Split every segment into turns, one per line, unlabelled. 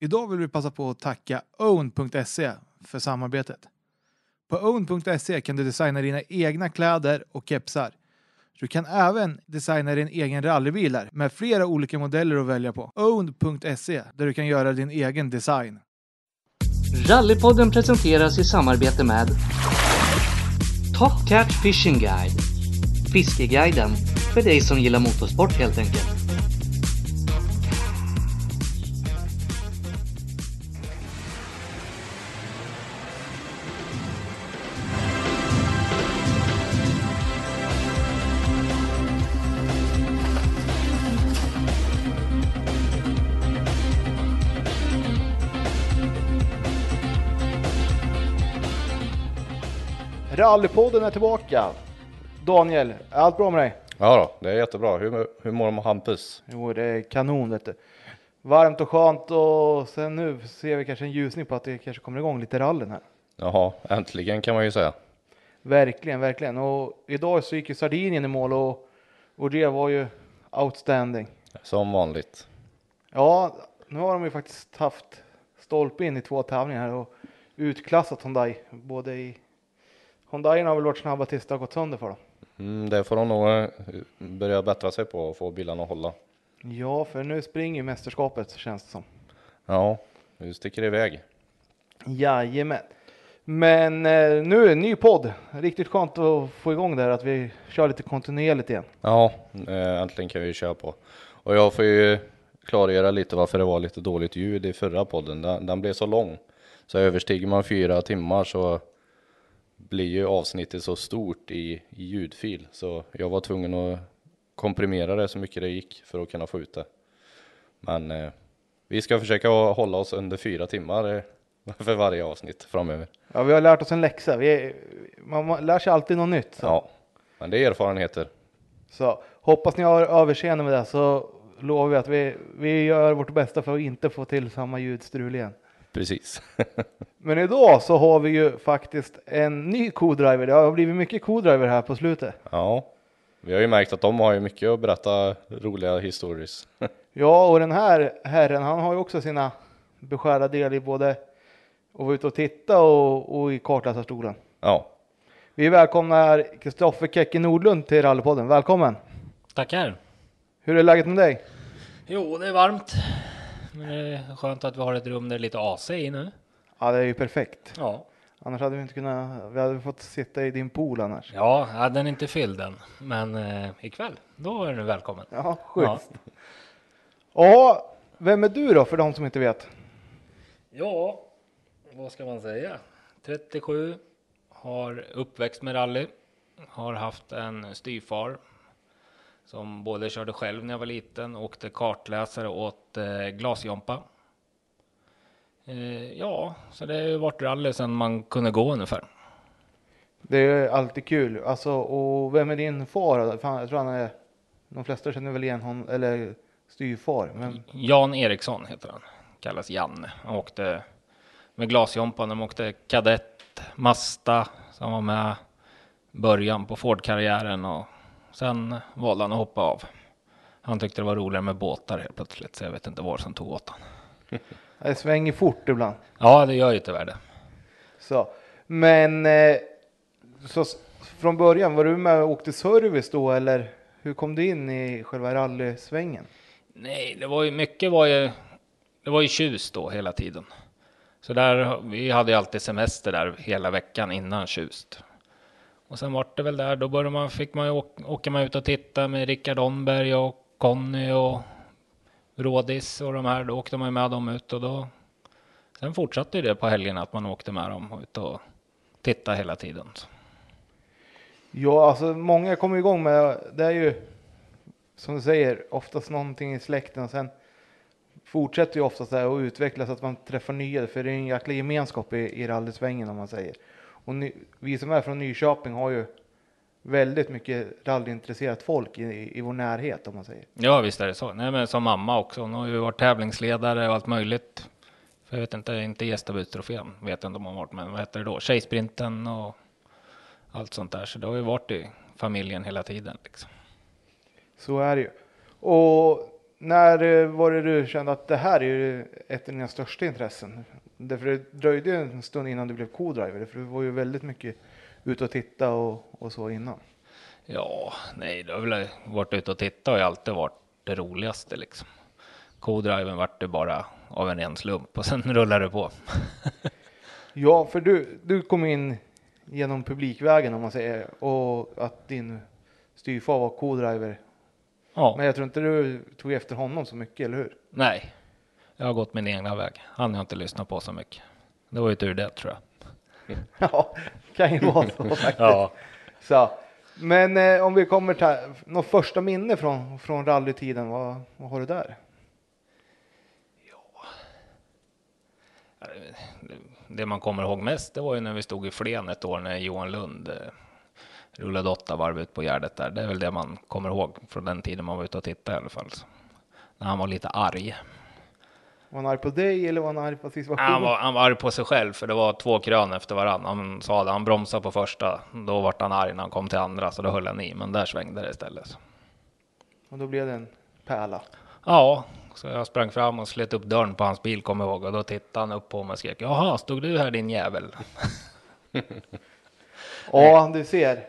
Idag vill vi passa på att tacka own.se för samarbetet. På own.se kan du designa dina egna kläder och kepsar. Du kan även designa din egen rallybil här, med flera olika modeller att välja på. own.se där du kan göra din egen design.
Rallypodden presenteras i samarbete med Top Cat Fishing Guide. Fiskeguiden för dig som gillar motorsport helt enkelt.
Rallypodden är tillbaka. Daniel, är allt bra med dig?
Ja då, det är jättebra. Hur, hur mår de Hampus?
Jo, det är kanon vet du. Varmt och skönt och sen nu ser vi kanske en ljusning på att det kanske kommer igång lite rallen här.
Jaha, äntligen kan man ju säga.
Verkligen, verkligen. Och idag så gick ju Sardinien i mål och, och det var ju outstanding.
Som vanligt.
Ja, nu har de ju faktiskt haft stolpe in i två tävlingar här och utklassat Hyundai. Både i Hyundaierna har väl varit snabba tills det har gått sönder för dem.
Mm, det får de nog eh, börja bättra sig på och få bilarna att hålla.
Ja, för nu springer ju mästerskapet känns det som.
Ja, nu sticker det iväg.
Jajamän. Men eh, nu är det en ny podd. Riktigt skönt att få igång det här att vi kör lite kontinuerligt igen.
Ja, eh, äntligen kan vi ju köra på. Och jag får ju klargöra lite varför det var lite dåligt ljud i förra podden. Den, den blev så lång. Så överstiger man fyra timmar så blir ju avsnittet så stort i, i ljudfil. Så jag var tvungen att komprimera det så mycket det gick för att kunna få ut det. Men eh, vi ska försöka att hålla oss under fyra timmar eh, för varje avsnitt framöver.
Ja, vi har lärt oss en läxa. Vi är, man man lär sig alltid något nytt. Så.
Ja, men det är erfarenheter.
så hoppas ni har överseende med det så lovar vi att vi, vi gör vårt bästa för att inte få till samma ljudstrul igen.
Precis.
Men idag så har vi ju faktiskt en ny co-driver. Det har blivit mycket co-driver här på slutet.
Ja, vi har ju märkt att de har ju mycket att berätta roliga historier.
Ja, och den här herren, han har ju också sina beskärda delar i både att vara ute och titta och, och i kartläsarstolen.
ja,
Vi välkomnar Kristoffer Kekke Nordlund till Rallypodden. Välkommen!
Tackar!
Hur är läget med dig?
Jo, det är varmt. Men det är skönt att vi har ett rum där det är lite AC i nu.
Ja, det är ju perfekt.
Ja.
Annars hade vi inte kunnat, vi hade fått sitta i din pool annars.
Ja, ja, den är inte fylld än. Men eh, ikväll, då är du välkommen.
Ja, schysst. Ja, vem är du då för de som inte vet?
Ja, vad ska man säga? 37, har uppväxt med rally, har haft en styvfar som både körde själv när jag var liten, åkte kartläsare åt eh, glasjompa. Eh, ja, så det har ju varit rally sedan man kunde gå ungefär.
Det är ju alltid kul. Alltså, och vem är din far? då? Fan, jag tror han är, de flesta känner väl igen honom, eller styvfar. Men
Jan Eriksson heter han. Kallas Janne. Han åkte med glasjompan. De åkte kadett, Masta. Så han var med början på Ford-karriären. Och sen valde han att hoppa av. Han tyckte det var roligare med båtar helt plötsligt. Så jag vet inte var som tog åt han.
det svänger fort ibland.
Ja, det gör ju tyvärr det.
Så. Men eh, så s- från början, var du med och åkte service då eller hur kom du in i själva rallysvängen?
Nej, det var ju mycket var ju. Det var ju tjus då hela tiden. Så där vi hade ju alltid semester där hela veckan innan tjust. Och sen vart det väl där. Då började man fick man ju åka, åka man ut och titta med Rickard Omberg och Conny och Rådis och de här. Då åkte man ju med dem ut och då. Sen fortsatte ju det på helgerna att man åkte med dem ut och tittade hela tiden.
Ja, alltså många kommer igång med, det är ju som du säger, oftast någonting i släkten och sen fortsätter ju oftast det här att utvecklas så att man träffar nya, för det är en jäkla gemenskap i, i rallysvängen om man säger. Och ny, vi som är från Nyköping har ju väldigt mycket rallyintresserat folk i, i, i vår närhet om man säger.
Ja, visst är det så. Nej, men som mamma också. Hon har ju varit tävlingsledare och allt möjligt. För jag vet inte, inte Gästabudstrofén vet jag inte om hon har varit, men vad heter det då? Tjejsprinten och allt sånt där. Så det har ju varit i familjen hela tiden. Liksom.
Så är det ju. Och När eh, var det du kände att det här är ju ett av dina största intressen? Därför det dröjde ju en stund innan du blev co-driver, för du var ju väldigt mycket ute och titta och, och så innan.
Ja, nej, det har väl varit ute och titta har ju alltid varit det roligaste liksom. Co-driven vart det bara av en ren slump och sen rullade det på.
Ja, för du, du kom in genom publikvägen om man säger och att din styvfar var co-driver.
Ja,
Men jag tror inte du tog efter honom så mycket, eller hur?
nej, jag har gått min egna väg. Han har inte lyssnat på så mycket. Det var ju tur det tror jag.
Ja, kan ju vara så faktiskt.
Ja,
Så. Men eh, om vi kommer till något första minne från, från rallytiden, vad, vad har du där?
det man kommer ihåg mest, det var ju när vi stod i Flen ett år när Johan Lund eh, rullade åtta varv ut på Gärdet där. Det är väl det man kommer ihåg från den tiden man var ute och tittade i alla fall. Så. När han var lite arg.
Var han arg på dig eller var han arg på situationen?
Han var, han var arg på sig själv för det var två krön efter varandra. Han sa det, han bromsade på första, då vart han arg när han kom till andra så då höll han i, men där svängde det istället. Så.
Och då blev det en pärla.
Ja, så jag sprang fram och slet upp dörren på hans bil kommer jag ihåg och då tittade han upp på mig och skrek jaha, stod du här din jävel?
Ja, du ser.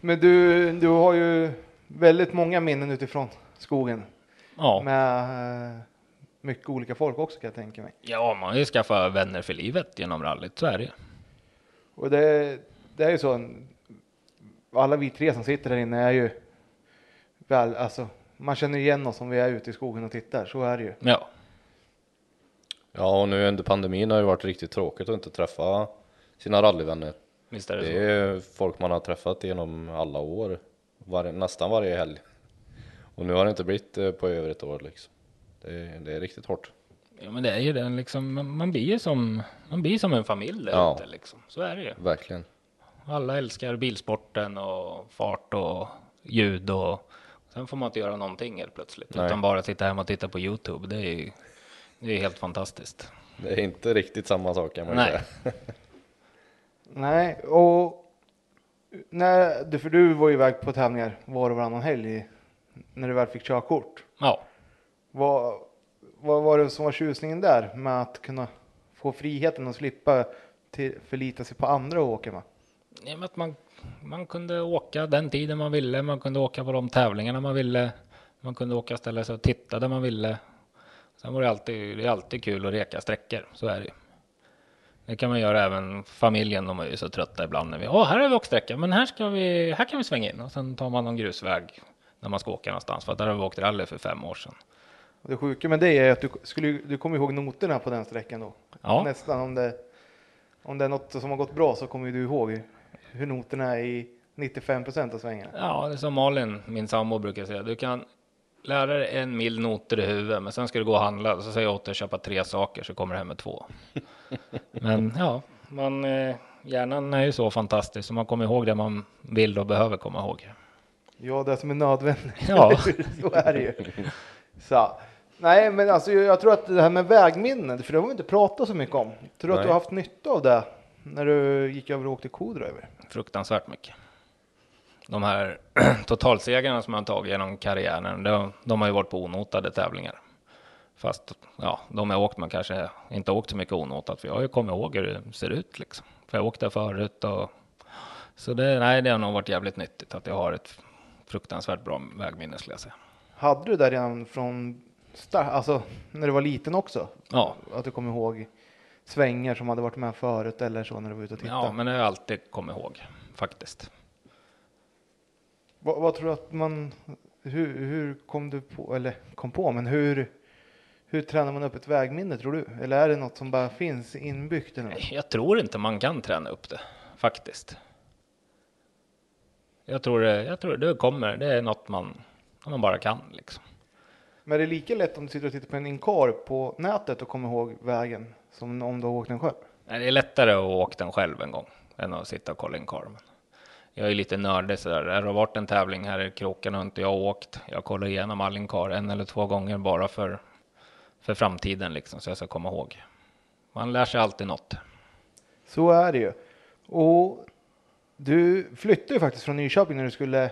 Men du, du har ju väldigt många minnen utifrån skogen
Ja,
med eh, mycket olika folk också kan jag tänka mig.
ja man har ju skaffat vänner för livet genom rallyt, så är det ju.
Och det, det är ju så. en- Alla vi tre som sitter här inne är ju väl, alltså man känner igen oss om vi är ute i skogen och tittar. Så är det ju.
Ja,
Ja, och nu under pandemin har det varit riktigt tråkigt att inte träffa sina rallyvänner.
visst är det,
Det
så.
är folk man har träffat genom alla år, var, nästan varje helg. Och nu har det inte blivit eh, på över ett år liksom. Det, är- det är riktigt hårt.
Ja, men det är ju den liksom, man- man blir ju som, man blir som en familj där
Ja.
ute liksom. Så är det ju.
Verkligen.
Alla älskar bilsporten och fart och ljud och sen får man inte göra någonting helt plötsligt
Nej.
utan bara sitta hemma och titta på Youtube. Det är ju det är helt fantastiskt.
Det är inte riktigt samma sak kan man ju
Nej.
säga.
Nej, och när, du- för du var ju iväg på tävlingar var och varannan helg i- när du väl fick körkort.
Ja,
Vad, vad var det som var tjusningen där med att kunna få friheten och slippa till, förlita sig på andra och åka med?
i och med att man, man kunde åka den tiden man ville. Man kunde åka på de tävlingarna man ville. Man kunde åka och ställa sig och titta där man ville. Sen var det alltid, det är alltid kul att reka sträckor. Så är det ju. Det kan man göra även familjen. De är ju så trötta ibland när vi, åh, här har vi åkt sträcka, men här ska vi, här kan vi svänga in och sen tar man någon grusväg när man ska åka någonstans för att där har vi åkt rally för fem år sedan.
Och det sjuka med det är att du, skulle, ju- du kommer ihåg noterna på den sträckan då.
Ja.
Nästan om det, om det är något som har gått bra så kommer ju du ihåg hur noterna är i 95 procent av svängarna.
Ja, det är som Malin, min sambo, brukar säga. Du kan lära dig en mil noter i huvudet, men sen ska du gå och handla. Och så säger jag åt dig att köpa tre saker, så kommer du hem med två. Men ja, man, eh, hjärnan är ju så fantastisk, så man kommer ihåg det man vill och behöver komma ihåg.
Ja, det som är nödvändigt.
Ja.
så är det ju. Så. Nej, men alltså, jag tror att det här med vägminnen, för det har vi inte pratat så mycket om. Tror du att
Nej.
du har haft nytta av det när du gick över och åkte kodröver?
Fruktansvärt mycket. De här totalsegrarna som man tagit genom karriären, de, de har ju varit på onotade tävlingar. Fast ja, de har åkt, man kanske inte har åkt så mycket onotat, för jag har ju kommit ihåg hur det ser ut liksom. För jag har åkt där förut och så det, nej, det har nog varit jävligt nyttigt att jag har ett fruktansvärt bra vägminne skulle jag säga.
Hade du det redan från start, alltså när du var liten också?
Ja,
Att du kom ihåg svängar som hade varit med förut eller så när du var ute och tittade?
ja men det har jag alltid kommit ihåg faktiskt.
Vad, vad tror du att man, hur, hur kom du på, eller kom på, men hur, hur tränar man upp ett vägminne tror du? Eller är det något som bara finns inbyggt? Eller något?
Jag tror inte man kan träna upp det, faktiskt. Jag tror det, jag tror det kommer, det är något man, man bara kan liksom.
Men det är lika lätt om du sitter och tittar på en inkar på nätet och kommer ihåg vägen som om du har åkt den själv.
Nej, Det är lättare att åka den själv en gång än att sitta och kolla in karmen. Jag är lite nördig sådär. Det har varit en tävling här i kroken och inte jag åkt. Jag kollar igenom all inkar en eller två gånger bara för, för framtiden liksom, så jag ska komma ihåg. Man lär sig alltid något.
Så är det ju. Och du flyttade ju faktiskt från Nyköping när du skulle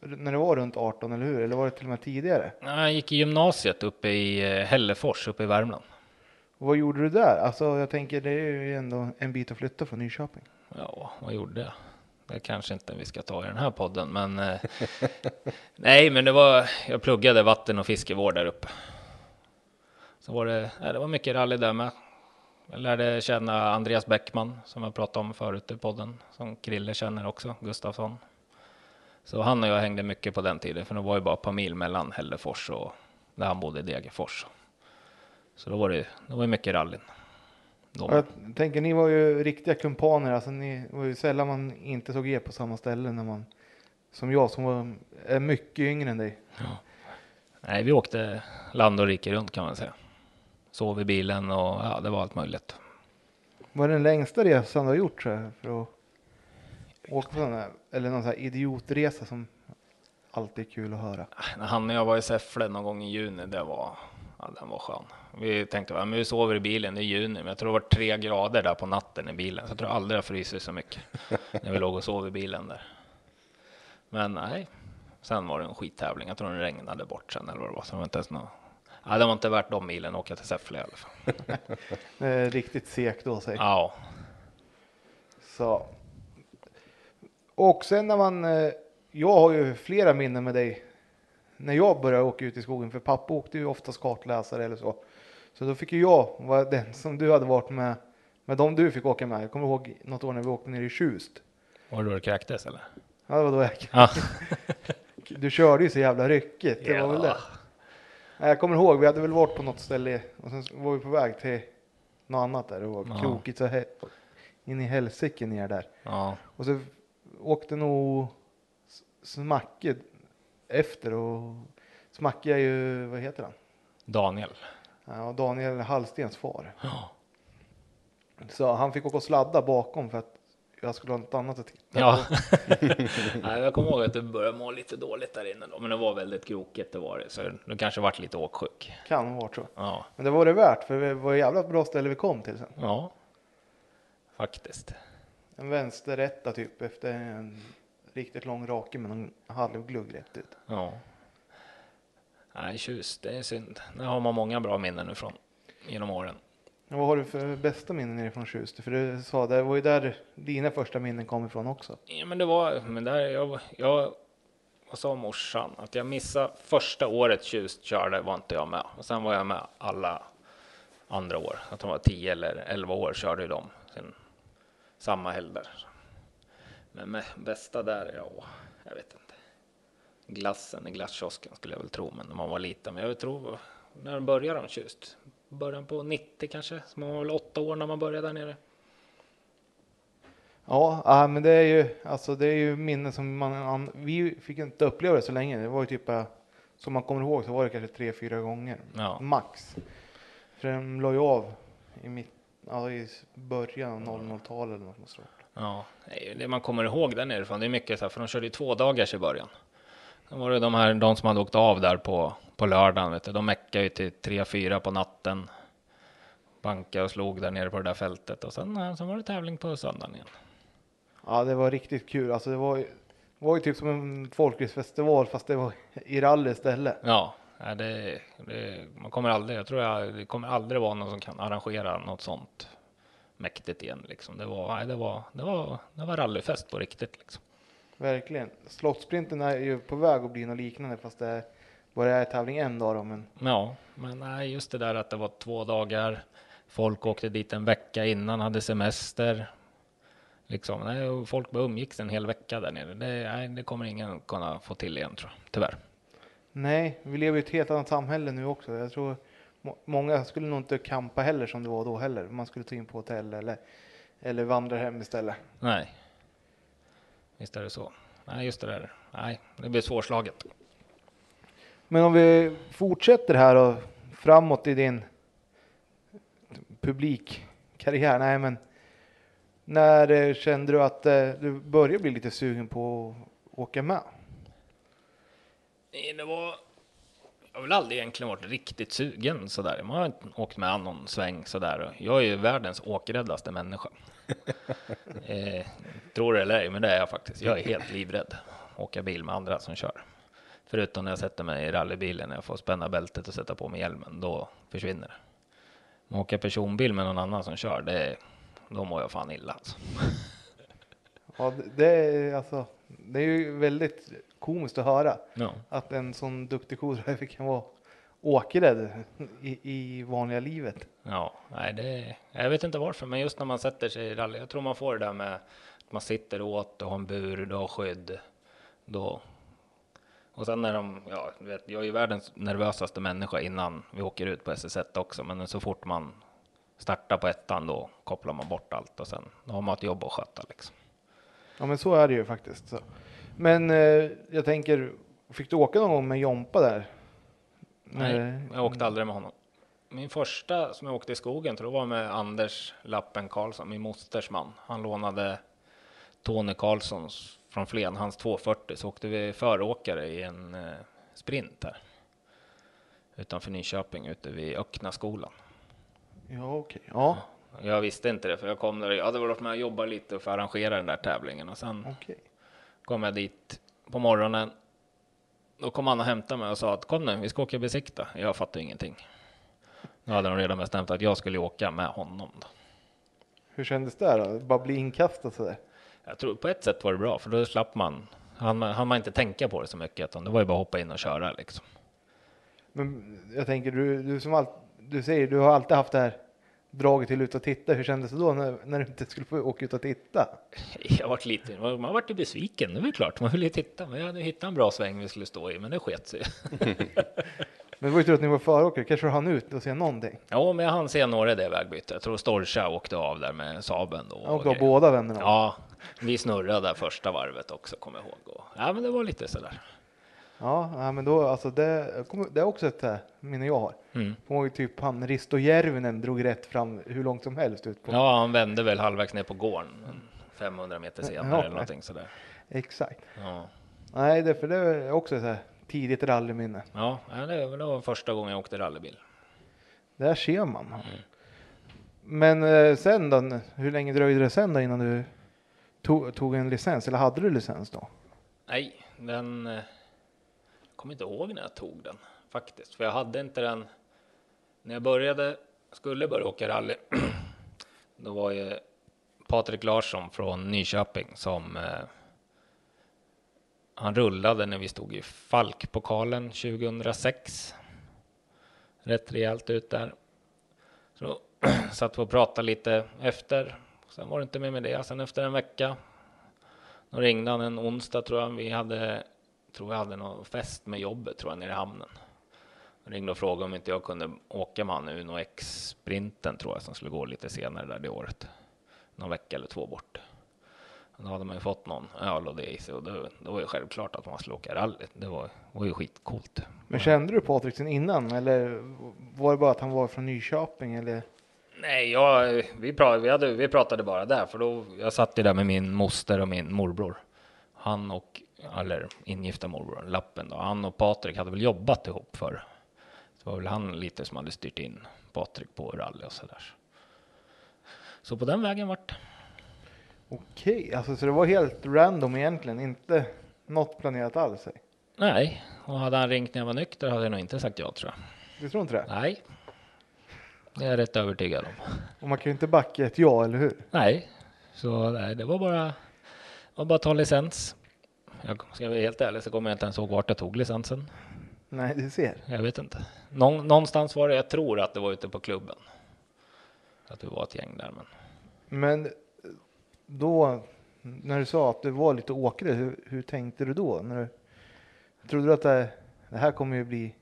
När det var runt 18, eller hur? Eller var det till och med tidigare?
Nej, jag gick i gymnasiet uppe i eh, Hällefors uppe i Värmland.
Och vad gjorde du där? Alltså, jag tänker det är ju ändå en bit att flytta från Nyköping.
Ja, vad gjorde jag? Det kanske inte vi ska ta i den här podden, men eh, nej, men det var. Jag pluggade vatten och fiskevård där uppe. Så var det. Nej, det var mycket rally där med. Jag lärde känna Andreas Bäckman som jag pratade om förut i podden som Krille känner också Gustafsson. Så han och jag hängde mycket på den tiden, för det var ju bara ett par mil mellan Hällefors och där han bodde i Degerfors. Så då var det. Det var ju mycket rallyn. Då.
Och jag tänker, ni var ju riktiga kumpaner. Alltså, ni var ju sällan man inte såg er på samma ställe när man, som jag som var, är mycket yngre än dig.
Nej, vi åkte land och rike runt kan man säga. Sov i bilen och ja, det var allt möjligt.
Vad är den längsta resan du har gjort tror jag, för att åka på sån här, eller någon sån här idiotresa som alltid är kul att höra?
När Äh, han och jag var i Säffle någon gång i juni, det var, ja, den var skön. Vi tänkte, ja, men vi sover i bilen, det är juni, men jag tror det var tre grader där på natten i bilen. Så jag tror aldrig jag frysit så mycket när vi låg och sov i bilen där. Men nej, sen var det en skittävling. Jag tror den regnade bort sen eller vad det var. Så det var inte ens någon... ja, det var inte värt de milen att åka till Säffle i alla fall.
Det är riktigt segt då säkert.
Ja,
Så. Och sen när man, eh, jag har ju flera minnen med dig. När jag började åka ut i skogen, för pappa åkte ju oftast kartläsare eller så. Så då fick ju jag vara den som du hade varit med, med de du fick åka med. Jag kommer ihåg något år när vi åkte ner i Tjust.
var det då det kräktes eller?
Ja, det var då jag,
Ja.
du körde ju så jävla ryckigt. Det var väl det.
Ja.
Nej, Jag kommer ihåg, vi hade väl varit på något ställe och sen var vi på väg till något annat där. Det var
Ja.
krokigt så he- in i helsike ner där.
Ja.
Och så åkte nog S- Smacke efter och Smacke är ju, vad heter han?
Daniel.
Ja, Daniel Hallstens far.
Ja.
Så han fick åka och sladda bakom för att jag skulle ha något annat att titta
Ja.
på.
Nej, jag kommer ihåg att det började må lite dåligt där inne då, men det var väldigt krokigt det var det, så det kanske vart lite åksjuk.
Kan ha varit så.
Ja,
Men det var det värt för det var ett jävla bra ställe vi kom till sen.
ja, faktiskt.
En vänsterrätta typ efter en riktigt lång rake med någon halvglugg rätt ut.
Ja. Nej, tjus, det är synd. Där har man många bra minnen ifrån genom åren.
Men Vad har du för bästa minnen nerifrån Tjust? För du sa det var ju där dina första minnen kom ifrån också.
Ja, men det var, men där jag, jag vad sa morsan? Att jag missade första året tjust körde var inte jag med. Och sen var jag med alla andra år. Att de var 10 eller 11 år körde ju de. Sen samma helg där. Men med bästa där, ja, jag vet inte. Glassen i glasskiosken skulle jag väl tro, men när man var liten. Men jag tror, när de började de tjust? Början på 90 kanske? Så man var väl åtta år när man började där nere.
Ja, ja, men det är ju alltså det är ju minnen som man an- vi fick inte uppleva det så länge. Det var ju typ eh, som man kommer ihåg så var det kanske tre fyra gånger
Ja.
max. För de la ju av i mitt ja, i s- början av 00-talet eller något sånt. tror jag.
Ja, nej, det man kommer ihåg där nerifrån, det är mycket så här, för de körde ju två dagars i början. Sen var det de här, de som hade åkt av där på, på lördagen, vet du, de meckade ju till tre fyra på natten. Bankade och slog där nere på det där fältet och sen, eh, sen var det tävling på söndagen igen.
Ja, det var riktigt kul. Alltså det var ju, var ju typ som en folkracefestival fast det var i rally istället.
Ja, nej, det, det, man kommer aldrig, jag tror jag, det kommer aldrig vara någon som kan arrangera något sånt mäktigt igen liksom. Det var, nej, det var, det var, det var rallyfest på riktigt liksom.
Verkligen. Slottsprinten är ju på väg att bli något liknande fast det är- bara är tävling en dag då, men
Ja, men nej, just det där att det var två dagar. Folk åkte dit en vecka innan, hade semester. Liksom, nej, och folk bara umgicks en hel vecka där nere. Det, nej, det kommer ingen kunna få till igen tror jag, tyvärr.
Nej, vi lever i ett helt annat samhälle nu också. Jag tror må- många skulle nog inte campa heller som det var då heller. Man skulle ta in på hotell eller, eller vandra hem istället.
Nej. Visst är det så. Nej, just det där. Nej, det blir svårslaget.
Men om vi fortsätter här och framåt i din publikkarriär. Nej, men när eh, kände du att eh, du började bli lite sugen på att åka med?
Nej, det var... Jag har väl aldrig egentligen varit riktigt sugen sådär. Man har inte åkt med någon sväng sådär. Jag är ju världens åkräddaste människa. eh, tror det eller ej, men det är jag faktiskt. Jag är helt livrädd. åka bil med andra som kör. Förutom när jag sätter mig i rallybilen, när jag får spänna bältet och sätta på mig hjälmen, då försvinner det. Men åka personbil med någon annan som kör, det, är- då mår jag fan illa alltså.
Ja, det- det, är, alltså, det är ju väldigt komiskt att höra
Ja.
att en sån duktig co-driver kan vara åkrädd i, i vanliga livet.
Ja, nej, det, jag vet inte varför, men just när man sätter sig i rally, jag tror man får det där med att man sitter åt och har en bur, du har skydd. Då. Och sen när de, ja, du vet, jag är ju världens nervösaste människa innan vi åker ut på SS1 också, men så fort man startar på ettan då kopplar man bort allt och sen då har man ett jobb att sköta liksom.
Ja, men så är det ju faktiskt. Så. Men eh, jag tänker, fick du åka någon gång med Jompa där? Eh,
Nej,
När-
jag åkte aldrig med honom. Min första som jag åkte i skogen tror jag var med Anders Lappen Karlsson, min mosters man. Han lånade Tony Karlssons från Flen, hans 240, så åkte vi föråkare i en eh, sprint här. Utanför Nyköping, ute vid Öckna skolan.
Ja, okej. Ja,
Jag visste inte det, för jag kom där, jag hade varit med och jobbat lite för att arrangera den där tävlingen och sen
okej.
kom jag dit på morgonen. Då kom han och hämtade mig och sa att kom nu, vi ska åka och besikta. Jag fattade ingenting. Nu hade de redan bestämt att jag skulle åka med honom. Då.
Hur kändes det då? Bara bli inkastad sådär?
Jag tror på ett sätt var det bra, för då slapp man. Han, han man inte tänka på det så mycket, utan det var ju bara att hoppa in och köra liksom.
Men jag tänker, du, du som allt, du säger, du har alltid haft det här draget till ut och titta. Hur kändes det då när, när du inte skulle få åka ut och titta?
Jag vart lite, man vart ju besviken, det är väl klart. Man ville ju titta, men jag hade hittat en bra sväng vi skulle stå i, men det sket sig.
Men det var ju tur att ni var föråkare, kanske du hann ut och se någonting?
Ja, men jag hann se några i det vägbytet. Jag tror Storcha åkte av där med Saben då.
Ja,
och
och gav
grejer.
båda vännerna.
Ja, vi snurrade där första varvet också, kommer jag ihåg. Och, ja, men det var lite sådär.
Ja, ja, men då alltså det, jag kommer- det är också ett äh, minne jag har.
Mm.
Kommer ihåg typ han Risto Järvinen drog rätt fram hur långt som helst ut på.
Ja, han vände väl halvvägs ner på gården, en 500 meter senare
Ja,
eller
nej.
någonting sådär.
Exakt.
Ja,
Nej, det, för det är också ett så här tidigt rallyminne.
ja ja, det var- det var första gången jag åkte rallybil.
Där ser man.
Mm.
Men eh, sen då, hur länge dröjde det sen då innan du tog, tog en licens? Eller hade du licens då?
Nej, den... eh, Jag kommer inte ihåg när jag tog den faktiskt, för jag hade inte den... När jag började, skulle börja åka rally, då var ju Patrik Larsson från Nyköping som... Eh, han rullade när vi stod i Falkpokalen 2006. Rätt rejält ut där. Så då satt vi och pratade lite efter. Sen var det inte mer med det. Sen efter en vecka då ringde han en onsdag tror jag. Vi hade, tror jag hade någon fest med jobbet tror jag nere i hamnen. Han ringde och frågade om inte jag kunde åka med han Uno X-sprinten tror jag som skulle gå lite senare där det året. Någon vecka eller två bort. Då hade man ju fått någon öl och det i sig och då, då var det självklart att man skulle åka rally. Det var, var ju skitcoolt.
Men kände du Patrik sen innan? Eller var det bara att han var från Nyköping? Eller?
Nej, jag, vi, pra, vi, hade, vi pratade bara där, för då, jag satt ju där med min moster och min morbror. Han och, eller ingifta morbror, lappen då. Han och Patrik hade väl jobbat ihop för. Det var väl han lite som hade styrt in Patrik på rally och sådär. Så på den vägen vart det.
Okej, alltså, så det var helt random egentligen, inte något planerat alls? eh?
Nej, och hade han ringt när jag var nykter hade jag nog inte sagt ja tror jag.
Du tror inte det?
Nej, det är jag rätt övertygad om.
Och man kan ju inte backa ett ja, eller hur?
Nej, så nej, det var bara, det var bara att ta licens. Jag ska jag vara helt ärlig så kommer jag inte ens ihåg vart jag tog licensen.
Nej, du ser.
Jag vet inte. Någon, någonstans var det, jag tror att det var ute på klubben. Att vi var ett gäng där, men
Men då, när du sa att du var lite åkare, hur, hur tänkte du då? När du, trodde du att det, det här kommer ju bli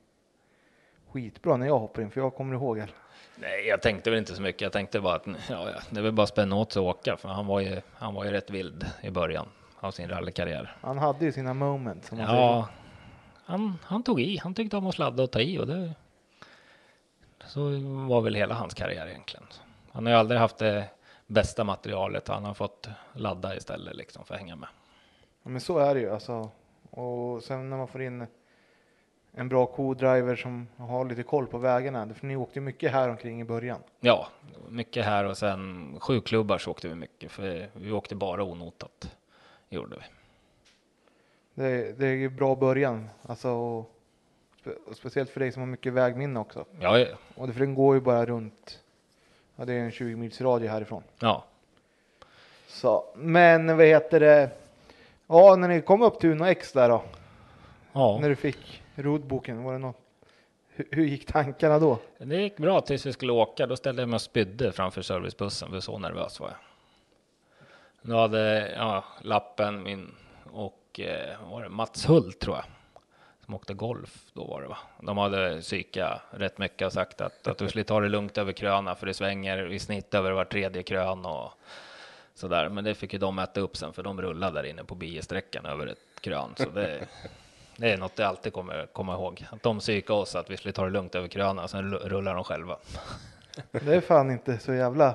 skitbra när jag hoppar in? För jag kommer ihåg alla.
nej, jag tänkte väl inte så mycket. Jag tänkte bara att ja, ja, det är väl bara att spänna åt sig och åka, för han var ju, han var ju rätt vild i början av sin rallykarriär.
Han hade ju sina moments. Som man säger.
Ja, han, han tog i. Han tyckte om att sladda och ta i och det så var väl hela hans karriär egentligen. Han har ju aldrig haft det bästa materialet. Han har fått ladda istället liksom för att hänga med.
Ja, men så är det ju alltså. Och sen när man får in en bra co-driver som har lite koll på vägarna. För ni åkte ju mycket här omkring i början.
Ja, mycket här och sen sju klubbar så åkte vi mycket för vi åkte bara onotat. Gjorde vi.
Det, det är ju bra början. Alltså, och, spe, och speciellt för dig som har mycket vägminne också.
Ja, ja.
Och det, för den går ju bara runt, ja, det är en 20 mils radie härifrån.
ja.
Så, men vad heter det? Ja, när ni kom upp till Uno X där då,
ja.
när du fick rodboken, var det något? Hur, hur gick tankarna då?
Det gick bra tills vi skulle åka. Då ställde jag mig och spydde framför servicebussen, för så nervös var jag. Nu hade ja, lappen min och eh, vad var det Mats Hult tror jag, som åkte golf då var det va. De hade psykat rätt mycket och sagt att, att du skulle ta det lugnt över kröna för det svänger i snitt över var tredje krön och sådär. Men det fick ju de äta upp sen för de rullade där inne på biesträckan över ett krön. Så det, det är något jag alltid kommer komma ihåg. Att de psykade oss att vi skulle ta det lugnt över kröna, sen lu- rullar de själva.
Det är fan inte så jävla...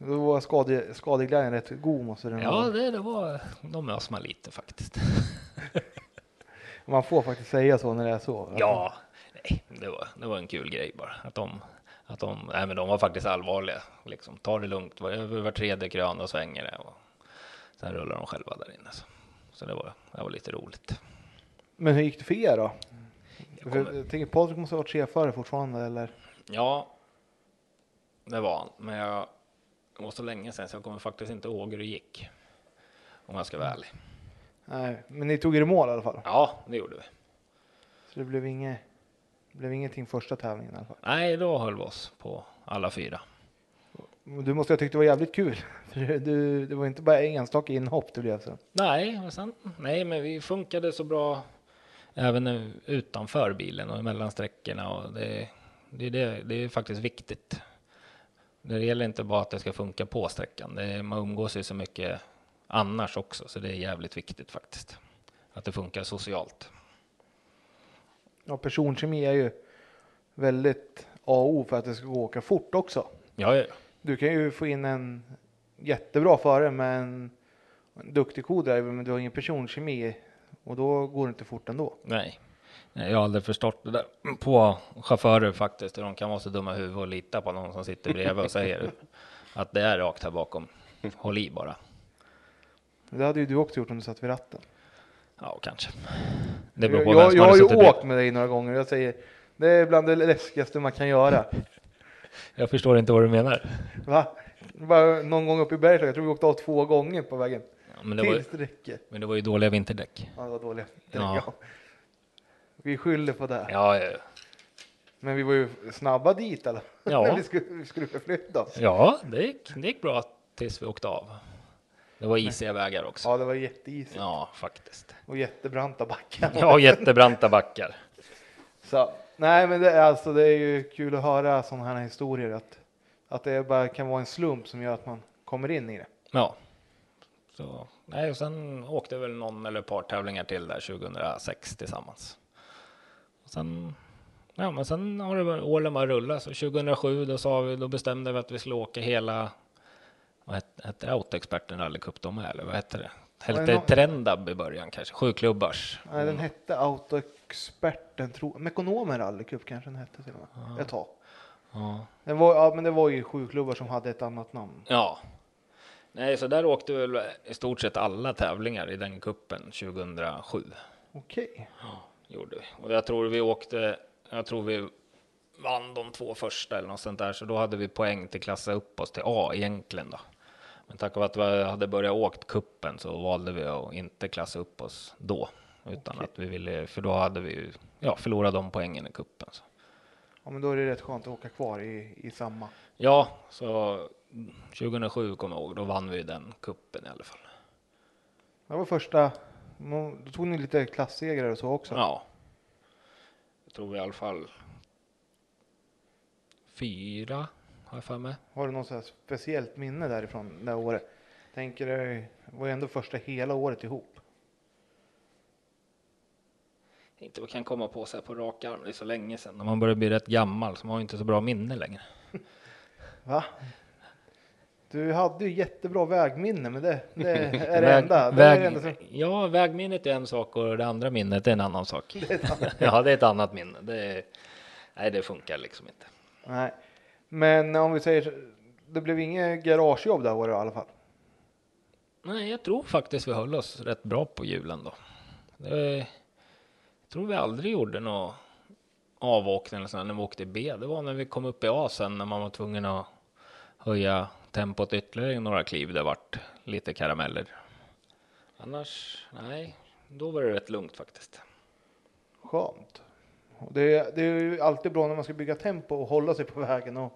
Då var skade, skadeglädjen rätt god måste den
Ja,
vara.
det, det var... De ös man lite faktiskt.
Man får faktiskt säga så när det är så.
Ja, nej, det var, det var en kul grej bara. Att de, att de, nej, men de var faktiskt allvarliga. Liksom, ta det lugnt, var- över var tredje krön och svänger det. Och sen rullar de själva där inne. Så, så det, var, det var lite roligt.
Men hur gick det för er då?
Jag
För
kommer-
Jag tänker Patrik måste ha varit chefare fortfarande eller?
Ja, det var han. Men jag, det var så länge sedan så jag kommer faktiskt inte ihåg hur det gick. Om jag ska vara ärlig.
Nej, men ni tog er i mål i alla fall.
Ja, det gjorde vi.
Så det blev, inget, blev ingenting första tävlingen i alla fall.
Nej, då höll vi oss på alla fyra.
Men Du måste ha tyckt det var jävligt kul. För du, det var inte bara enstaka inhopp det blev sen.
Nej, och sen, nej, men vi funkade så bra även nu utanför bilen och mellan sträckorna. Och det, det, är det, det är faktiskt viktigt. Det gäller inte bara att det ska funka på sträckan. Det, är- man umgås ju så mycket annars också, så det är jävligt viktigt faktiskt. Att det funkar socialt.
Ja, personkemi är ju väldigt A och O för att det ska gå att åka fort också.
Ja, ja,
Du kan ju få in en jättebra förare men en duktig co-driver men du har ingen personkemi och då går det inte fort ändå.
nej. Nej, Jag har aldrig förstått det där på chaufförer faktiskt. hur De kan vara så dumma i huvudet och lita på någon som sitter bredvid och säger att det är rakt här bakom. Håll i bara.
Det hade ju du också gjort om du satt vid ratten.
Ja, kanske. Det beror på vem
jag
som
jag har
hade
ju
suttit bredvid.
åkt med dig några gånger och jag säger det är bland det läskigaste man kan göra.
Jag förstår inte vad du menar.
Va? Bara någon gång uppe i berget, jag tror vi åkte av två gånger på vägen.
Ja, men, det var, ju-
Tills det räcker.
men det var ju dåliga vinterdäck.
Ja, det var dåligt.
Ja.
Ja. Vi skyller på det.
Ja, ja,
Men vi var ju snabba dit eller?
Ja.
När vi skulle, vi skulle förflytta oss.
ja det, gick, det gick bra tills vi åkte av. Det var isiga vägar också.
Ja, det var jätteisigt
Ja, faktiskt.
och jättebranta backar.
Ja, jättebranta backar.
Så, nej, men det är alltså, det är ju kul att höra sådana här historier att att det bara kan vara en slump som gör att man kommer in i det.
Ja. Så, nej, och sen åkte väl någon eller ett par tävlingar till där 2006 tillsammans. Och sen, ja, men sen har det varit- åren bara rullat. Så 2007 då, sa vi, då bestämde vi att vi skulle åka hela, vad hette, hette det, Autoexperten rallycup de är, eller vad hette det?
det
Hette
nå-
Trendab i början kanske, sjuklubbars.
Nej, den hette Autoexperten, tro, Mekonomen rallycup kanske den hette till och med. Ett tag.
Ah. Ja.
Den var, ja, men det var ju sju klubbar som hade ett annat namn.
Ja. Nej, så där åkte väl i stort sett alla tävlingar i den kuppen 2007.
Okej.
gjorde vi. Och jag tror vi åkte, jag tror vi vann de två första eller något sånt där, så då hade vi poäng till klassa upp oss till A egentligen då. Men tack vare att vi hade börjat åkt kuppen så valde vi att inte klassa upp oss då, utan att vi ville, för då hade vi ju, ja, förlorat de poängen i kuppen. Så.
Ja, men då är det rätt skönt att åka kvar i, i samma.
Ja, så 2007 kommer jag ihåg, då vann vi den kuppen i alla fall.
Det var första. Nå- Då tog ni lite klassegrar och så också.
Ja. Jag tror vi i alla fall fyra, har jag för mig.
Har du något så här speciellt minne därifrån det här året? Tänker du, det var ju ändå första hela året ihop.
inte vad kan komma på sig på rak arm. Det är så länge sedan. När man börjar bli rätt gammal så man har ju inte så bra minne längre.
Va? Du hade ju jättebra vägminne, men det, det är det
Väg-
enda. Det är
väg-
det enda som,
Ja, vägminnet är en sak och det andra minnet är en annan sak. ja, det är ett annat minne. Det är... Nej, det funkar liksom inte.
nej. Men om vi säger, så- det blev inget garagejobb det här året i alla fall.
Nej, jag tror faktiskt vi höll oss rätt bra på julen då. Det, jag tror vi aldrig gjorde någon avåkning eller sånt när vi åkte B. Det var när vi kom upp i A sen när man var tvungen att höja tempot ytterligare några kliv. Det vart lite karameller. Annars, nej, då var det rätt lugnt faktiskt.
Skönt. Och Det, det är ju alltid bra när man ska bygga tempo och hålla sig på vägen och,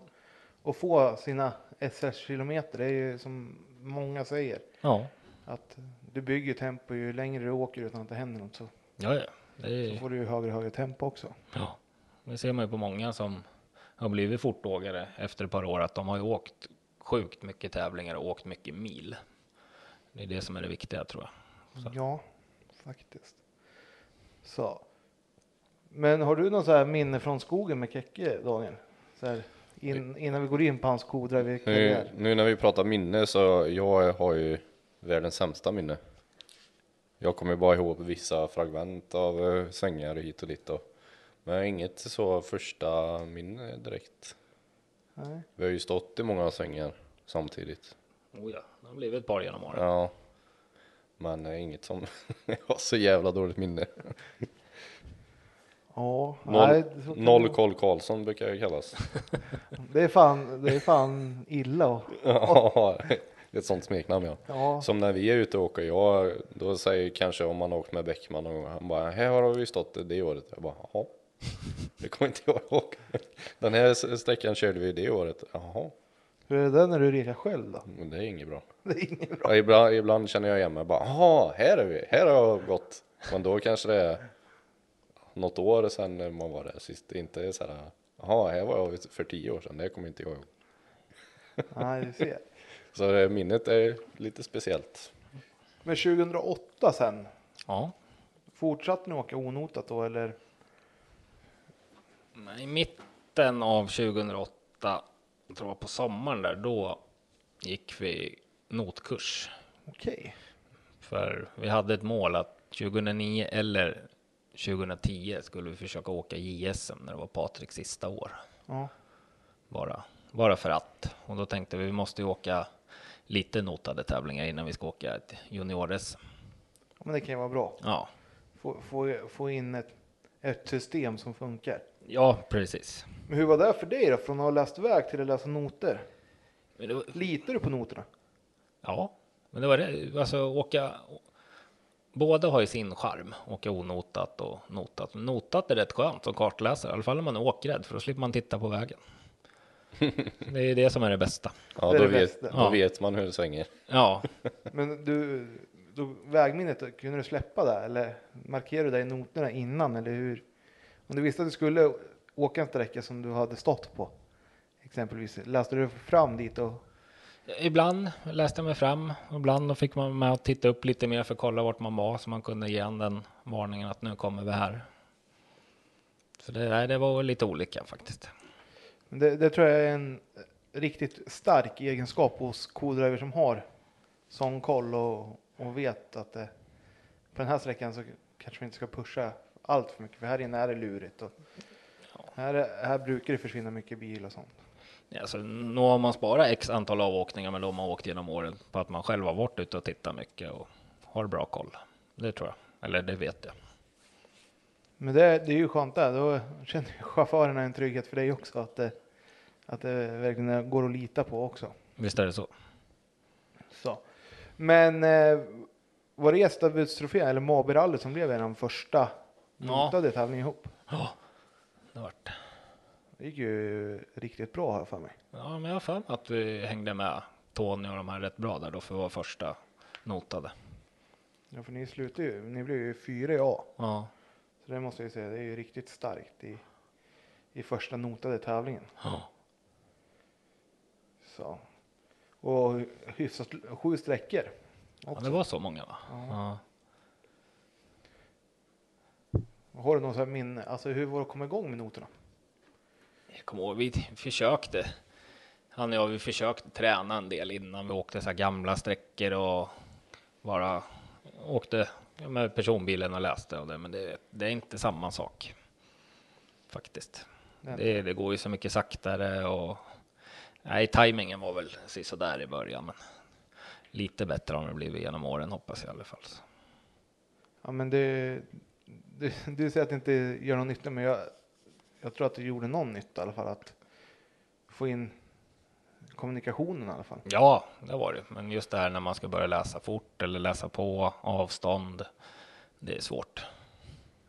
och få sina SS-kilometer. Det är ju som många säger
Ja,
att du bygger tempo ju längre du åker utan att det händer något så,
ja, ja. Det
så
är,
får du ju högre och högre tempo också.
ja. Det ser man ju på många som har blivit fortågare efter ett par år att de har ju åkt sjukt mycket tävlingar och åkt mycket mil. Det är det som är det viktiga tror jag.
Ja, faktiskt. Så. Men har du någon så här minne från skogen med Kekke, Daniel? Så här, in, innan vi går in på hans
Nu,
kodrive-karriär.
nu när vi pratar minne så jag har ju världens sämsta minne. Jag kommer bara ihåg vissa fragment av eh, svängar hit och dit då. Men inget så första minne direkt.
Nej.
Vi har ju stått i många svängar samtidigt.
Oh ja, det har blivit ett par genom åren.
Ja. Men eh, inget som jag har så jävla dåligt minne.
Ja,
Noll,
nej, så kan
noll
det-
koll Karlsson brukar jag kallas.
Det är fan, det är fan illa. Och,
Ja, det är ett sånt smeknamn ja.
ja,
Som när vi är ute och åker, jag, då säger kanske om man har åkt med Bäckman någon gång, han bara, här har vi stått det året. Jag bara, jaha, det kommer inte jag ihåg. Den här s- sträckan körde vi det året, jaha,
hur är det där när du rekar själv då?
men det är inget bra.
Det är inget bra.
Ja, ibland, ibland känner jag igen mig, bara, jaha, här är vi, här har jag gått. Men då kanske det är något år sedan när man var där sist, Det är inte så här, jaha, här var jag för tio år sedan, det kommer inte jag ihåg.
Nej, du ser.
Så det, minnet är lite speciellt.
Men 2008 sen,
Ja.
fortsatte ni åka onotat då eller?
Men I mitten av 2008, jag tror jag på sommaren där, då gick vi notkurs.
Okej.
För vi hade ett mål att 2009 eller 2010 skulle vi försöka åka JSM när det var Patriks sista år.
Ja.
Bara, bara för att. Och då tänkte vi, vi måste ju åka lite notade tävlingar innan vi ska åka ett juniores.
Men det kan ju vara bra.
Ja,
Få, få, få in ett, ett system som funkar.
ja precis.
Men hur var det för dig då? Från att ha läst väg till att läsa noter?
Men det var,
Litar du på noterna?
Ja, men det var det. Alltså åka. Båda har ju sin charm. Åka onotat och notat. Notat är rätt skönt som kartläsare, i alla fall om man är åkrädd, för då slipper man titta på vägen. Det är ju det som är det bästa.
Ja,
Det är
då,
det
vet,
bästa.
då
Ja.
vet man hur det svänger.
Ja,
Men du, då, vägminnet, kunde du släppa det? Eller markerade du det i noterna innan? Eller hur? Om du visste att du skulle åka en sträcka som du hade stått på, exempelvis, läste du fram dit och...
Ibland läste jag mig fram och ibland då fick man med att titta upp lite mer för att kolla vart man var så man kunde ge en den varningen att nu kommer vi här. Så det, nej, det var lite olika faktiskt.
Men Det, det tror jag är en riktigt stark egenskap hos kodriver som har sån koll och, och vet att det, på den här sträckan så kanske vi inte ska pusha allt för mycket, för här inne är det lurigt. Och här, är- här brukar det försvinna mycket bil och sånt.
Ja, Alltså, nu har man sparat x antal avåkningar med de man har åkt genom åren på att man själv har varit ute och tittat mycket och har bra koll. Det tror jag, eller det vet jag.
Men det, det är ju skönt där. Då känner ju chaufförerna en trygghet för dig också. Att det, att det verkligen går att lita på också.
Visst är det så?
Så. Men eh, var det gästabudstrofén eller Mabirallyt som blev den första
Ja.
notade tävlingen ihop?
Ja, det vart.
Det gick ju riktigt bra här för mig.
Ja, men jag har för mig att vi hängde med Tony och de här rätt bra där då för vår första notade.
Ja, för ni slutade ju. Ni blev ju fyra i A.
Ja,
Så det måste jag ju säga, det är ju riktigt starkt i, i första notade tävlingen.
ja.
Så. Och hyfsat sju sträckor.
ja det var så många va? Ja.
Har du någon sån här minne? Alltså hur var det att komma igång med noterna?
Jag kommer ihåg, vi försökte. Han och jag, vi försökte träna en del innan vi åkte så här gamla sträckor och bara åkte med personbilen och läste och det, men det, det är inte samma sak. Faktiskt.
Nej.
Det, det går ju så mycket saktare och nej, tajmingen var väl sådär i början, men lite bättre har det blivit genom åren hoppas jag i alla fall.
Ja, men det, du, du säger att det inte gör någon nytta, men jag, jag tror att det gjorde någon nytta i alla fall att få in kommunikationen i alla fall.
Ja, det var det. Men just det här när man ska börja läsa fort eller läsa på avstånd. Det är svårt.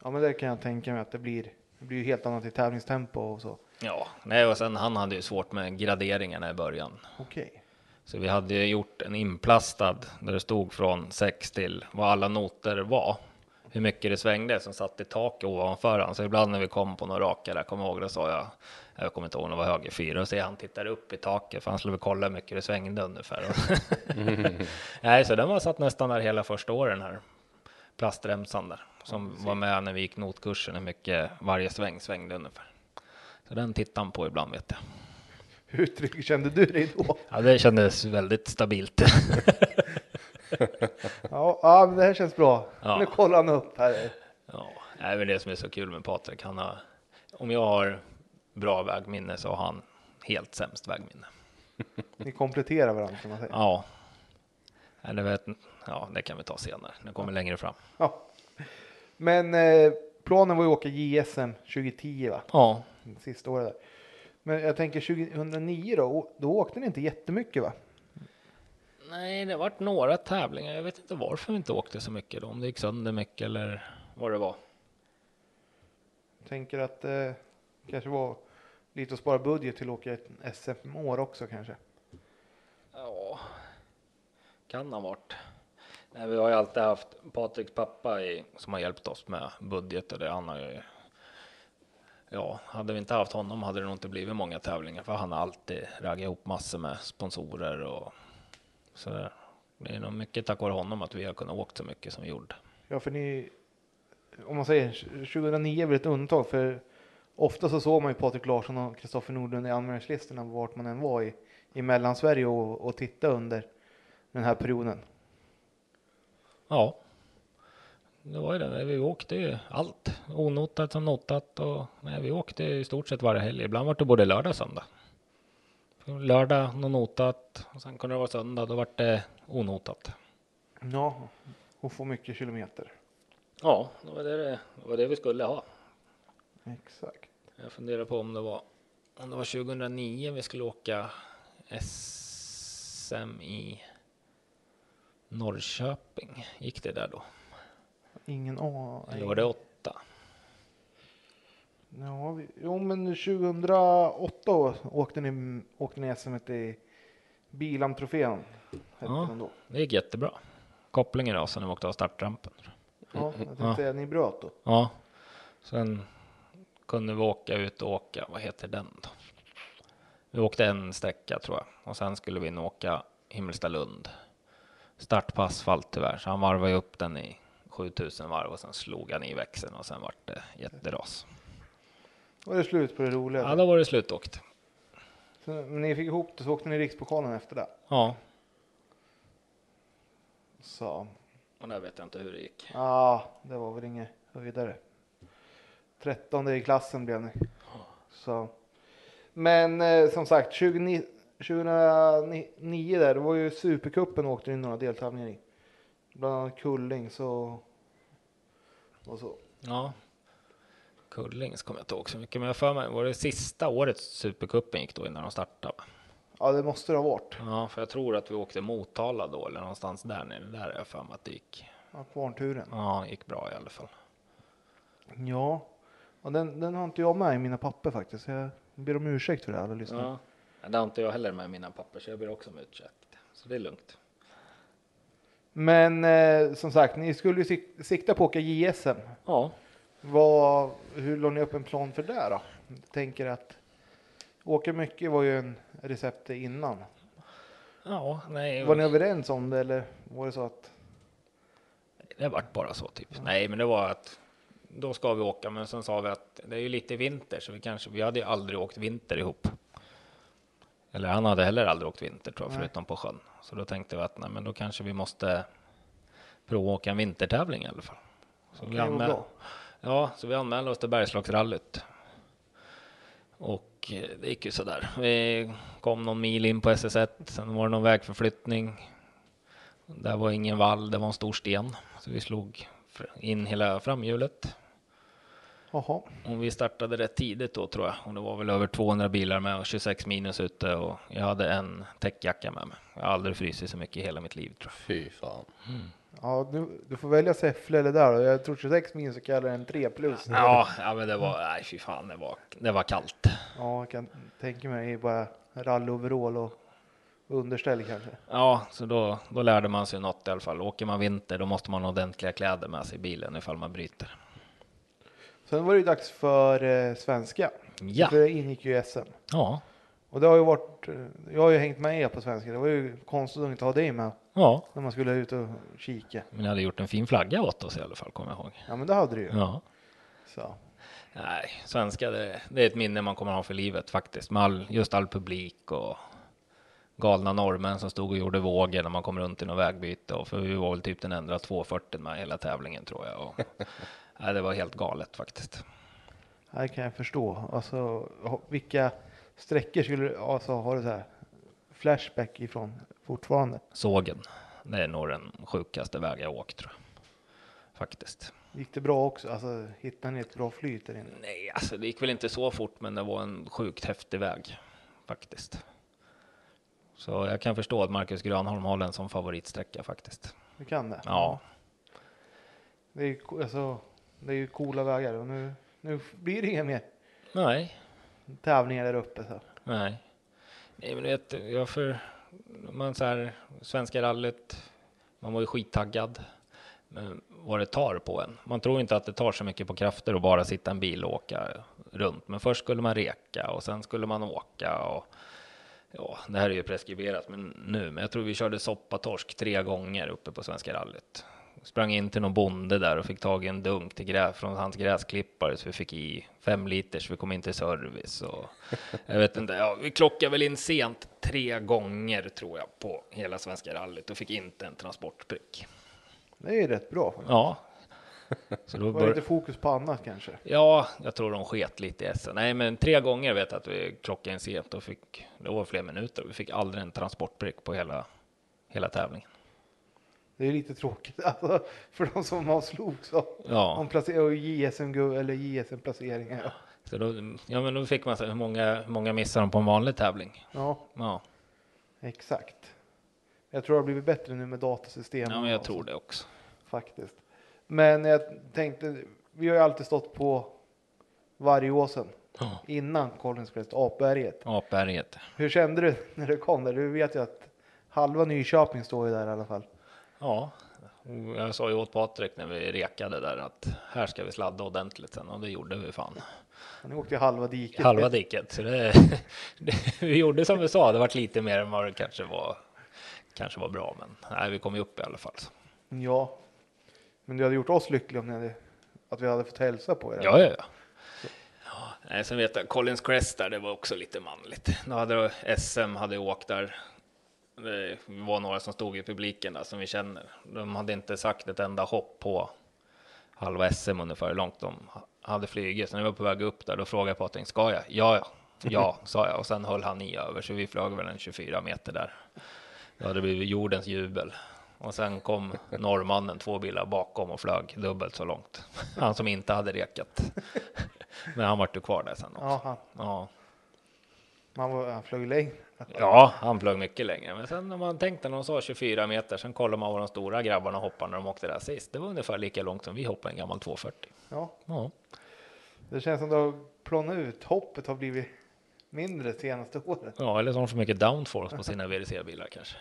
Ja, men det kan jag tänka mig att det blir. Det blir ju helt annat i tävlingstempo och så.
Ja, nej, och sen han hade ju svårt med graderingarna i början.
Okej.
Så vi hade ju gjort en inplastad där det stod från 6 till vad alla noter var. Hur mycket det svängde som satt i taket ovanför han. Så ibland när vi kom på några raka där, kommer jag ihåg, då sa jag, jag kommer inte ihåg om det var höger fyra, och så han tittade upp i taket för han skulle väl kolla hur mycket det svängde ungefär. Nej, så den var satt nästan där hela första året den här plastremsan där, som var med när vi gick notkursen, hur mycket varje sväng svängde ungefär. Så den tittade han på ibland vet jag.
Hur trygg kände du dig då?
Ja, det kändes väldigt stabilt.
Ja, ja men det här känns bra.
Ja.
Nu kollar han upp här.
ja, det är väl det som är så kul med Patrik. Han har, om jag har bra vägminne så har han helt sämst vägminne.
Ni kompletterar varandra kan man säga.
Ja, eller vet, ja, det kan vi ta senare. Det kommer längre fram.
Ja. Men eh, planen var ju att åka JSM 2010 va?
Ja,
Sista året där. Men jag tänker 2009 då, å- då åkte ni inte jättemycket va?
nej, det vart några tävlingar. Jag vet inte varför vi inte åkte så mycket då, om det gick sönder mycket eller vad det var.
Tänker att eh, kanske var lite att spara budget till att åka ett SM-år också kanske.
Ja, kan ha varit. Nej, vi har ju alltid haft Patriks pappa i, som har hjälpt oss med budget och det. Han har ju, ja, hade vi inte haft honom hade det nog inte blivit många tävlingar för han har alltid raggat ihop massor med sponsorer och sådär. Det är nog mycket tack vare honom att vi har kunnat åkt så mycket som vi gjorde.
Ja, för ni, om man säger 2009 är väl ett undantag för ofta så såg man ju Patrik Larsson och Kristoffer Nordlund i anmälningslistorna vart man än var i, i Mellansverige och, och titta under den här perioden.
Ja, det var ju det. Vi åkte ju allt, onotat som notat och nej, vi åkte i stort sett varje helg. Ibland var det både lördag och söndag. Lördag något notat och sen kunde det vara söndag, då var det onotat.
Ja, och få mycket kilometer.
Ja, det var det, det var det vi skulle ha.
Exakt.
Jag funderar på om det var om det var 2009 vi skulle åka SM i Norrköping. Gick det där då?
Ingen aning.
Eller var det åtta?
Ja, vi, jo, men 2008 å- åkte ni, åkte ni SM i Bilamtrofén. Hette
Ja.
den då.
Det gick jättebra. Kopplingen rasade när vi åkte av startrampen.
Ja, jag tänkte
Ja.
säga, ni bröt då.
Ja, sen kunde vi åka ut och åka. Vad heter den då? Vi åkte en sträcka tror jag och sen skulle vi nog åka Himmelstalund. Start på asfalt tyvärr, så han varvade ju upp den i 7000 varv och sen slog han i växeln och sen vart det jätteras.
Var det slut på det roliga?
Ja, då var det slutåkt.
Så, men ni fick ihop det så åkte ni rikspokalen efter det.
Ja,
Så
och där vet jag inte hur det gick.
ja, det var väl inget vidare. Trettonde i klassen blev ni. Så. Men eh, som sagt 2009, 2009 där, det var ju Supercupen åkte ni några deltävlingar i. Bland annat Kulling så. Och så.
Ja. Kullings kommer jag inte ihåg så mycket, men jag för mig var det sista året Supercupen gick då innan de startade. va?
Ja, det måste det ha varit.
Ja, för jag tror att vi åkte Motala då, eller någonstans där nere. Där är jag för mig att det gick.
Ja, Kvarnturen.
Ja, det gick bra i alla fall.
Ja, och den, den har inte jag med i mina papper faktiskt. Jag ber om ursäkt för det alla lyssnare.
Ja. Det har inte jag heller med mina papper, så jag ber också om ursäkt. Så det är lugnt.
Men eh, som sagt, ni skulle ju sik- sikta på att åka JSM.
Ja,
Vad, hur la ni upp en plan för det då? Jag tänker att åka mycket var ju en recept innan.
ja, nej,
Var ni överens om det eller var det så att?
det vart bara så typ. Nej, men det var att då ska vi åka, men sen sa vi att det är ju lite vinter, så vi kanske, vi hade ju aldrig åkt vinter ihop. Eller han hade heller aldrig åkt vinter tror jag,
Nej.
förutom på sjön. Så då tänkte vi att nej, men då kanske vi måste prova att åka en vintertävling i alla fall. Så
Det kan ju vara
anmäl-
bra.
Ja, så vi anmälde oss till Bergslagsrallyt. Och eh, det gick ju sådär. Vi kom någon mil in på SS1, sen var det någon vägförflyttning. Där var ingen vall, det var en stor sten. Så vi slog in hela framhjulet.
Jaha.
Och vi startade rätt tidigt då tror jag. Och det var väl över 200 bilar med och 26 minus ute och jag hade en täckjacka med mig. Jag har aldrig frysit så mycket i hela mitt liv tror jag.
Fy fan.
Ja, du, du får välja Säffle eller där då. Jag tror 26 minus så kallar det en 3 plus.
Ja, ja men det var, nej fy fan, det var, det var kallt.
Ja, jag kan tänka mig det är bara rallyoverall och underställ kanske.
Ja, så då, då lärde man sig något i alla fall. Åker man vinter då måste man ha ordentliga kläder med sig i bilen ifall man bryter.
Sen var det ju dags för eh, svenska.
Ja,
För det ingick ju i SM.
ja,
Och det har ju varit, eh, jag har ju hängt med er på svenska. Det var ju konstigt att inte ha dig med
ja.
när man skulle ut och kika.
Men jag hade gjort en fin flagga åt oss i alla fall, kommer jag ihåg.
Ja, men det hade du ju.
Ja.
Så.
Nej, svenska det, det är ett minne man kommer ha för livet faktiskt. Med all, just all publik och galna norrmän som stod och gjorde vågor när man kom runt i något vägbyte. Och för vi var väl typ den enda 240 med hela tävlingen tror jag. Och, nej, det var helt galet faktiskt.
Här kan jag förstå. Alltså, ha- vilka sträckor skulle du, alltså har du så här flashback ifrån fortfarande?
Sågen, det är nog den sjukaste väg jag åkt tror jag. Faktiskt.
Gick det bra också? Alltså, hittade ni ett bra flyt där inne?
Nej, alltså det gick väl inte så fort, men det var en sjukt häftig väg faktiskt. Så jag kan förstå att Marcus Grönholm har den som favoritsträcka faktiskt.
Du kan det?
Ja,
Det är ju, co- alltså, det är ju coola vägar och nu, nu blir det inga mer
nej,
tävlingar där uppe. Så.
nej. Nej, men du vet, jag för man så här svenska rallyt. Man var ju skittaggad, men vad det tar på en. Man tror inte att det tar så mycket på krafter att bara sitta i en bil och åka runt, men först skulle man reka och sen skulle man åka och ja, det här är ju preskriberat men nu, men jag tror vi körde soppatorsk tre gånger uppe på Svenska rallyt. Sprang in till någon bonde där och fick tag i en dunk till grä, från hans gräsklippare så vi fick i fem liter så vi kom in till service och jag vet inte, ja, vi klockade väl in sent tre gånger tror jag på hela Svenska rallyt och fick inte en transportprick.
Det är ju rätt bra. faktiskt.
Ja. Så då
Det var
bör...
lite fokus på annat kanske.
Ja, jag tror de sket lite i SM. Nej, men tre gånger vet jag att vi klockade in sent och fick, det var fler minuter, vi fick aldrig en transportbrick på hela, hela tävlingen.
Det är lite tråkigt alltså, för de som har slogs av
Ja,
om placer- och JSM-gu- eller JSM-placeringar.
så då, ja, men då fick man så här, hur många, hur många missar de på en vanlig tävling?
Ja,
Ja,
exakt. Jag tror det har blivit bättre nu med datasystem.
ja men jag
och
tror
sånt,
det också.
Faktiskt. Men jag tänkte, vi har ju alltid stått på Vargåsen
Ja.
innan Kollinskrets, Apberget.
Apberget.
Hur kände du när du kom där? Du vet ju att halva Nyköping står ju där i alla fall.
Ja, och jag sa ju åt Patrik när vi rekade där att här ska vi sladda ordentligt sen och det gjorde vi fan.
Ni åkte ju halva diket.
Halva diket. Så det, det, vi gjorde som vi sa, det vart lite mer än vad det kanske var, kanske var bra, men nej, vi kom ju upp i alla fall.
Ja, men du hade gjort oss lyckliga om ni hade, att vi hade fått hälsa på er.
Ja, ja, ja. ja nej, sen vet jag, Collins Crest där, det var också lite manligt. Nu hade SM hade åkt där. Det var några som stod i publiken där som vi känner. De hade inte sagt ett enda hopp på halva SM ungefär hur långt de hade flugit. Så när vi var på väg upp där, då frågade Patrik, ska jag? Ja, ja, ja, sa jag. Och sen höll han i över, så vi flög väl en 24 meter där. Då hade det blivit jordens jubel. Och sen kom norrmannen två bilar bakom och flög dubbelt så långt. Han som inte hade rekat. Men han vart ju kvar där sen också.
Ja, han,
Ja.
man var, han flög längre.
ja, han flög mycket längre. Men sen när man tänkte när de sa 24 meter, sen kollade man vad de stora grabbarna hoppade när de åkte där sist. Det var ungefär lika långt som vi hoppade en gammal 240.
Ja,
Ja.
det känns som att det har plånat ut. Hoppet har blivit mindre senaste året.
Ja, eller så har de för mycket downforce på sina VRC-bilar kanske.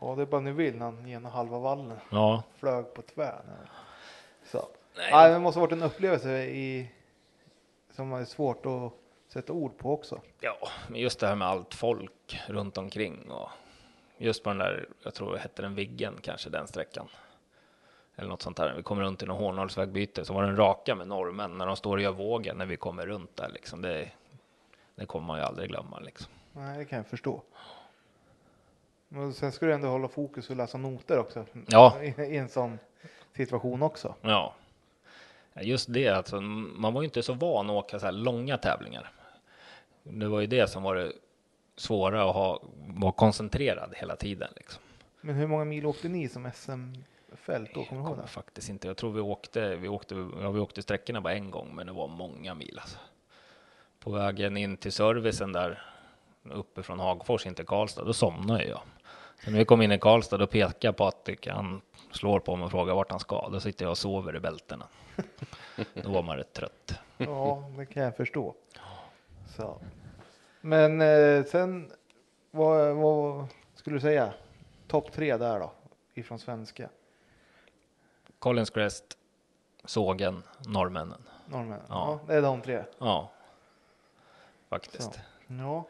Ja, det är bara nu vill han genom halva vallen.
Ja,
Flög på tvärn. Så.
Nej.
Nej, det måste ha varit en upplevelse i, som är svårt att sätta ord på också.
ja, men just det här med allt folk runt omkring och just på den där, jag tror det hette den Viggen kanske, den sträckan. Eller något sånt där. Vi kommer runt i någon Hornålsvägbyte så var den raka med norrmän när de står och gör vågen när vi kommer runt där liksom. Det, det kommer man ju aldrig glömma liksom.
Nej, det kan jag förstå. Men sen ska du ändå hålla fokus och läsa noter också.
Ja.
I, i en sån situation också.
Ja. Ja, Just det, alltså, man var ju inte så van att åka så här långa tävlingar. Det var ju det som var det svåra att ha, vara koncentrerad hela tiden. Liksom.
Men hur många mil åkte ni som SM? Järfält då? Kommer du ihåg
kommer
det?
faktiskt inte. Jag tror vi åkte, vi åkte, ja, vi åkte sträckorna bara en gång, men det var många mil alltså. På vägen in till servicen där uppe från Hagfors in till Karlstad, då somnade jag. Så när vi kom in i Karlstad, då pekar Patrik, han slår på mig och frågar vart han ska. Då sitter jag och sover i bältena. Då var man rätt trött.
Ja, det kan jag förstå. Så. Men eh, sen, vad, vad skulle du säga? Topp tre där då, ifrån svenska
Collins Crest, sågen, norrmännen.
norrmännen? Ja.
Ja.
det är de tre.
Ja, faktiskt.
Så. Ja,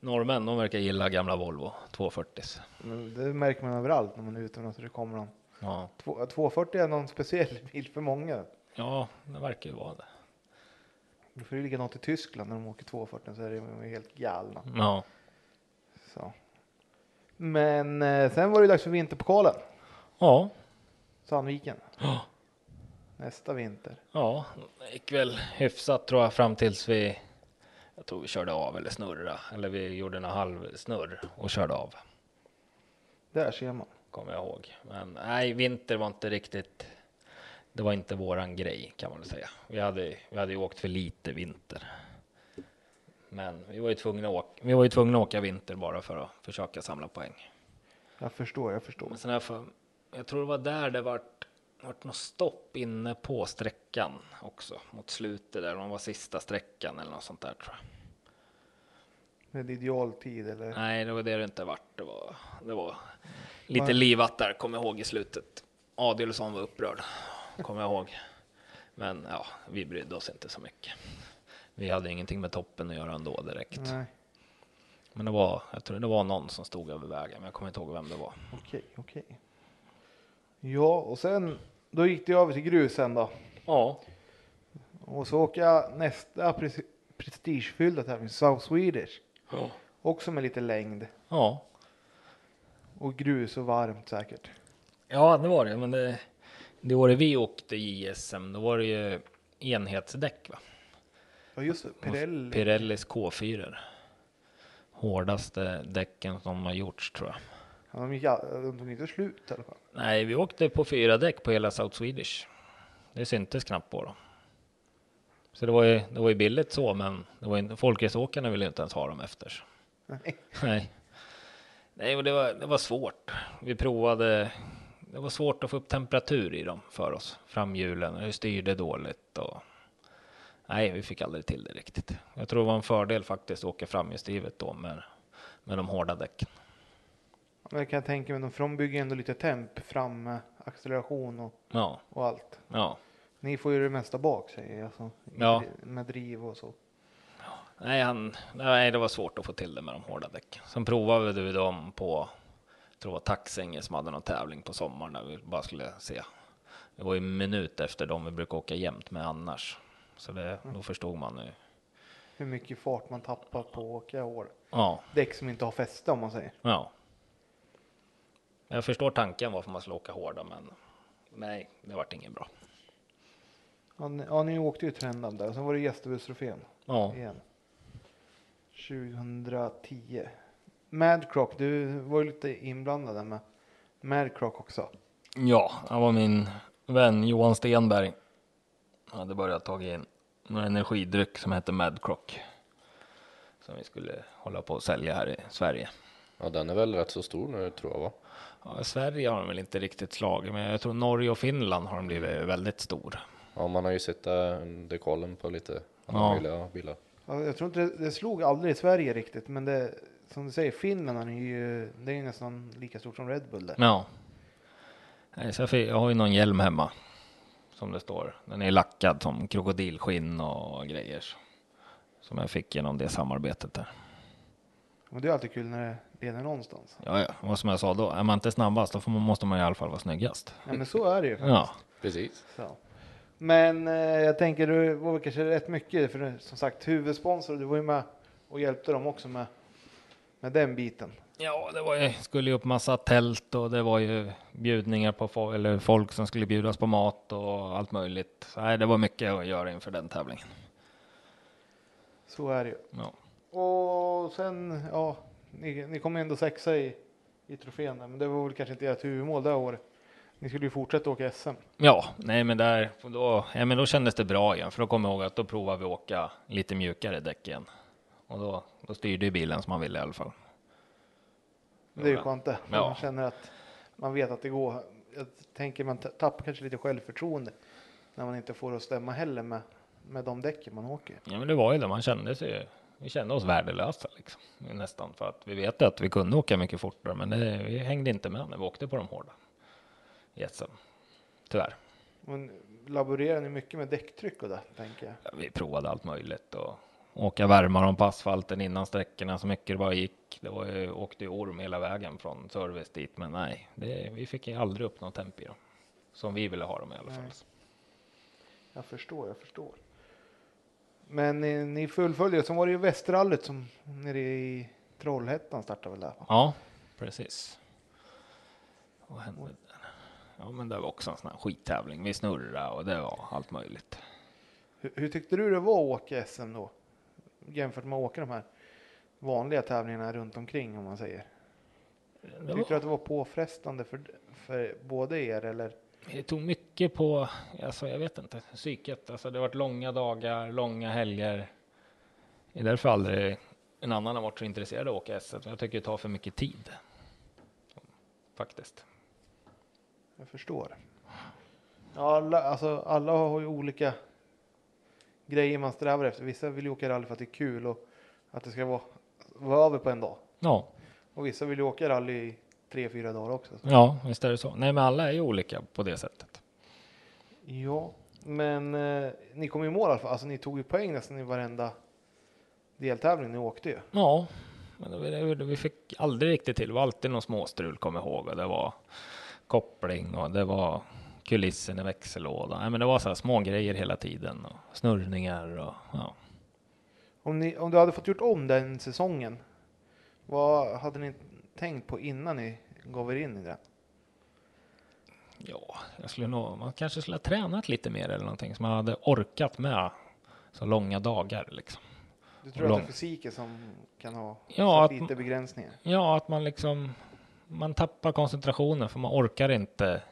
Norrmän, de verkar gilla gamla Volvo 240.
men det märker man överallt när man är utomlands. Det kommer någon.
Ja.
Två- 240 är någon speciell bil för många.
ja, det verkar ju vara det.
Det får ju likadant i Tyskland när de åker 240 så är de ju helt galna.
Ja.
Så. Men eh, sen var det ju dags för vinterpokalen,
Ja,
Sandviken.
Ja.
Nästa vinter.
ja, det gick väl hyfsat tror jag fram tills vi. Jag tror vi körde av eller snurra eller vi gjorde en halv snurr och körde av.
Där ser man.
Kommer jag ihåg. Men nej, vinter var inte riktigt. Det var inte våran grej kan man väl säga. Vi hade, vi hade ju åkt för lite vinter. Men vi var ju tvungna att åka, vi var ju tvungna att åka vinter bara för att försöka samla poäng.
Jag förstår, jag förstår.
Men sen här för, jag tror det var där det vart, vart något stopp inne på sträckan också mot slutet där. Det var sista sträckan eller något sånt där tror jag.
Med idealtid eller?
Nej, det var det det inte vart. Det var, det var lite livat där, kommer jag ihåg i slutet. Adielsson var upprörd, kommer jag ihåg. Men ja, vi brydde oss inte så mycket. Vi hade ingenting med toppen att göra ändå direkt.
Nej.
Men det var, jag tror det var någon som stod över vägen, men jag kommer inte ihåg vem det var.
Okej, okej. Ja, och sen då gick det över till grusen då.
Ja,
Och så åker jag nästa pres- prestigefyllda tävling, South Swedish.
ja,
Också med lite längd
ja.
och grus och varmt säkert.
Ja, det var det. Men det, det året vi åkte JSM, då var det ju enhetsdäck va?
Ja, just det. Pirelli.
Pirellis K4. Hårdaste däcken som har gjorts tror jag.
Ja, de, gick, all- de tog inte slut i alla fall.
Nej, vi åkte på fyra däck på hela South Swedish. Det syntes knappt på dem. Så det var ju, det var ju billigt så, men det var inte, folkraceåkarna ville ju inte ens ha dem efter. så.
Nej.
Nej, Nej och det, var, det var svårt. Vi provade. Det var svårt att få upp temperatur i dem för oss. Framhjulen, det styrde dåligt och. Nej, vi fick aldrig till det riktigt. Jag tror det var en fördel faktiskt att åka framhjulsdrivet då med, med de hårda däcken.
Men jag kan tänka mig, de- för de bygger ändå lite temp fram, eh, acceleration och,
Ja,
och allt.
ja.
Ni får ju det mesta bak säger jag, alltså, i
Ja.
dri- med driv och så.
Nej, han, nej, det var svårt att få till det med de hårda däcken. Sen provade vi dem på, jag tror det var Taxänge som hade någon tävling på sommaren där vi bara skulle se. Det var ju en minut efter dem vi brukar åka jämt med annars. Så det, då förstod man nu.
Hur mycket fart man tappar på att åka hål.
Ja,
Däck som inte har fäste om man säger.
ja. Jag förstår tanken varför man skulle åka hårda, men nej, det vart inget bra.
Ja, ni, ja, ni åkte ju trenden där. Sen var det gästebustrofén
Ja,
igen. 2010. Madcrock, du var ju lite inblandad där med Madcrock också.
Ja, han var min vän Johan Stenberg. Han hade börjat ta in någon energidryck som hette Madcrock. Som vi skulle hålla på att sälja här i Sverige.
Ja, den är väl rätt så stor nu tror jag va?
Ja, i Sverige har de väl inte riktigt slagit, men jag tror Norge och Finland har de blivit väldigt stor.
Ja, man har ju sett eh, dekalen på lite
Ja.
andra möjliga bilar.
Ja, jag tror inte det, det slog aldrig i Sverige riktigt, men det som du säger, Finland är ju, det är ju nästan lika stort som Red Bull där.
Ja. Nej, så jag, fick, jag har ju någon hjälm hemma. Som det står. Den är lackad som krokodilskinn och grejer. Som jag fick genom det samarbetet där.
Och det är alltid kul när det leder någonstans.
Ja, ja. Och som jag sa då, är man inte snabbast då får man, måste man i alla fall vara snyggast.
Ja, men så är det ju.
Ja,
Precis.
Så. Men eh, jag tänker, du var väl kanske rätt mycket, för du- som sagt huvudsponsor, du var ju med och hjälpte dem också med, med den biten.
ja det var ju, skulle ju upp massa tält och det var ju bjudningar på fo- eller folk som skulle bjudas på mat och allt möjligt. Så, nej, det var mycket att göra inför den tävlingen.
Så är det ju.
Ja,
Och sen, ja, ni, ni kom ändå sexa i, i trofén, där, men det var väl kanske inte ert huvudmål det året. Ni skulle ju fortsätta åka SM.
Ja, nej men där, och då, ja, men då kändes det bra igen, för då kommer jag ihåg att då provade vi åka lite mjukare däck igen. Och då, då styrde ju bilen som man ville i alla fall.
Det är ju
Ja.
skönt det.
Ja.
Man känner att man vet att det går. Jag tänker man ta- tappar kanske lite självförtroende när man inte får det att stämma heller med, med de däcken man åker.
Ja, men det var ju det, man kände sig ju, vi kände oss värdelösa liksom, nästan, för att vi vet att vi kunde åka mycket fortare, men det, vi hängde inte med när vi åkte på de hårda jetsen. Tyvärr.
Men laborerar ni mycket med däcktryck och det tänker jag?
Ja, Vi provade allt möjligt och åka värmare om på asfalten innan sträckorna så mycket det bara gick. Det var ju, åkte ju orm hela vägen från service dit, men nej, det, vi fick ju aldrig upp någon temp i dem. Som vi ville ha dem i alla fall.
Nej. Jag förstår, jag förstår. Men ni, ni fullföljer. Sen var det ju Västerrallyt som nere i Trollhättan startade väl där? va?
Ja, precis. Vad hände där? Ja, men det var också en sån här skittävling. Vi snurrade och det var allt möjligt.
Hur, hur tyckte du det var att åka SM då? Jämfört med att åka de här vanliga tävlingarna runt omkring om man säger.
Det,
Tyckte du
var,
att det var påfrestande för, för både er eller?
det tog mycket på, alltså, jag vet inte, psyket. Alltså, det har varit långa dagar, långa helger. Det är därför aldrig en annan har varit så intresserad av att åka S1. men Jag tycker det tar för mycket tid. Faktiskt.
Jag förstår. Ja, alla, alltså, alla har ju olika grejer man strävar efter. Vissa vill ju åka rally för att det är kul och att det ska vara, vara över på en dag.
Ja,
Och vissa vill ju åka rally i tre, fyra dagar också.
ja, visst är det så. Nej, men alla är ju olika på det sättet.
Ja, men eh, ni kom i mål i alla fall. Alltså ni tog ju poäng nästan i varenda deltävling ni åkte ju.
Ja, men det, det, det, vi fick aldrig riktigt till. Det var alltid någon småstrul, kommer jag ihåg. Och det var koppling och det var kulissen i växellådan. Nej, men det var så här små grejer hela tiden och snurrningar och ja.
Om, ni, om du hade fått gjort om den säsongen, vad hade ni tänkt på innan ni gav er in i det?
Ja, jag skulle nog, man kanske skulle ha tränat lite mer eller någonting så man hade orkat med så långa dagar liksom.
Du tror att
Lång.
det är fysiken som kan ha
Ja,
satt
att-
lite begränsningar?
Ja, att man liksom man tappar koncentrationen för man orkar inte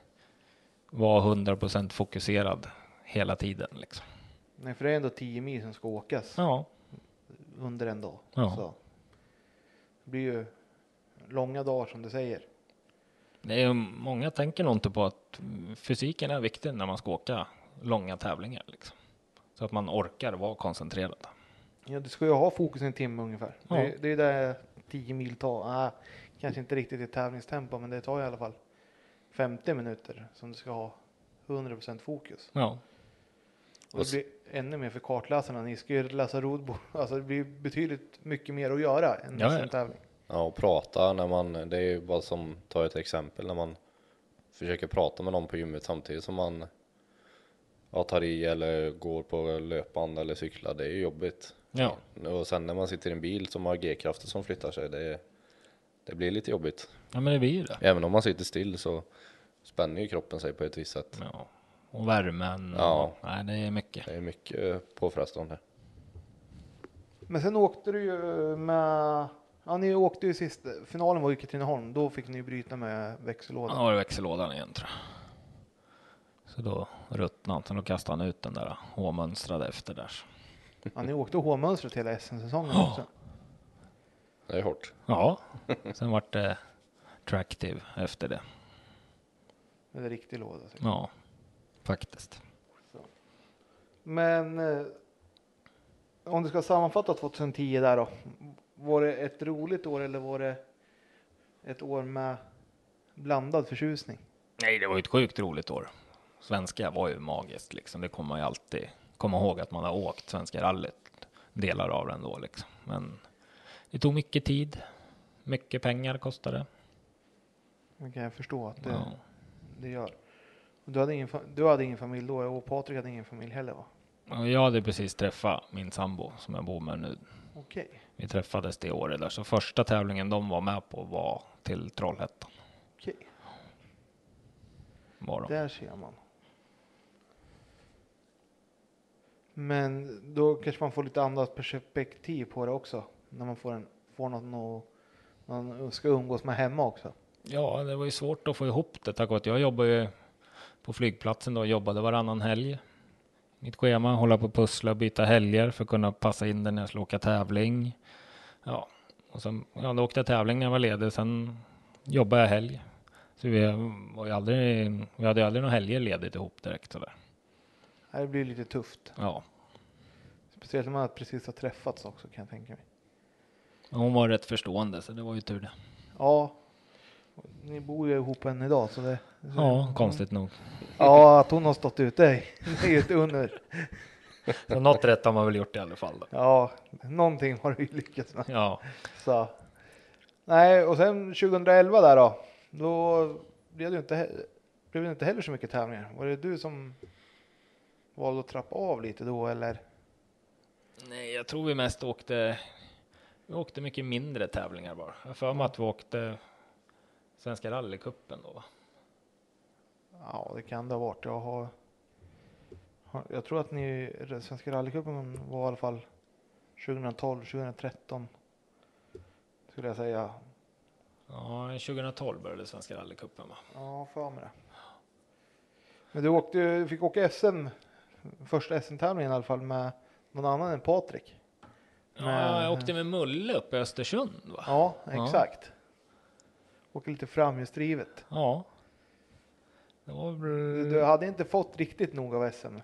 vara 100% fokuserad hela tiden liksom.
Nej, för det är ändå 10 mil som ska åkas
Ja,
under en dag.
Ja.
Så. Det blir ju långa dagar som du säger.
Det är, många tänker nog inte på att fysiken är viktig när man ska åka långa tävlingar. Liksom. Så att man orkar vara koncentrerad.
Ja, du ska ju ha fokus i en timme ungefär.
Ja.
Det, det är ju där 10 mil tar. Ah, kanske inte riktigt i tävlingstempo, men det tar i alla fall 50 minuter som du ska ha 100% fokus.
Ja,
Och det blir ännu mer för kartläsarna. Ni ska ju läsa rodbok. Alltså det blir betydligt mycket mer att göra än
Ja,
en
ja.
sån tävling.
Ja, och prata när man, det är ju bara som, ta ett exempel, när man försöker prata med någon på gymmet samtidigt som man ja, tar i eller går på löpband eller cyklar, det är ju jobbigt.
ja,
Och sen när man sitter i en bil som har G-krafter som flyttar sig, det, det blir lite jobbigt.
ja men det blir ju det.
Även om man sitter still så spänner ju kroppen sig på ett visst sätt.
Ja. Och värmen.
Ja.
Och, nej, det är mycket.
Det är mycket eh, påfrestande.
Men sen åkte du ju med... Ja, ni åkte ju sist. Finalen var ju Katrineholm. Då fick ni ju bryta med
Han
växellådan.
har växellådan igen tror jag. Så då ruttnade han, så då kastade han ut den där H-mönstrade efter där.
Ja, ni åkte H-mönstret hela SM-säsongen
Ja.
också.
Det är hårt.
Ja, sen vart det tractive efter det.
Med en riktig låda. så.
Ja, faktiskt.
Men eh, om du ska sammanfatta 2010 där då. Var det ett roligt år eller var det ett år med blandad förtjusning?
Nej, det var ju ett sjukt roligt år. Svenska var ju magiskt liksom. Det kommer man ju alltid komma ihåg att man har åkt Svenska rallyt delar av den då liksom. Men det tog mycket tid. Mycket pengar kostade det.
Det kan jag förstå att det,
Ja.
det gör. Och Du hade, ingen, fa- du hade ingen familj då och Patrik hade ingen familj heller va?
Och Jag hade precis träffat min sambo som jag bor med nu.
Okej.
Vi träffades det året där, så första tävlingen de var med på var till Trollhättan.
Okej,
Var de.
där ser man. Men då kanske man får lite annat perspektiv på det också. När man får, en, får något, nå- man ska umgås med hemma också.
Ja, det var ju svårt att få ihop det tack vare att jag jobbade ju på flygplatsen då, jobbade varannan helg. Mitt schema, hålla på och pussla och byta helger för att kunna passa in det när jag skulle åka tävling. Ja, och sen, ja, då åkte jag tävling när jag var ledig, sen jobbade jag helg. Så vi, var ju aldrig, vi hade ju aldrig några helger ledigt ihop direkt sådär.
Det blir lite tufft.
Ja,
Speciellt när man precis har träffats också kan jag tänka mig.
men hon var rätt förstående så det var ju tur det.
Ja, ni bor ju ihop än idag så det.
Ja, konstigt nog.
Ja, att hon har stått ute det är ju ett under.
Så något rätt har man väl gjort i alla fall. Då.
Ja, någonting har du ju lyckats med.
Ja,
Så. Nej, och sen 2011 där då. Då blev det inte, he- blev det inte heller så mycket tävlingar. Var det du som valde att trappa av lite då eller?
nej, jag tror vi mest åkte. Vi åkte mycket mindre tävlingar bara. Jag har för mig att vi åkte Svenska rallycupen då. va?
Ja, det kan det ha varit. Jag har. har- Jag tror att ni Svenska rallycupen var i alla fall 2012, 2013. Skulle jag säga.
Ja, 2012 började Svenska rallycupen va?
Ja, för mig det. Men du åkte, ju- du fick åka SM, första SM-tävlingen i alla fall med någon annan än Patrik.
Ja,
Men-
jag åkte med Mulle uppe i Östersund va?
Ja,
Ja.
exakt. Åker lite framhjulsdrivet.
Ja. Det var väl-
Du hade inte fått riktigt nog av SM.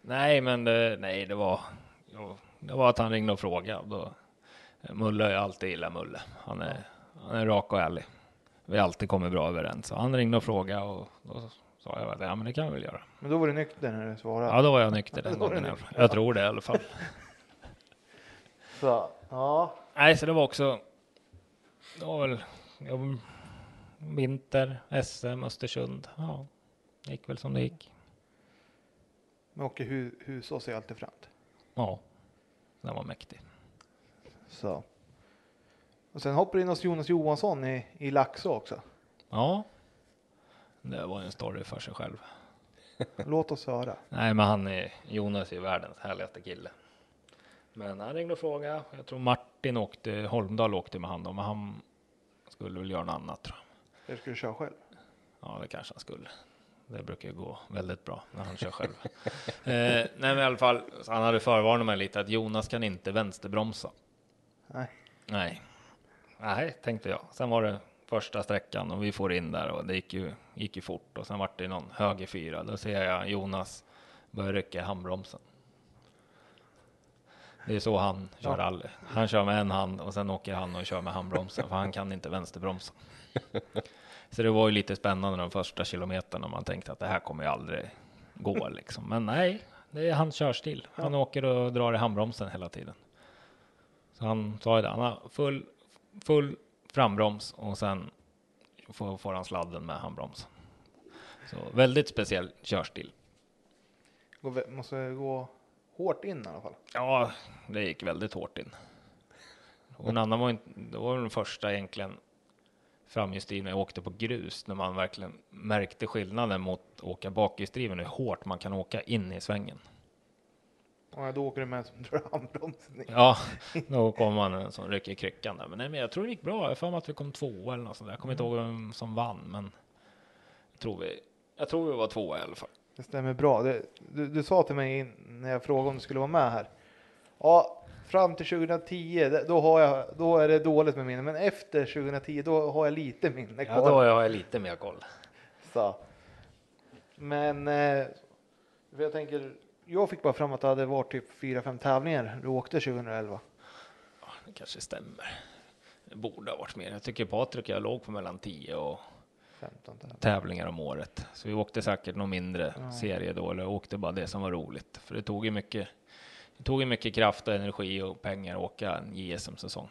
Nej, men det, nej, det var. ja, Det var att han ringde och frågade. Då, Mulle har jag alltid gillat Mulle. Han är, han är rak och ärlig. Vi har alltid kommit bra överens. Så han ringde och frågade och då sa jag att ja, men det kan vi väl göra.
Men då var du nykter när du svarade.
Ja, då var jag nykter
Då
den
var du
gången. Jag, jag tror det i alla fall.
Så, ja.
Nej, så det var också. Det var väl ja, vinter, SM, Östersund. Ja, det gick väl som det gick.
Men åker hu- Husås är alltid framt.
Ja, den var mäktig.
Så. Och sen hoppar in hos Jonas Johansson i, i Laxå också.
Ja, det var en story för sig själv.
Låt oss höra.
Nej, men han är Jonas är ju världens härligaste kille. Men han ringde och frågade. Jag tror Martin åkte, Holmdahl åkte med han då, men han skulle väl göra något annat tror jag.
Jag skulle köra själv.
Ja, det kanske han skulle. Det brukar ju gå väldigt bra när han kör själv. eh, nej, men i alla fall, så han hade förvarnat mig lite att Jonas kan inte vänsterbromsa.
Nej.
Nej, nej, tänkte jag. Sen var det första sträckan och vi får in där och det gick ju, gick ju fort och sen vart det någon höger fyra. Då ser jag Jonas börja rycka i handbromsen. Det är så han kör
Ja.
rally. Han kör med en hand och sen åker han och kör med handbromsen för han kan inte vänsterbromsa. Så det var ju lite spännande de första kilometerna. Man tänkte att det här kommer ju aldrig gå liksom. Men nej, det är hans körstil. Han åker och drar i handbromsen hela tiden. Så han sa ju det, han har full, full frambroms och sen får, får han sladden med handbromsen. Så väldigt speciell körstil.
Går, vä- måste gå hårt in i alla fall.
Ja, det gick väldigt hårt in. Och en annan var inte, det var den första egentligen framhjulsdriven jag åkte på grus när man verkligen märkte skillnaden mot att åka bakhjulsdriven hur hårt man kan åka in i svängen.
Och då åker du med som drar handbromsen. i.
Ja, då kom man en som rycker i kryckan där. Men, nej, men jag tror det gick bra. Jag har för mig att vi kom tvåa eller något sånt där. Jag kommer inte ihåg vem som vann, men jag tror vi, jag tror vi var tvåa i alla fall.
Det stämmer bra. Det, du, du sa till mig in, när jag frågade om du skulle vara med här. Ja, fram till 2010, det- då, har jag, då är det dåligt med minne. Men efter 2010, då har jag lite minne kvar.
Ja, då har jag lite mer koll.
Så. Men eh, för jag tänker, jag fick bara fram att det hade varit typ 4-5 tävlingar du åkte 2011.
Ja, det kanske stämmer. Det borde ha varit mer. Jag tycker Patrik och jag låg på mellan 10 och
15 tävlingar.
tävlingar om året. Så vi åkte säkert någon mindre
Ja.
serie då, eller åkte bara det som var roligt. För det tog ju mycket, det tog ju mycket kraft och energi och pengar att åka en JSM-säsong.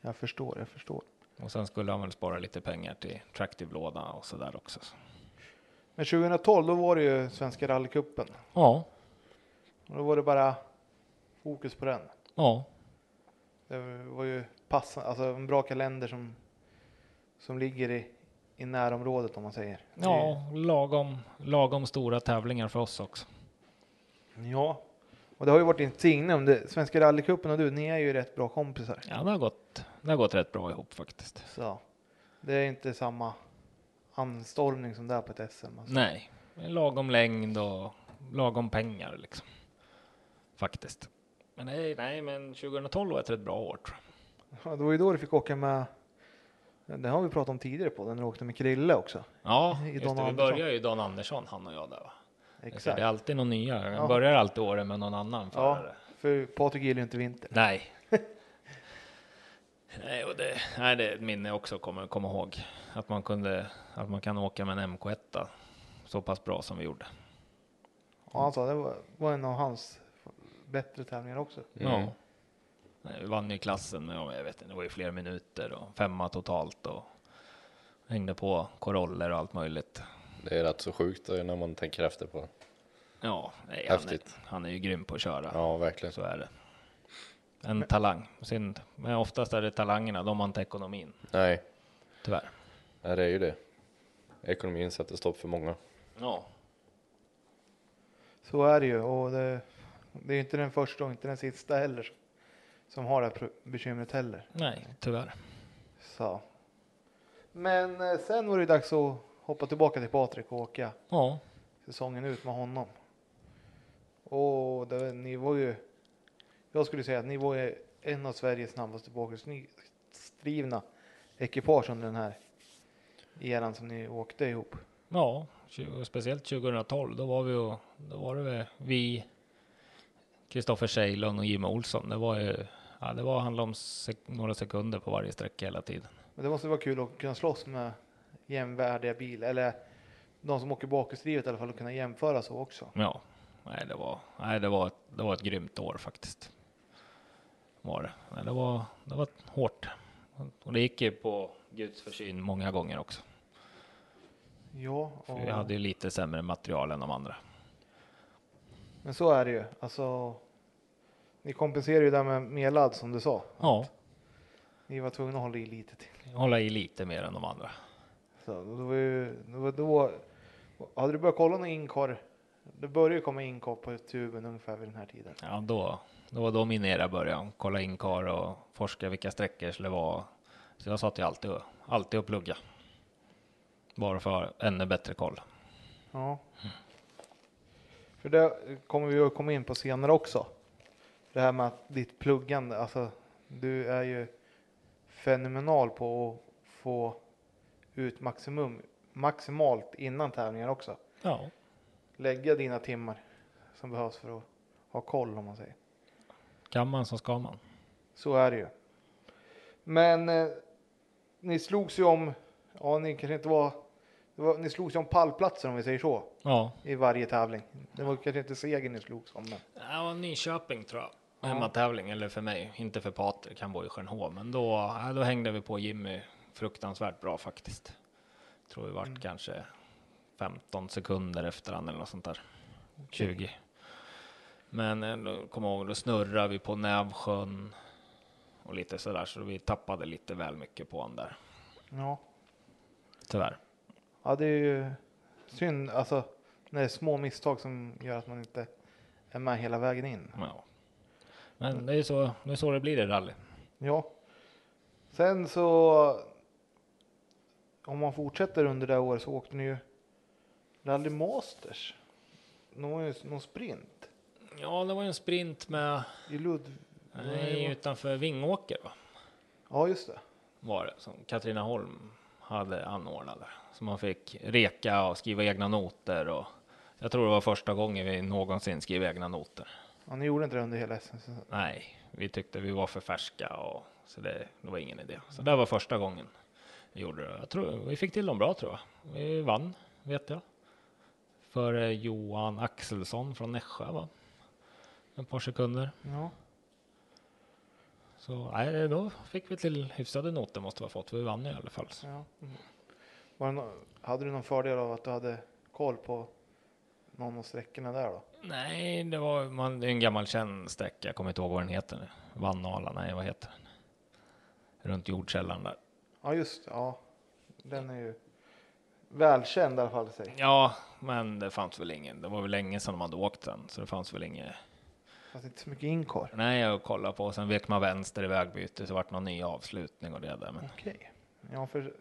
Jag förstår, jag förstår.
Och sen skulle han väl spara lite pengar till Tractive-lådan och sådär också.
Men 2012, då var det ju Svenska rallycupen.
Ja,
Och då var det bara fokus på den.
ja,
Det var ju passande, alltså en bra kalender som, som ligger i, i närområdet om man säger. Det är ju-
ja, lagom, lagom stora tävlingar för oss också.
Ja. Och det har ju varit ditt signum, det, Svenska rallycupen och du, ni är ju rätt bra kompisar.
Ja, det har gått, det har gått rätt bra ihop faktiskt.
Så. Det är inte samma anstormning som det är på ett SM. Alltså.
Nej, en lagom längd och lagom pengar liksom. Faktiskt. Men nej, nej, men 2012 var ett rätt bra år tror jag.
Ja, Det var ju då du fick åka med, det har vi pratat om tidigare på den, du åkte med Krille också.
Ja,
I
just
Dan
det, vi
Andersson.
börjar ju Dan Andersson, han och jag där va? Exakt.
Exakt.
Det är alltid någon nya, jag
Ja.
börjar alltid året med någon annan
Ja,
förare.
för Patrik gillar ju inte vinter.
Nej. nej, och det, nej, det är ett minne jag också kommer komma ihåg. Att man, kunde, att man kan åka med en MK1 så pass bra som vi gjorde.
Och han sa det var, var en av hans bättre tävlingar också.
Ja. Mm. Nej, vi vann ju klassen med, jag vet inte, det var ju flera minuter och femma totalt och hängde på koroller och allt möjligt.
Det är rätt så sjukt eh, när man tänker efter på det.
Ja, nej, han, är,
Häftigt.
han är ju grym på att köra.
Ja, verkligen.
Så är det. En talang. Synd. Men oftast är det talangerna, de har inte ekonomin.
Nej,
Tyvärr.
nej, det är ju det. Ekonomin sätter stopp för många.
Ja.
Så är det ju och det, det är ju inte den första och inte den sista heller som- som har det här pro- bekymret heller.
Nej, tyvärr.
Så. Men eh, sen var det ju dags att hoppa tillbaka till Patrik och åka
Ja.
säsongen ut med honom. Och det, ni var ju, jag skulle säga att ni var ju en av Sveriges snabbaste bakhjulsdrivna ekipage under den här eran som ni åkte ihop.
Ja, tju- och speciellt 2012. Då var vi och, då var det väl vi, Kristoffer Sejlund och Jimmy Olsson. Det var ju, ja, det var handlade om sek- några sekunder på varje sträcka hela tiden.
Men det måste vara kul att kunna slåss med jämvärdiga bilar eller de som åker bakhjulsdrivet i alla fall och kunna jämföra så också.
Ja, nej, det var, nej, det var, ett, det var ett grymt år faktiskt. Var det. Nej, det var, det var hårt. Och det gick ju på Guds försyn många gånger också.
Ja,
För
och,
vi hade ju lite sämre material än de andra.
men så är det ju. Alltså, ni kompenserar ju det här med mer ladd som du sa.
Ja,
Ni var tvungna att hålla i lite till.
hålla i lite mer än de andra.
Så, och det var ju, det var då, hade du börjat kolla någon inkar? Det började ju komma inkar på tuben ungefär vid den här tiden.
Ja, då, då var då min era började. Kolla in kar och forska vilka sträckor skulle vara. Så jag satt ju alltid, och- alltid och plugga. Bara för att ha ännu bättre koll.
Ja. För det kommer vi att komma in på senare också. Det här med att ditt pluggande, alltså du är ju fenomenal på att få ut maximum, maximalt innan tävlingar också.
Ja,
Lägga dina timmar som behövs för att ha koll om man säger.
kan man så ska man.
Så är det ju. Men eh, ni slogs ju om, ja ni kanske inte var, det var ni slogs ju om pallplatser om vi säger så
Ja,
i varje tävling. Det var kanske inte segern ni slogs om. Men.
ja Nyköping tror jag. Hemmatävling, eller för mig, inte för Patrik, han bor i Stjärnhov. Men då, ja, då hängde vi på Jimmy fruktansvärt bra faktiskt. Tror vi vart kanske 15 sekunder efter han eller något sånt där. 20. Men eh, då kommer jag ihåg, då snurrade vi på Nävsjön och lite sådär, så vi tappade lite väl mycket på honom där.
Ja.
Tyvärr.
ja, det är ju synd alltså när det är små misstag som gör att man inte är med hela vägen in.
Ja. Men det är ju så, det är så det blir i rally.
Ja. Sen så. Om man fortsätter under det här året så åkte ni ju Rally Masters. Någon, någon sprint
Ja, det var ju en sprint med
i Ludv...
Nej, utanför Vingåker va?
Ja, just det.
var det som Katrineholm hade anordnade. Så man fick reka och skriva egna noter och jag tror det var första gången vi någonsin skrev egna noter.
Ja, ni gjorde inte det under hela SM. -säsongen.
Nej, vi tyckte vi var för färska och så det, det var ingen idé. Så det var första gången vi gjorde det. Jag tror, vi fick till dem bra tror jag. Vi vann, vet jag. För eh, Johan Axelsson från Nässjö va? Ett par sekunder.
Ja.
Så nej, då fick vi till hyfsade noter måste vi ha fått. Vi vann i alla fall. Så.
ja. Mm. Var det nå- hade du någon fördel av att du hade koll på någon av sträckorna där då?
Nej, det var man, det är en gammal känd sträcka. Jag kommer inte ihåg vad den heter nu. Vannala, nej vad heter den? Runt jordkällaren där.
Ja, just det. Ja, den är ju välkänd i alla fall. Sig.
Ja, men det fanns väl ingen. Det var väl länge sedan de hade åkt den, så det fanns väl inget.
Fast inte så mycket inkar.
Nej, jag kollade på och sen vek man vänster i vägbyte så vart det någon ny avslutning och det där. Men
Okej. Ja, för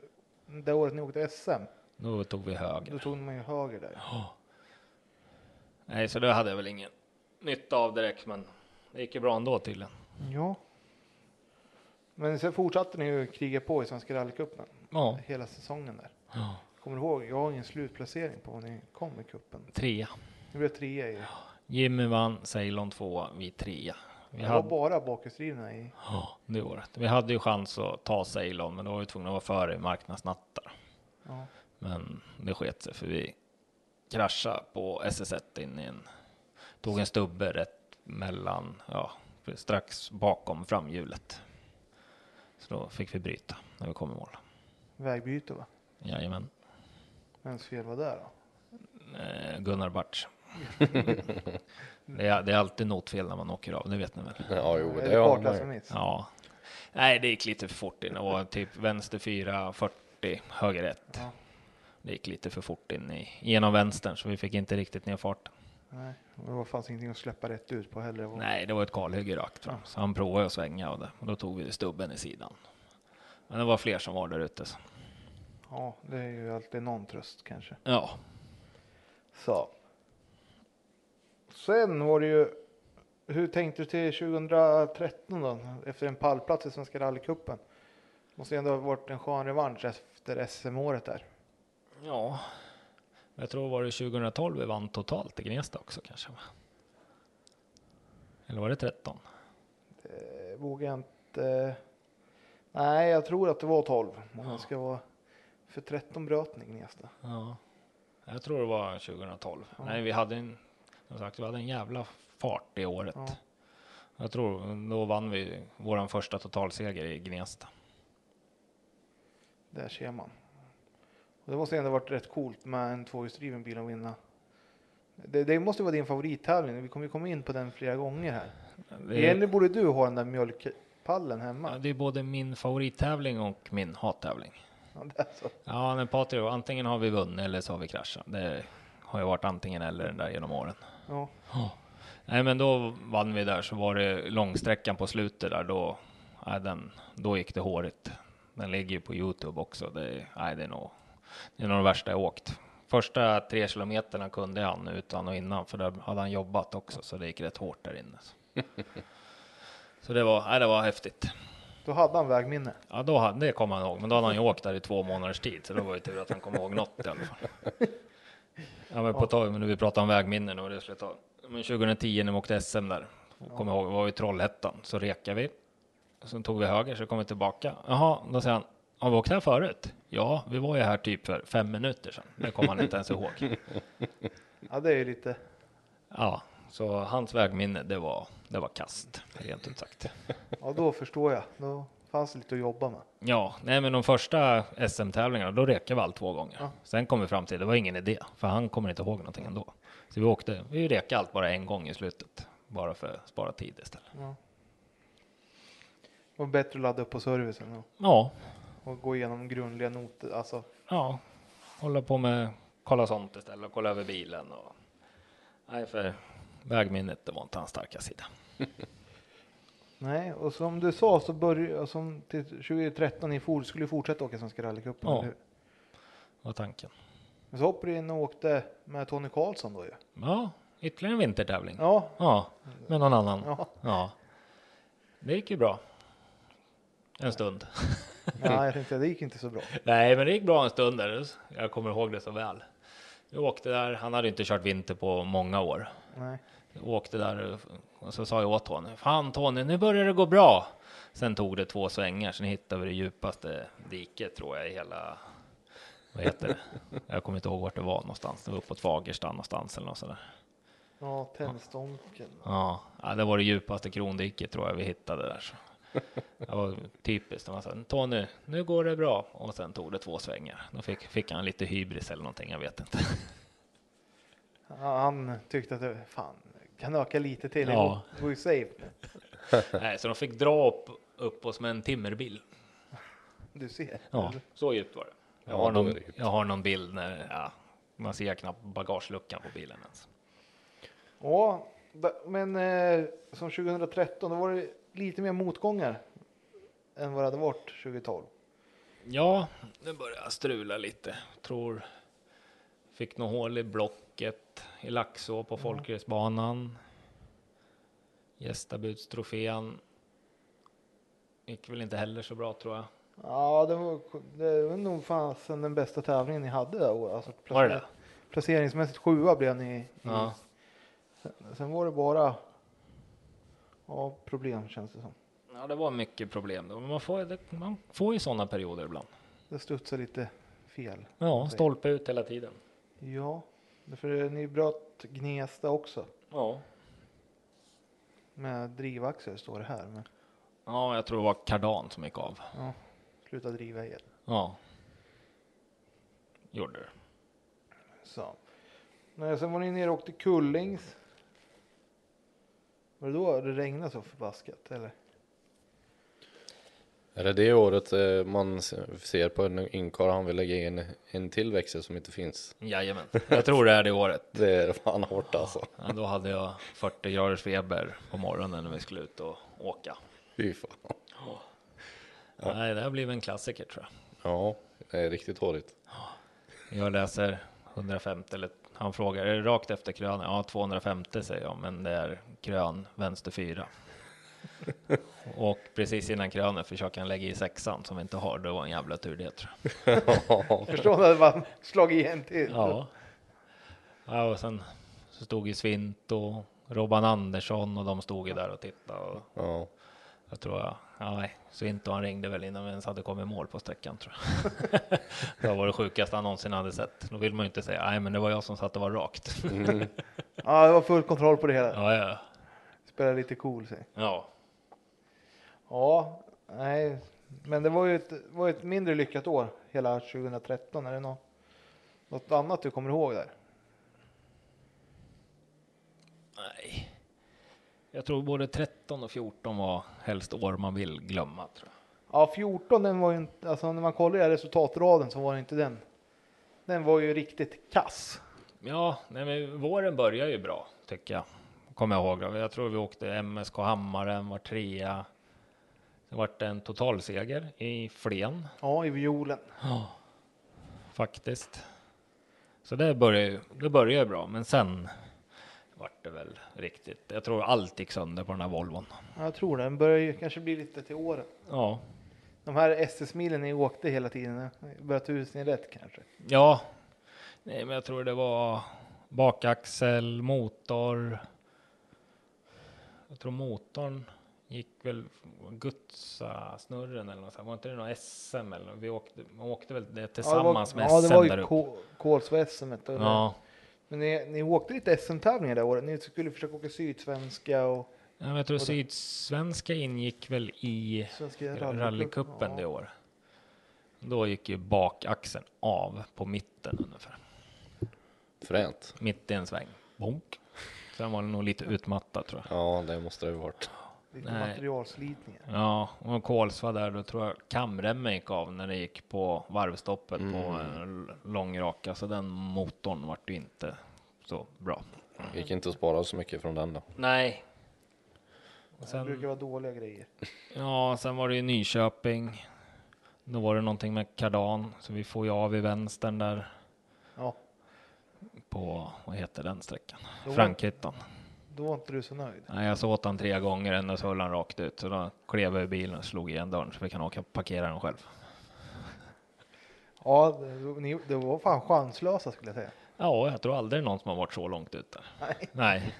det året ni åkte SM,
Då tog vi höger.
då tog man ju höger där.
Nej, så det hade jag väl ingen nytta av direkt, men det gick ju bra ändå tydligen.
Ja. Men sen fortsatte ni ju kriga på i Svenska rallycupen
Ja,
hela säsongen där.
Ja.
Kommer du ihåg? Jag har ingen slutplacering på när ni kom i cupen.
trea.
Ni blev trea i.
Jimmy vann, Ceylon tvåa, vi trea. Vi
Det var
hade,
bara bakhjulsdrivna i.
ja, det året. Vi hade ju chans att ta Ceylon, men då var vi tvungna att vara före i marknadsnattar.
Ja.
Men det sket sig för vi kraschade på SS1 in i en, tog en stubbe rätt mellan, ja, strax bakom framhjulet. Så då fick vi bryta när vi kom i mål.
Vägbyte va?
Jajamän.
Vems fel var det då?
Eh, Gunnar Bartsch. det, är, det är alltid notfel när man åker av, det vet ni väl?
Ja, jo,
Är
det har man ju.
kartklassremiss?
Ja. Nej, det gick lite för fort in. Och typ vänster 4, 40, höger 1.
Ja.
Det gick lite för fort in i, genom vänstern, så vi fick inte riktigt ner farten.
Nej, och det var fanns ingenting att släppa rätt ut på heller. Det var-
Nej, det var ett kalhygge rakt fram, så han provade att svänga och, det, och då tog vi stubben i sidan. Men det var fler som var där ute. Så.
Ja, det är ju alltid någon tröst kanske.
Ja,
Så. Sen var det ju. Hur tänkte du till 2013 då? Efter en pallplats i Svenska rallycupen. Måste ju ändå ha varit en skön revansch efter SM-året där.
ja. Jag tror var det 2012 vi vann totalt i Gnesta också kanske. va? Eller var det 13?
Eh, Vågar jag inte. Nej, jag tror att det var 12 om jag ska vara. För 13 bröt ni Gnesta.
Ja, jag tror det var 2012. Nej, vi hade en, som sagt, vi hade en jävla fart det året.
Ja.
Jag tror då vann vi våran första totalseger i Gnesta.
Där ser man. Och det måste ändå varit rätt coolt med en tvåhjulsdriven bil att vinna. Det, det måste vara din favorittävling. Vi kommer ju komma in på den flera gånger här.
Det är,
Egentligen borde du ha den där mjölkpallen
ja,
hemma.
det är både min favorittävling och min hattävling.
Ja, det är så.
Ja, men Patrik, antingen har vi vunnit eller så har vi kraschat. Det har ju varit antingen eller den där genom åren.
Ja.
Nej, men då vann vi där så var det långsträckan på slutet där då. Nej, den, då gick det hårigt. Den ligger ju på Youtube också. Det, nej, det är nog det är nog det värsta jag åkt. Första tre kilometerna kunde han utan och innan för där hade han jobbat också så det gick rätt hårt där inne. Så det var, nej, det var häftigt.
Då hade han vägminne.
Ja, då hade, det kom han ihåg, men då hade han ju åkt där i två månaders tid, så det var ju tur att han kom ihåg något i alla fall. Ja, men på tal, men nu vi pratar om vägminnen och det skulle ta. Men 2010 när vi åkte SM där, kommer jag ihåg, var vi i Trollhättan, så rekade vi. Sen tog vi höger, så kom vi tillbaka. Jaha, då säger han, har vi åkt här förut? Ja, vi var ju här typ för fem minuter sedan. Det kommer han inte ens ihåg.
Ja, det är ju lite.
Ja, så hans vägminne, det var, det var kast, rent ut sagt.
Ja, då förstår jag. Då fanns det lite att jobba med.
Ja, nej men de första SM-tävlingarna, då rekade vi allt två gånger.
Ja.
Sen kom vi fram till, det var ingen idé, för han kommer inte ihåg någonting ändå. Så vi åkte, vi rekade allt bara en gång i slutet, bara för att spara tid istället.
Det var bättre att ladda upp på servicen och,
Ja,
och gå igenom grundliga noter. Alltså,
ja, hålla på med, kolla sånt istället, kolla över bilen och... Nej, för vägminnet, det var inte hans starka sida.
nej, och som du sa så började som till 2013 i for skulle ju fortsätta åka Svenska rallycupen.
Ja.
eller hur?
var tanken.
Men så hoppade du in och åkte med Tony Karlsson
Mm.
då ju.
Ja, ytterligare en vintertävling. Ja,
Ja,
med någon annan.
ja.
ja. Det gick ju bra. En stund.
ja jag tänkte, det gick inte så bra.
Nej, men det gick bra en stund där. Jag kommer ihåg det så väl. Vi åkte där, han hade inte kört vinter på många år.
Nej.
Vi åkte där och så sa jag åt Tony, fan Tony, nu börjar det gå bra. Sen tog det två svängar, sen hittade vi det djupaste diket tror jag i hela, vad heter det? Jag kommer inte ihåg vart det var någonstans, det var uppåt Fagersta någonstans eller något sådär.
Ja, tändstånken.
Ja, ja, det var det djupaste krondiket tror jag vi hittade där. Så. Det var typiskt när man sa Tony, nu går det bra. Och sen tog det två svängar. Då fick, fick han lite hybris eller någonting, jag vet inte.
Ja, Han tyckte att det fan, kan öka lite till.
Ja.
Det var ju safe.
Nej, så de fick dra upp, upp oss med en timmerbil.
Du ser.
Ja, så djupt var det. Jag
Ja,
har
då är
någon,
det djupt.
jag har någon bild när ja, man ser knappt bagageluckan på bilen ens.
Ja, da- men eh, som 2013 då var det lite mer motgångar än vad det hade varit 2012.
Ja, nu börjar jag strula lite. Tror fick något hål i blocket i Laxå på folkracebanan. Gästabudstrofén gick väl inte heller så bra tror jag.
Ja, det var, det var nog fasen den bästa tävlingen ni hade det året. Alltså,
Var det Mm. det?
Placeringsmässigt sjua blev ni. i-
Ja.
Sen, sen var det bara ja, problem känns det som.
Ja, det var mycket problem då. Men man får, det, man får ju sådana perioder ibland.
Det studsade lite fel.
Ja, stolpe ut hela tiden.
Ja, för ni bröt Gnesta också.
Ja.
Med drivaxel står det här. Men
Ja, jag tror det var kardan som gick av.
ja, sluta driva igen.
Ja. Gjorde det.
Så. Nej, sen var ni nere och åkte Kullings. Var det då det regnade så förbaskat eller?
Är det det året eh, man se- ser på en inkar han vill lägga in en till växel som inte finns?
Jajamän, jag tror det är det året.
Det är fan hårt alltså.
Ja, då hade jag 40 graders feber på morgonen när vi skulle ut och åka.
Fy fan.
Nej, det här blev en klassiker tror jag.
Ja, det är riktigt hårigt.
Jag läser 150 eller han frågar, är det rakt efter krön? Ja, 250 säger jag, men det är krön vänster fyra. och precis innan krönet försöker han lägga i sexan som vi inte har. Det var en jävla tur det tror jag.
Förstår ni? Det var slagit igen till.
Ja. ja och sen så stod ju Svint och Robban Andersson och de stod ju där och tittade. Och
Ja,
Jag tror jag, ja, nej, så inte han ringde väl innan vi ens hade kommit i mål på sträckan tror jag. det var det sjukaste han någonsin hade sett. Då vill man ju inte säga, nej men det var jag som satt och var rakt.
Ja, det var full kontroll på det hela.
ja, ja,
Spelade lite cool sig.
ja.
Ja, nej, men det var ju ett, var ett mindre lyckat år hela 2013. Är det något, något annat du kommer ihåg där?
Nej. Jag tror både 13 och 14 var helst år man vill glömma tror jag.
Ja, 14 den var ju inte, alltså när man kollar i resultatraden så var det inte den. Den var ju riktigt kass.
Ja, nej, men våren börjar ju bra tycker jag. Kommer jag ihåg. Jag tror vi åkte MSK Hammaren, var trea. Det vart en totalseger i Flen.
Ja, i violen.
Ja, faktiskt. Så det började ju det började ju bra, men sen vart det väl riktigt. Jag tror allt gick sönder på den här Volvon.
Ja, jag tror det. Den börjar ju kanske bli lite till åren.
Ja,
De här SS-milen ni åkte hela tiden, det börjar tusen rätt kanske.
ja, nej, men jag tror det var bakaxel, motor. Jag tror motorn gick väl Gutsa snurren eller något sånt. Var inte det någon SM eller något? Vi åkte, man åkte väl det tillsammans
ja, det var,
med
Ja, det
SM där
var ju
uppe.
Ko- Kolsva-SM. Ja.
Ja,
Men ni, ni åkte lite SM-tävlingar det året. Ni skulle försöka åka sydsvenska och
Ja, men jag tror
Och det-
Sydsvenska ingick väl i
Svenska
rallycupen det
ja.
året. Då gick ju bakaxeln av på mitten ungefär.
fränt.
Mitt i en sväng. Bonk. Sen var den nog lite utmattad tror jag.
Ja, det måste det ju varit.
Lite
Nej.
materialslitningar.
Ja, och Kolsva där, då tror jag kamremmen gick av när det gick på varvstoppet på en l- lång raka, så den motorn vart ju inte så bra.
Gick inte att spara så mycket från den då.
Nej. Och
Det
sen,
brukar vara dåliga grejer.
Ja, sen var det ju Nyköping. Då var det någonting med kardan, så vi får ju av i vänstern där
Ja,
på, vad heter den sträckan?
Då var-
Frankhyttan.
då var inte du så nöjd.
Nej, jag såg åt han tre gånger, ändå så höll han rakt ut. Så då klev jag ur bilen och slog igen dörren så vi kan åka och parkera den själv.
Ja, det, ni, det var fan chanslösa skulle jag säga.
Ja, jag tror aldrig någon som har varit så långt ut där.
Nej.
Nej,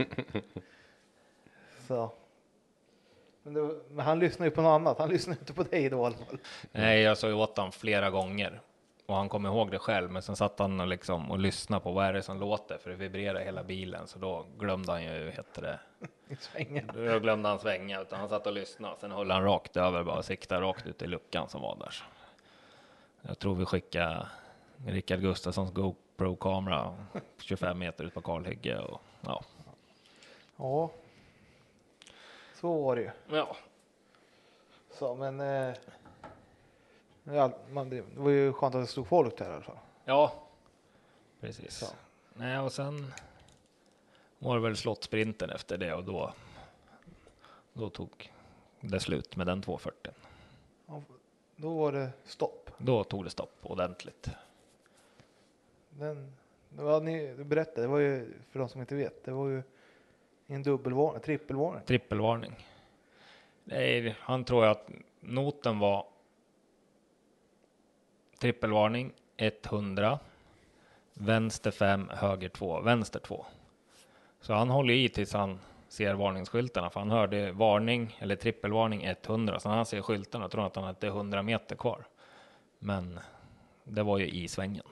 Så. Men, det, var- men han lyssnar ju på något annat. Han lyssnar inte på dig då i alla fall.
Nej jag såg ju åt han flera gånger. Och han kom ihåg det själv, men sen satt han och, liksom och lyssnade på vad är det som låter, för det vibrerar i hela bilen. Så då glömde han ju, heter det,
I svängen.
Då glömde han svänga, utan han satt och lyssnade. Sen höll han rakt över bara och siktade rakt ut i luckan som var där. Så Jag tror vi skickade Rickard Gustafssons GoPro-kamera 25 meter ut på kalhygge. Och, ja.
Ja. Så var det ju.
ja,
Så, men. Eh, ja, man, det var ju skönt att det stod folk där i alla fall.
ja, precis.
Så.
Nej, och sen var det väl slottsprinten efter det och då, då tog det slut med den 240.
Då var det stopp.
Då tog det stopp ordentligt.
Den, det var, ni berättade, det var ju för de som inte vet, det var ju en dubbelvarning, trippelvarning.
Trippelvarning. Nej, han tror att noten var trippelvarning 100 vänster 5 höger 2 vänster 2. Så han håller i tills han ser varningsskyltarna för han hörde varning eller trippelvarning 100 så när han ser skyltarna tror han att han hade 100 meter kvar. Men det var ju i svängen.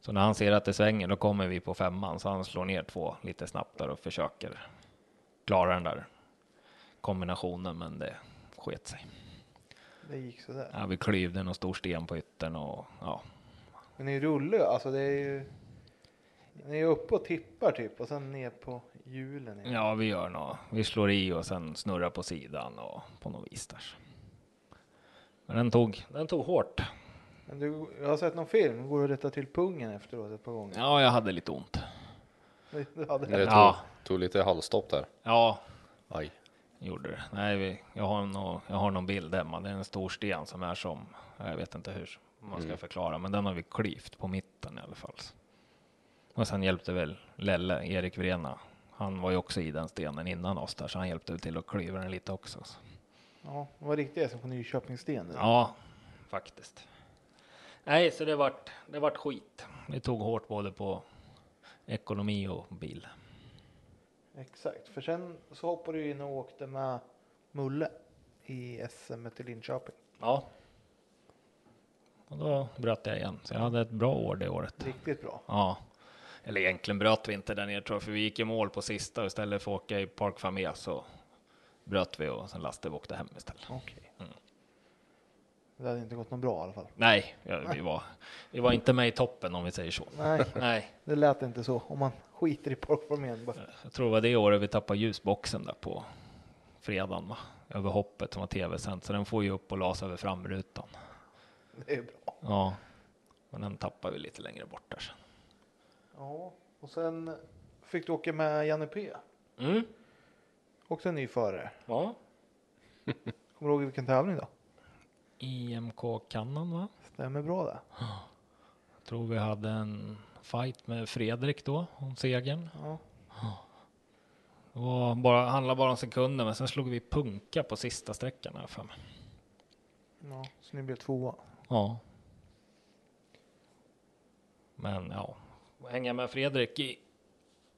Så när han ser att det svänger då kommer vi på femman så han slår ner två lite snabbt där och försöker klara den där kombinationen men det sket sig.
Det gick sådär.
Ja, vi klyvde någon stor sten på yttern och ja.
Men ni rullar ju, alltså det är ju. Ni är uppe och tippar typ och sen ner på hjulen. igen.
Ja, vi gör något. Vi slår i och sen snurrar på sidan och på något vis där. Men den tog, den tog hårt.
Men du, jag har sett någon film, går du att rätta till pungen efteråt ett par gånger?
Ja, jag hade lite ont.
Ja. Du hade
Det tog,
Ja.
tog lite halvstopp där.
Ja,
Aj.
gjorde det. Nej, vi, jag, har nå, jag har någon bild hemma. Det är en stor sten som är som, jag vet inte hur man ska förklara, men den har vi klyvt på mitten i alla fall. Och sen hjälpte väl Lelle, Erik Vrena. Han var ju också i den stenen innan oss där, så han hjälpte väl till att klyva den lite också. Så.
Ja, de var riktiga som på Nyköpingssten. Ja.
Ja, faktiskt. Nej, så det vart, det vart skit. Det tog hårt både på ekonomi och bil.
Exakt, för sen så hoppade du in och åkte med Mulle i SM till Linköping.
Ja. Och då bröt jag igen, så jag hade ett bra år det året.
Riktigt bra.
Ja. Eller egentligen bröt vi inte där nere tror jag, för vi gick i mål på sista och istället för att åka i Park Famé så bröt vi och sen lastade vi och åkte hem istället.
Okej.
Mm.
Det hade inte gått något bra i alla fall.
Nej, ja, vi, var, vi var inte med i toppen om vi säger så.
Nej,
Nej,
det lät inte så. Om man skiter i parkformen. bara.
Jag tror det var det året vi tappade ljusboxen där på fredagen va? över hoppet som var tv-sänd, så den får ju upp och las över framrutan.
Det är bra.
Ja, men den tappar vi lite längre bort där sen.
Ja, och sen fick du åka med Janne P.
Mm.
Också en ny förare.
Ja.
Kommer du ihåg vilken tävling då?
IMK Kannan va?
Stämmer bra det.
Jag tror vi hade en fight med Fredrik då om segern.
Ja.
Det var bara, handlade bara om sekunder, men sen slog vi punka på sista sträckan här för mig.
ja, så ni blev tvåa.
Ja. Men ja, hänga med Fredrik i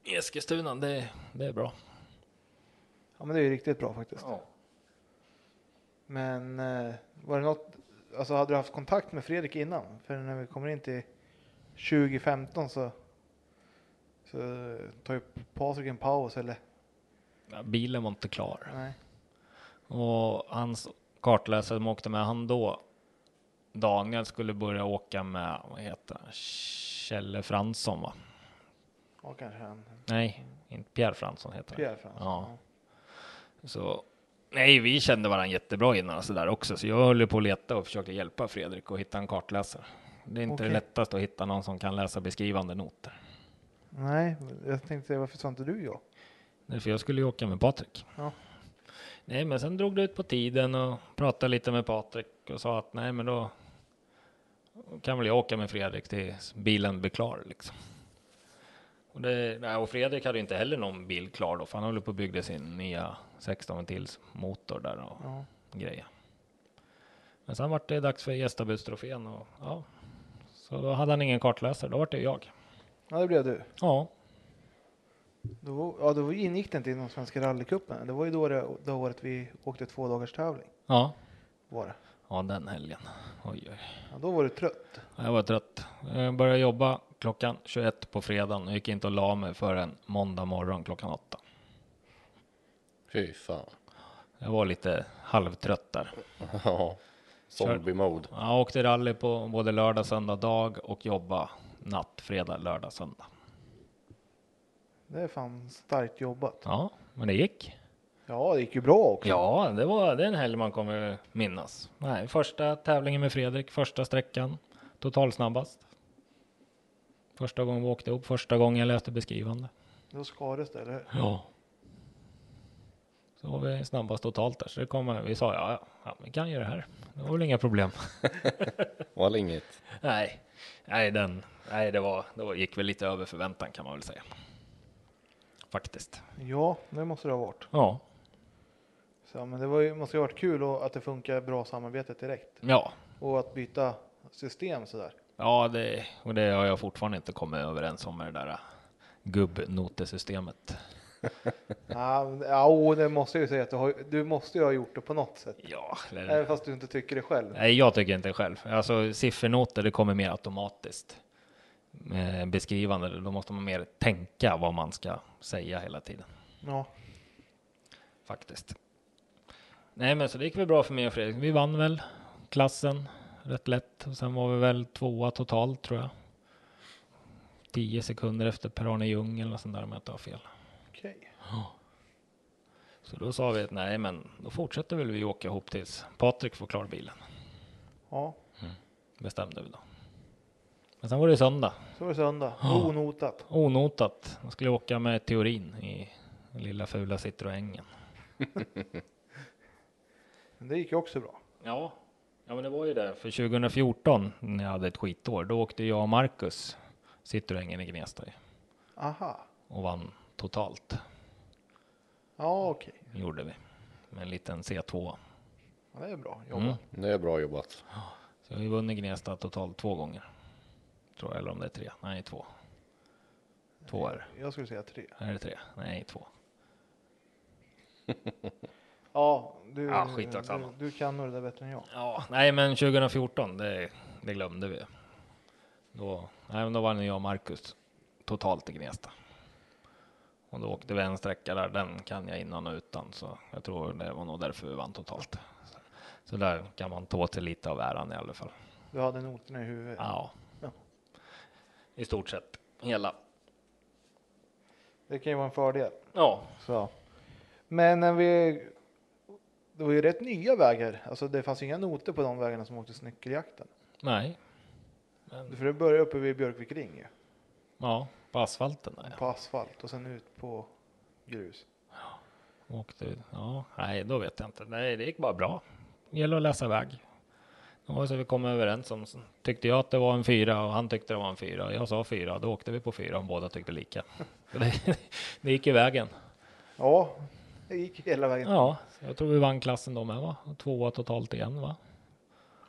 i Eskilstuna, det, det är bra.
Ja, men det är ju riktigt bra faktiskt.
Ja.
Men eh, var det något, alltså hade du haft kontakt med Fredrik innan? För när vi kommer in till 2015 så, så tar ju Patrik en paus eller?
Bilen var inte klar
Nej.
och hans kartläsare som åkte med han då, Daniel skulle börja åka med, vad heter han, Kjelle Fransson va?
Ja, kanske han.
Nej, inte Pierre Fransson heter han.
Pierre Fransson.
Ja. Så nej, vi kände varandra jättebra innan och så där också, så jag höll ju på att leta och försökte hjälpa Fredrik att hitta en kartläsare. Det är inte
Okej.
det lättaste att hitta någon som kan läsa beskrivande noter.
Nej, jag tänkte säga varför sa inte du ja?
Därför jag skulle ju åka med Patrik.
Ja.
Nej, men sen drog det ut på tiden och pratade lite med Patrik och sa att nej, men då kan väl jag åka med Fredrik tills bilen blir klar liksom. Och, det, nej, och Fredrik hade ju inte heller någon bil klar då, för han höll på och byggde sin nya 16 ventils motor där och
Ja.
grejer. Men sen var det dags för gästabudstrofén och ja, så då hade han ingen kartläsare. Då var det jag.
Ja, det blev du.
Ja,
Då, ja, då ingick det inte i den svenska rallycupen. Det var ju då det, det året vi åkte två dagars tävling.
ja,
Var det.
ja, den helgen. Oj, oj.
Ja, då var du trött.
Jag var trött. Jag började jobba klockan 21 på fredagen och gick inte och la mig förrän måndag morgon klockan 8.
Fy fan.
Jag var lite halvtrött där.
Ja. Zombie mode.
Jag åkte rally på både lördag, söndag, dag och jobba natt, fredag, lördag, söndag.
Det är fan starkt jobbat.
Ja, men det gick.
Ja, det gick ju bra också.
Ja, det var det är en helg man kommer minnas. Nej, första tävlingen med Fredrik, första sträckan, totalsnabbast. Första gången vi åkte upp, första gången jag läste beskrivande.
Då skades det, eller hur?
Ja. Så var vi snabbast totalt där, så det kom, vi sa ja, ja, ja, vi kan göra det här. Det var väl inga problem.
Var det inget?
nej, nej, den, nej, det var, det var, gick väl lite över förväntan kan man väl säga. Faktiskt.
Ja, det måste det ha varit.
Ja,
Så, men det var ju, måste ju ha varit kul och att det funkar bra samarbetet direkt.
ja,
Och att byta system sådär.
ja, det, och det har jag fortfarande inte kommit överens om med det där äh, gubbnotesystemet.
Ja, men- ja, och det måste jag ju säga att du, har, du måste ju ha gjort det på något sätt.
Ja, eller-
Även fast du inte tycker det själv.
Typ. Nej, jag tycker inte själv. Alltså siffernoter, det kommer mer automatiskt. Eh, beskrivande, då måste man mer tänka vad man ska säga hela tiden
Ja.
faktiskt. Nej, men så det gick väl bra för mig och Fredrik. Vi vann väl klassen rätt lätt och sen var vi väl tvåa totalt tror jag. Tio sekunder efter Per-Arne Ljung eller något sånt där om jag inte har fel.
Okej.
Så då sa vi att nej, men då fortsätter väl vi åka ihop tills Patrik får klar bilen.
Ja,
Bestämde vi då. Men sen var det söndag.
så var det söndag.
Ja.
Onotat.
Onotat. Jag skulle åka med teorin i den lilla fula Citroängen.
Men det gick ju också bra.
Ja. ja, men det var ju det. För 2014 när jag hade ett skitår, då åkte jag och Marcus Citroängen i Gnesta ju
Aha.
och vann totalt.
Ja, okej.
Gjorde vi med en liten C2.
Ja, det är bra jobbat.
Mm.
Det är bra jobbat.
Så jag har ju vunnit Gnesta totalt två gånger. Tror jag, eller om det är tre. Nej, två. Två är det.
Jag skulle säga tre.
Är det tre? Nej, två.
Ja, du,
Ja, skitsamma.
du, du kan nog det där bättre än jag.
Ja, nej, men 2014, det, det glömde vi. Då, nej, men då vann jag och Marcus totalt i Gnesta. Och då åkte vi en sträcka där, den kan jag innan och utan, så jag tror det var nog därför vi vann totalt. Så, så där kan man ta till lite av äran i alla fall.
Du hade noterna i huvudet.
Ja,
Ja.
i stort sett hela.
Det kan ju vara en fördel.
Ja,
Så. Men när vi... Det var ju rätt nya vägar. Alltså det fanns ju inga noter på de vägarna som åkte snyckeljakten.
nej,
För det började uppe vid Björkvik ring ju,
ja, på asfalten där.
på asfalt och sen ut på grus.
Åkte, ja, nej, då vet jag inte. Nej, det gick bara bra. gäller att läsa väg. Det var så vi kom överens om. Så Tyckte jag att det var en fyra och han tyckte det var en fyra. och Jag sa fyra, då åkte vi på fyra och båda tyckte lika. Så Det, det gick ju vägen.
Ja, det gick hela vägen. Ja,
Ja, så jag tror vi vann klassen då med va? Och Tvåa totalt igen va?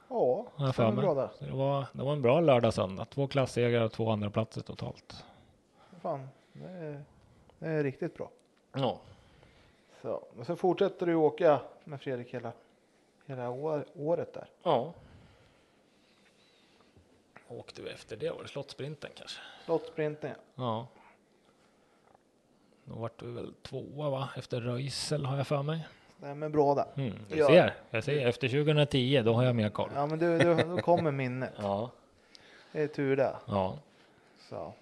Har jag för
stämmer
mig.
bra där.
Så det, var, det var en bra lördag söndag. Två klassegrar och två andra platser totalt.
Fan, det är, det är riktigt bra.
Ja,
Så. Men sen fortsätter du åka med Fredrik hela, hela år, året där.
ja. Åkte vi efter det? Var det slottsprinten kanske?
Slottsprinten,
Ja. Då vart vi väl tvåa va? Efter Röisel har jag för mig.
stämmer bra där.
Mm, du
Ja.
ser, jag ser. Efter 2010 då har jag mer koll.
Ja, men du, du, då kommer minnet.
Ja.
Det är tur det.
Ja.
Så.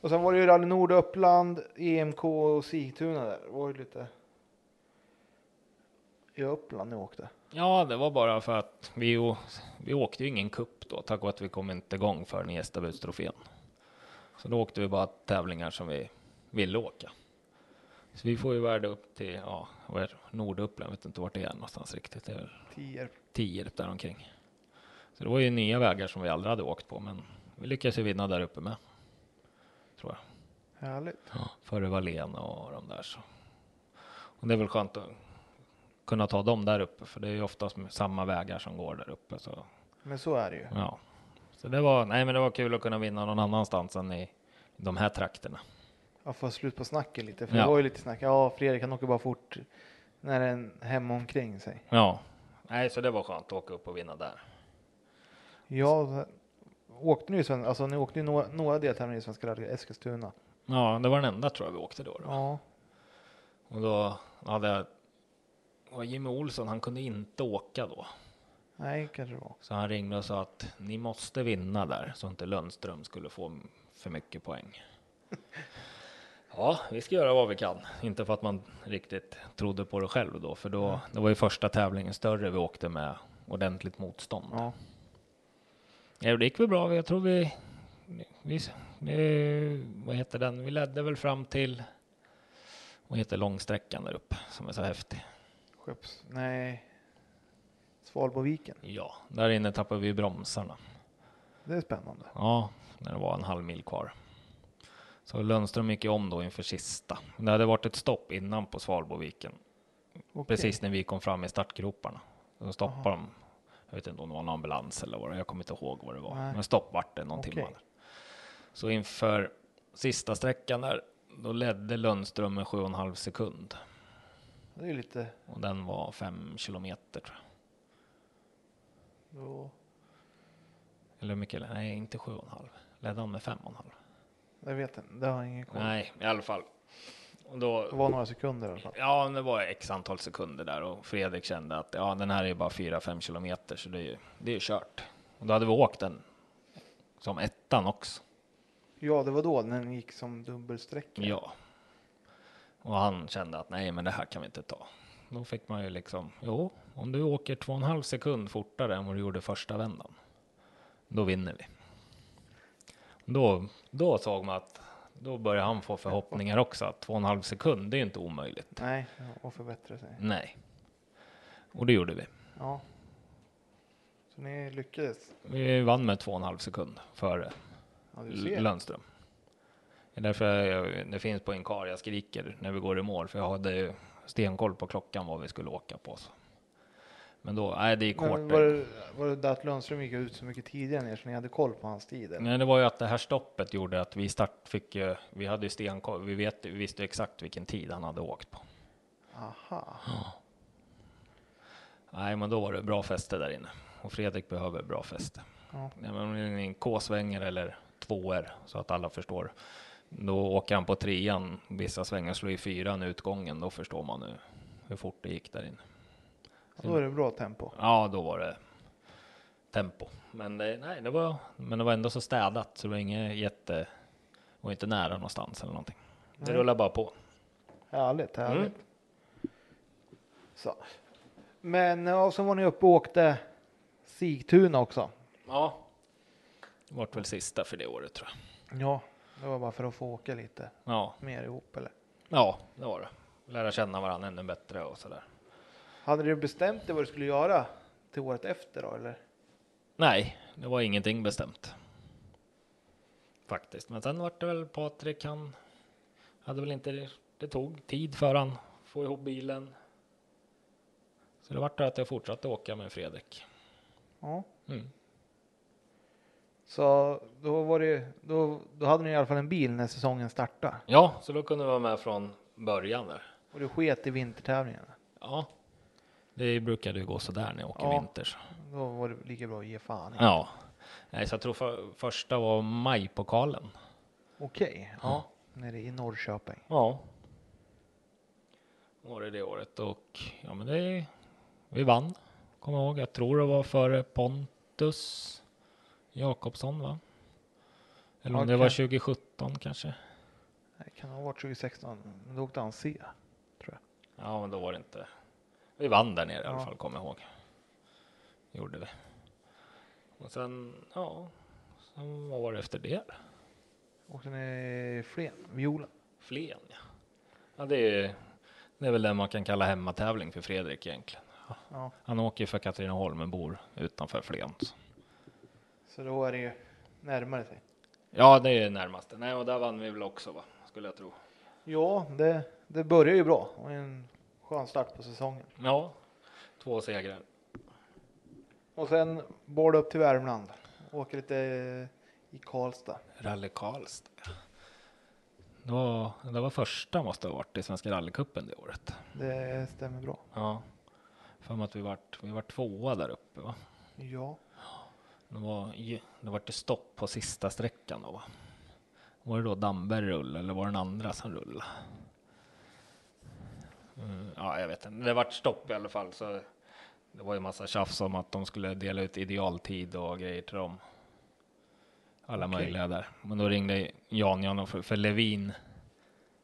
Och sen var det ju Rally Nord, Uppland, EMK och Sigtuna där. Det var ju lite i Uppland ni åkte.
ja, det var bara för att vi, å- vi åkte ju ingen kupp då, tack vare att vi kom inte igång förrän i Gästabudstrofén. Så då åkte vi bara tävlingar som vi ville åka. Så vi får ju värda upp till, ja, vad är det? Norduppland, jag vet inte vart det är någonstans riktigt. Det är väl
Tierp.
Tierp däromkring. Så det var ju nya vägar som vi aldrig hade åkt på, men vi lyckades ju vinna där uppe med. Tror jag.
Härligt.
Före Wallén och de där så. Och det är väl skönt att kunna ta dem där uppe, för det är ju oftast samma vägar som går där uppe. Så
Men så är det ju.
ja, så det var, nej men det var kul att kunna vinna någon annanstans än i de här trakterna.
Jag får slut på snacket lite. För
Ja.
det var ju lite snack. Ja, Fredrik han åker bara fort när den är hemma omkring sig.
Ja, nej, så det var skönt att åka upp och vinna där.
Ja, åkte ni, i Sven- alltså, ni åkte ju några, några deltävlingar i Svenska rallyt, Eskilstuna.
Ja, det var den enda tror jag vi åkte då. då.
Ja,
Och då hade jag, och Jimmy Olsson, han kunde inte åka då.
nej kanske det var.
Så han ringde och sa att ni måste vinna där så inte Lundström skulle få m- för mycket poäng. Ja, vi ska göra vad vi kan. Inte för att man riktigt trodde på det själv då, för då, det var ju första tävlingen större vi åkte med ordentligt motstånd.
Ja,
Ja, det gick väl bra. Jag tror vi, vi, vi vad heter den? Vi ledde väl fram till, Vad heter långsträckan där uppe som är så häftig?
Skepps. Nej. Svalboviken.
Ja, där inne tappade vi bromsarna.
Det är spännande.
Ja, när det var en halv mil kvar. Så Lundström gick ju om då inför sista. Det hade varit ett stopp innan på Svalboviken.
Okej.
Precis när vi kom fram i startgroparna. Då stoppade de. Jag vet inte om det var en ambulans eller vad det var. Jag kommer inte ihåg vad det var.
Nej.
Men stopp vart det någon
Okej.
timme. där. Så inför sista sträckan där, då ledde Lundström med 7,5 sekund.
Det är ju lite...
Och den var 5 kilometer tror jag.
Då,
Eller hur mycket? Nej, inte 7,5. Ledde han med 5,5?
jag vet inte. Det har jag ingen koll.
Nej, i alla fall. Och
Det
då,
var några sekunder i alla fall.
ja, men det var x antal sekunder där och Fredrik kände att ja, den här är ju bara 4-5 kilometer så det är ju det är ju kört. Och då hade vi åkt den som ettan också.
Ja, det var då när den gick som dubbelsträcka.
Ja. Och han kände att nej, men det här kan vi inte ta. Då fick man ju liksom, jo, om du åker två och en halv sekund fortare än vad du gjorde första vändan, då vinner vi. Då, då såg man att då började han få förhoppningar också, att två och en halv sekund, det är ju inte omöjligt.
Nej, ja, och förbättra sig.
Nej. Och det gjorde vi.
Ja. Så ni lyckades.
Vi vann med två och en halv sekund före
Ja, du ser.
Lundström. Det är därför jag, det finns på Inkar jag skriker när vi går i mål, för jag hade ju stenkoll på klockan vad vi skulle åka på. Så. Men då, nej det gick hårt.
Men var, det, var det där att Lundström gick ut så mycket tidigare än er så ni hade koll på hans tid? Eller?
Nej, det var ju att det här stoppet gjorde att vi start fick ju, vi hade ju stenkoll, vi, vet, vi visste ju exakt vilken tid han hade åkt på.
Aha.
Nej, men då var det bra fäste där inne. Och Fredrik behöver bra fäste.
Ja.
Ja, men om det är en K-svänger eller tvåor så att alla förstår. Då åker han på trean, vissa svängar slår i fyran i utgången, då förstår man nu hur fort det gick där inne.
Då är det bra tempo.
Ja, då var det tempo. Men det, nej, det, var, men det var ändå så städat så det var inget jätte, det var inte nära någonstans eller någonting. Det
Nej.
rullar bara på.
Härligt, härligt. Så. Men ja, sen var ni uppe och åkte Sigtuna också.
Ja. Vart väl sista för det året tror jag.
Ja, det var bara för att få åka lite
Ja,
mer ihop eller?
ja det var det. Lära känna varandra ännu bättre och sådär.
Hade du bestämt dig vad du skulle göra till året efter då eller?
Nej, det var ingenting bestämt. Faktiskt, men sen var det väl Patrik, han hade väl inte, det tog tid för han få ihop bilen. Så det vart det att jag fortsatte åka med Fredrik.
Ja.
Mm.
Så då var det då, då hade ni i alla fall en bil när säsongen startade
Ja, så då kunde vi vara med från början där.
och du sket i vintertävlingarna.
Ja, det brukade ju gå sådär när jag åker
Ja.
vinter. så.
Då var det lika bra att ge fan. i.
Ja, nej, så jag tror för, första var majpokalen.
Okej, ja. Nere i Norrköping.
Ja. Var det det året och ja, men det vi vann. Kommer jag ihåg. Jag tror det var före Pontus Jakobsson, va? Eller om det var
Okej.
2017 kanske.
Det kan ha varit 2016, men då åkte han C. Tror jag.
Ja, men då var det inte. Vi vann där nere i alla
Ja.
fall, kommer jag ihåg. Gjorde vi. Och sen, ja, sen, vad var det efter det?
Åkte ni Flen, Viola?
Flen, ja. ja det, är, det är väl det man kan kalla hemmatävling för Fredrik egentligen.
Ja.
Han åker för Katrineholm men bor utanför Flen. så.
Så då är det ju närmare sig.
Ja, det är närmaste. Nej, och där vann vi väl också, va? skulle jag tro.
Ja, det, det börjar ju bra och en skön start på säsongen.
Ja, två segrar.
Och sen boll upp till Värmland. Åker lite i Karlstad.
Rally Karlstad. Det var, det var första måste ha varit i Svenska rallycupen det året.
Det stämmer bra.
Ja, för mig att vi vart, vi vart tvåa där uppe, va?
Ja,
Det var, ju- det var det stopp på sista sträckan då va? Var det då Damberg rullade eller var det den andra som rullade? Mm, ja, jag vet inte. Det vart stopp i alla fall. Så det var ju massa tjafs om att de skulle dela ut idealtid och grejer till dem. Alla
Okej.
möjliga där. Men då ringde Jan Jan och för, för Levin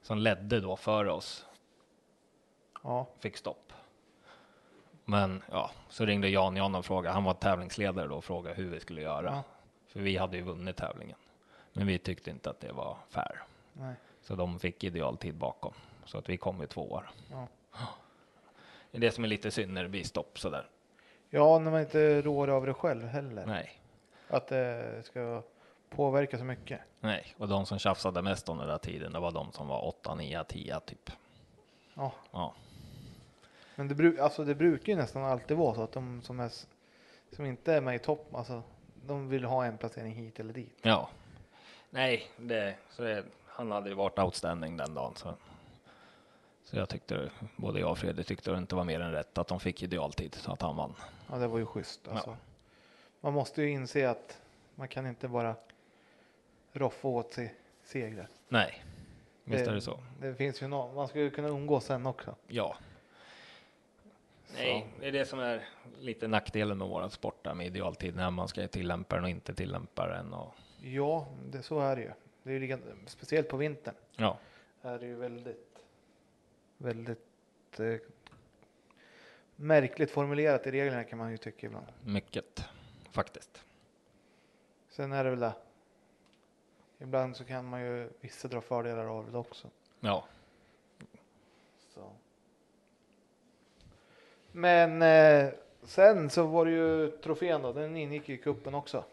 som ledde då för oss
ja,
fick stopp. Men ja, så ringde Jan Jan och frågade, han var tävlingsledare då och frågade hur vi skulle göra.
Ja.
För vi hade ju vunnit tävlingen. Men vi tyckte inte att det var fair.
nej.
Så de fick idealtid bakom. Så att vi kom ju tvåa. då.
Ja.
Det är det som är lite synd när det blir stopp sådär.
Ja, när man inte rår över det själv heller.
Nej,
Att det ska påverka så mycket.
nej. Och de som tjafsade mest om den där tiden, det var de som var 8, 9, 10 typ.
Ja.
Ja,
Men det, bru- alltså, det brukar ju nästan alltid vara så att de som, är, s- som inte är med i topp, alltså, de vill ha en placering hit eller dit.
ja. Nej, det, så det, han hade ju varit outstanding den dagen. Så, så jag tyckte, både jag och Fredrik tyckte det inte var mer än rätt att de fick idealtid så att han vann.
Ja, det var ju schysst. Alltså. Man måste ju inse att man kan inte bara roffa åt sig segrar.
Nej, visst är det så.
Det finns ju någon, man skulle kunna umgås sen också.
Ja. Nej, det är det som är lite nackdelen med våran sport där med idealtid när man ska tillämpa den och inte tillämpa den och
Ja, det, så är det ju. Det är ju lika- speciellt på vintern
ja,
är det ju väldigt, väldigt eh, märkligt formulerat i reglerna kan man ju tycka ibland.
mycket faktiskt.
Sen är det väl det. Ibland så kan man ju vissa dra fördelar av det också.
Ja,
Så. Men eh, sen så var det ju trofén då, den ingick ju i kuppen också.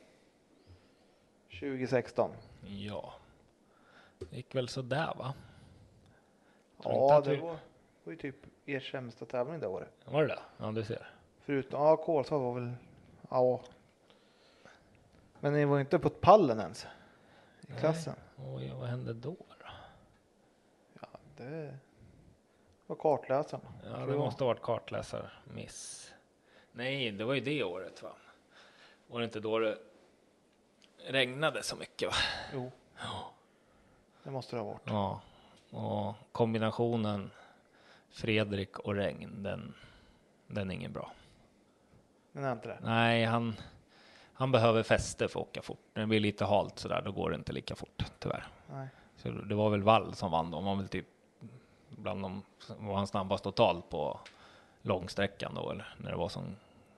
2016.
ja. Det gick väl så där va? Tror inte
Ja,
att
det
vi-
var, var ju typ er sämsta tävling det året.
Var det det? Ja, du ser.
Förutom, ja Kolsva var väl, ja. Men ni var ju inte på pallen ens i klassen.
Oj, vad hände då? då?
Det var kartläsarna.
Ja,
tror
det
jag.
måste ha varit kartläsarmiss. Nej, det var ju det året va? Var det inte då det regnade så mycket va?
Jo. Det måste det ha varit.
Ja, och kombinationen Fredrik och regn, den, den är ingen bra.
Men är inte det?
Nej, han, han behöver fäste för att åka fort. När det blir lite halt så där, då går det inte lika fort tyvärr.
Nej.
Så det var väl Wall som vann då. Han var väl typ bland de, var han snabbast totalt på långsträckan då, eller när det var som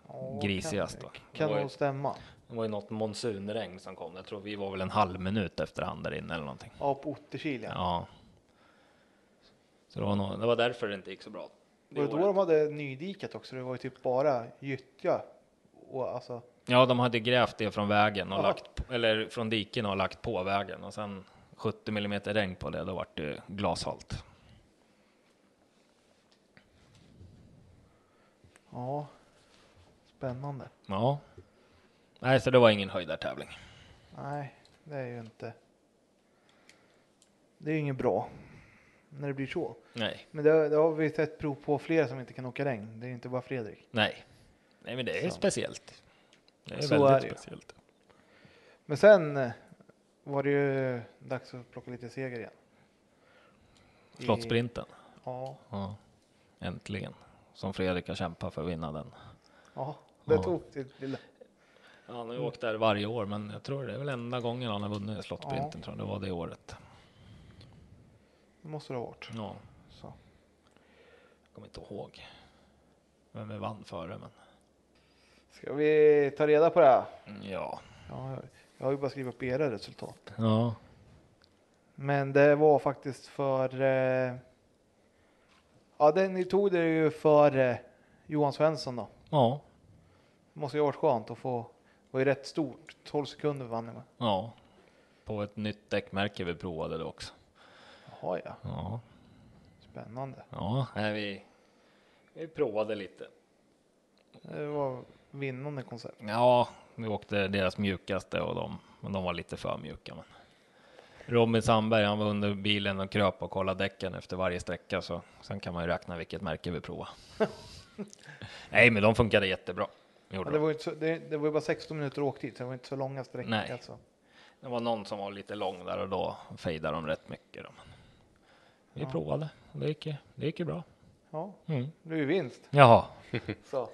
Ja,
grisigast
kan,
då.
kan
Det var ju-
nog stämma.
Det var ju något monsunregn som kom. Jag tror vi var väl en halv minut efterhand där inne eller någonting.
Ja, på Otterkil ja.
Ja. Så det var, nog, det var därför det inte gick så bra.
Var det då
året.
de hade nydikat också? Det var ju typ bara gyttja. Och alltså,
Ja, de hade grävt det från vägen och
Aha.
lagt, på- eller från diken och lagt på vägen och sen 70 millimeter regn på det, då vart det glashalt.
ja. Spännande.
Ja. Nej, så det var ingen höjdartävling.
Nej, det är ju inte. Det är ju inget bra. När det blir så.
Nej,
Men det, det har vi sett prov på flera som inte kan åka regn. Det är inte bara Fredrik.
nej, nej, men det är
Så.
speciellt. Det är
Så är det
väldigt
ju.
speciellt.
Men sen eh, var det ju dags att plocka lite seger igen. I-
Slottsprinten.
Ja,
Ja. Äntligen. Som Fredrik har kämpat för att vinna den.
ja, det
Ja.
tog sitt lilla.
Ja, han har ju åkt där varje år, men jag tror det är väl enda gången han har vunnit slottsprinten, tror jag. Det var det året.
Det måste det ha varit.
Ja,
Så.
jag kommer inte ihåg vem vi vann före, men
Ska vi ta reda på det? här?
Mm, ja.
Ja, jag- jag har ju bara skrivit upp era resultat.
Ja,
Men det var faktiskt för... Eh, ja, det, ni tog det ju för eh, Johan Svensson då.
ja,
Det måste ju ha varit skönt att få... Det var ju rätt stort. 12 sekunder vann ni med.
ja. På ett nytt däckmärke vi provade då också.
Jaha ja,
Ja,
spännande.
ja, nej, vi, vi provade lite.
Det var vinnande koncept.
Ja, vi åkte deras mjukaste och de, men de var lite för mjuka. Men. Robin Sandberg, han var under bilen och kröp och kollade däcken efter varje sträcka, så sen kan man ju räkna vilket märke vi provar. nej, men de funkade jättebra.
Men
Gjorde de.
det, var ju inte så, det, det var ju bara 16 minuter åktid, så det var inte så långa sträckor.
Nej.
Alltså.
Det var någon som var lite lång där och då fejdade de rätt mycket. Då. Men vi
Ja.
provade och det gick, ju- det gick ju bra.
Ja,
Mm.
det blev ju vinst.
Jaha.
Så.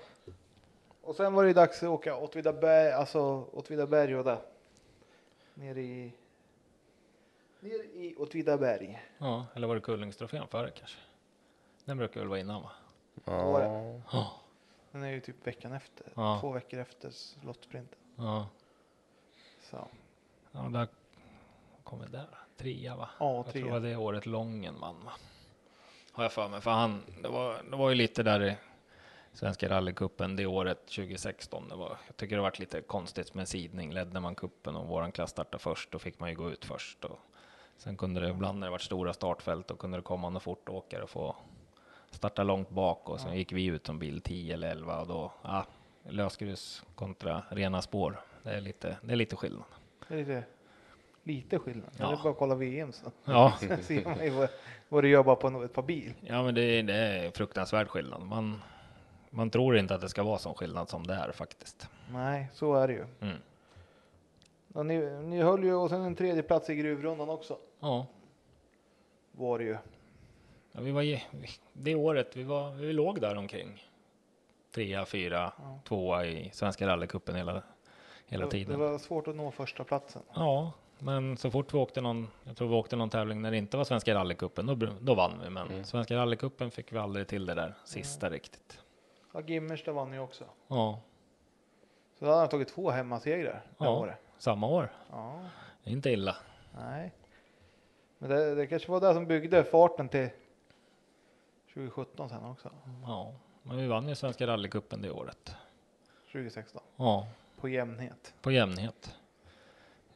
Och sen var det ju dags att åka Åtvidaberg, alltså Åtvidaberg och där. Nere i... Ner i Åtvidaberg.
Ja, eller var det Kullingstrofén före kanske? Den brukar väl vara innan va?
Var det?
Ja.
Ja.
Den är ju typ veckan efter,
Ja.
två veckor efter slottsprinten.
Ja,
Så.
ja där kom vi där. Trea va?
Ja,
Jag tror det
trea.
var det året Lången vann va? Har jag för mig. För han, det var, det var ju lite där i Svenska rallycupen det året 2016. Det var, jag tycker det varit lite konstigt med sidning. Ledde man kuppen och våran klass startade först, då fick man ju gå ut först. Och sen kunde det ibland när det varit stora startfält, då kunde det komma någon fortåkare och få starta långt bak och sen gick vi ut som bil 10 eller 11 och då, ja, lösgrus kontra rena spår. Det är lite, det är lite skillnad.
Det är lite, lite skillnad.
Ja.
Det är bara att kolla VM så
Ja,
ser man ju vad, vad du gör bara på no- ett par bil.
ja men det, är- det är fruktansvärd skillnad. Man, man tror inte att det ska vara sån skillnad som det är faktiskt.
Nej, så är det ju.
Mm.
Ja, ni, ni höll ju och sen en tredje plats i gruvrundan också
Ja,
var det ju.
ja vi var, ge- vi- det året vi, var, vi låg där omkring. Trea, fyra, tvåa i Svenska rallycupen hela, hela
Det-
tiden.
Det var svårt att nå första platsen.
Ja, men så fort vi åkte någon, jag tror vi åkte någon tävling när det inte var Svenska rallycupen, då, br- då vann vi. Men
Mm.
Svenska rallycupen fick vi aldrig till det där sista riktigt.
Ja, Gimmersta vann ju också.
Ja,
Så då hade han tagit två hemmasegrar det
Ja.
året.
samma år.
Ja,
Det är Inte illa.
nej. Men det, det kanske var det som byggde farten till 2017 sen också.
Ja, men vi vann ju Svenska rallycupen det året.
2016
Ja,
på jämnhet.
på jämnhet.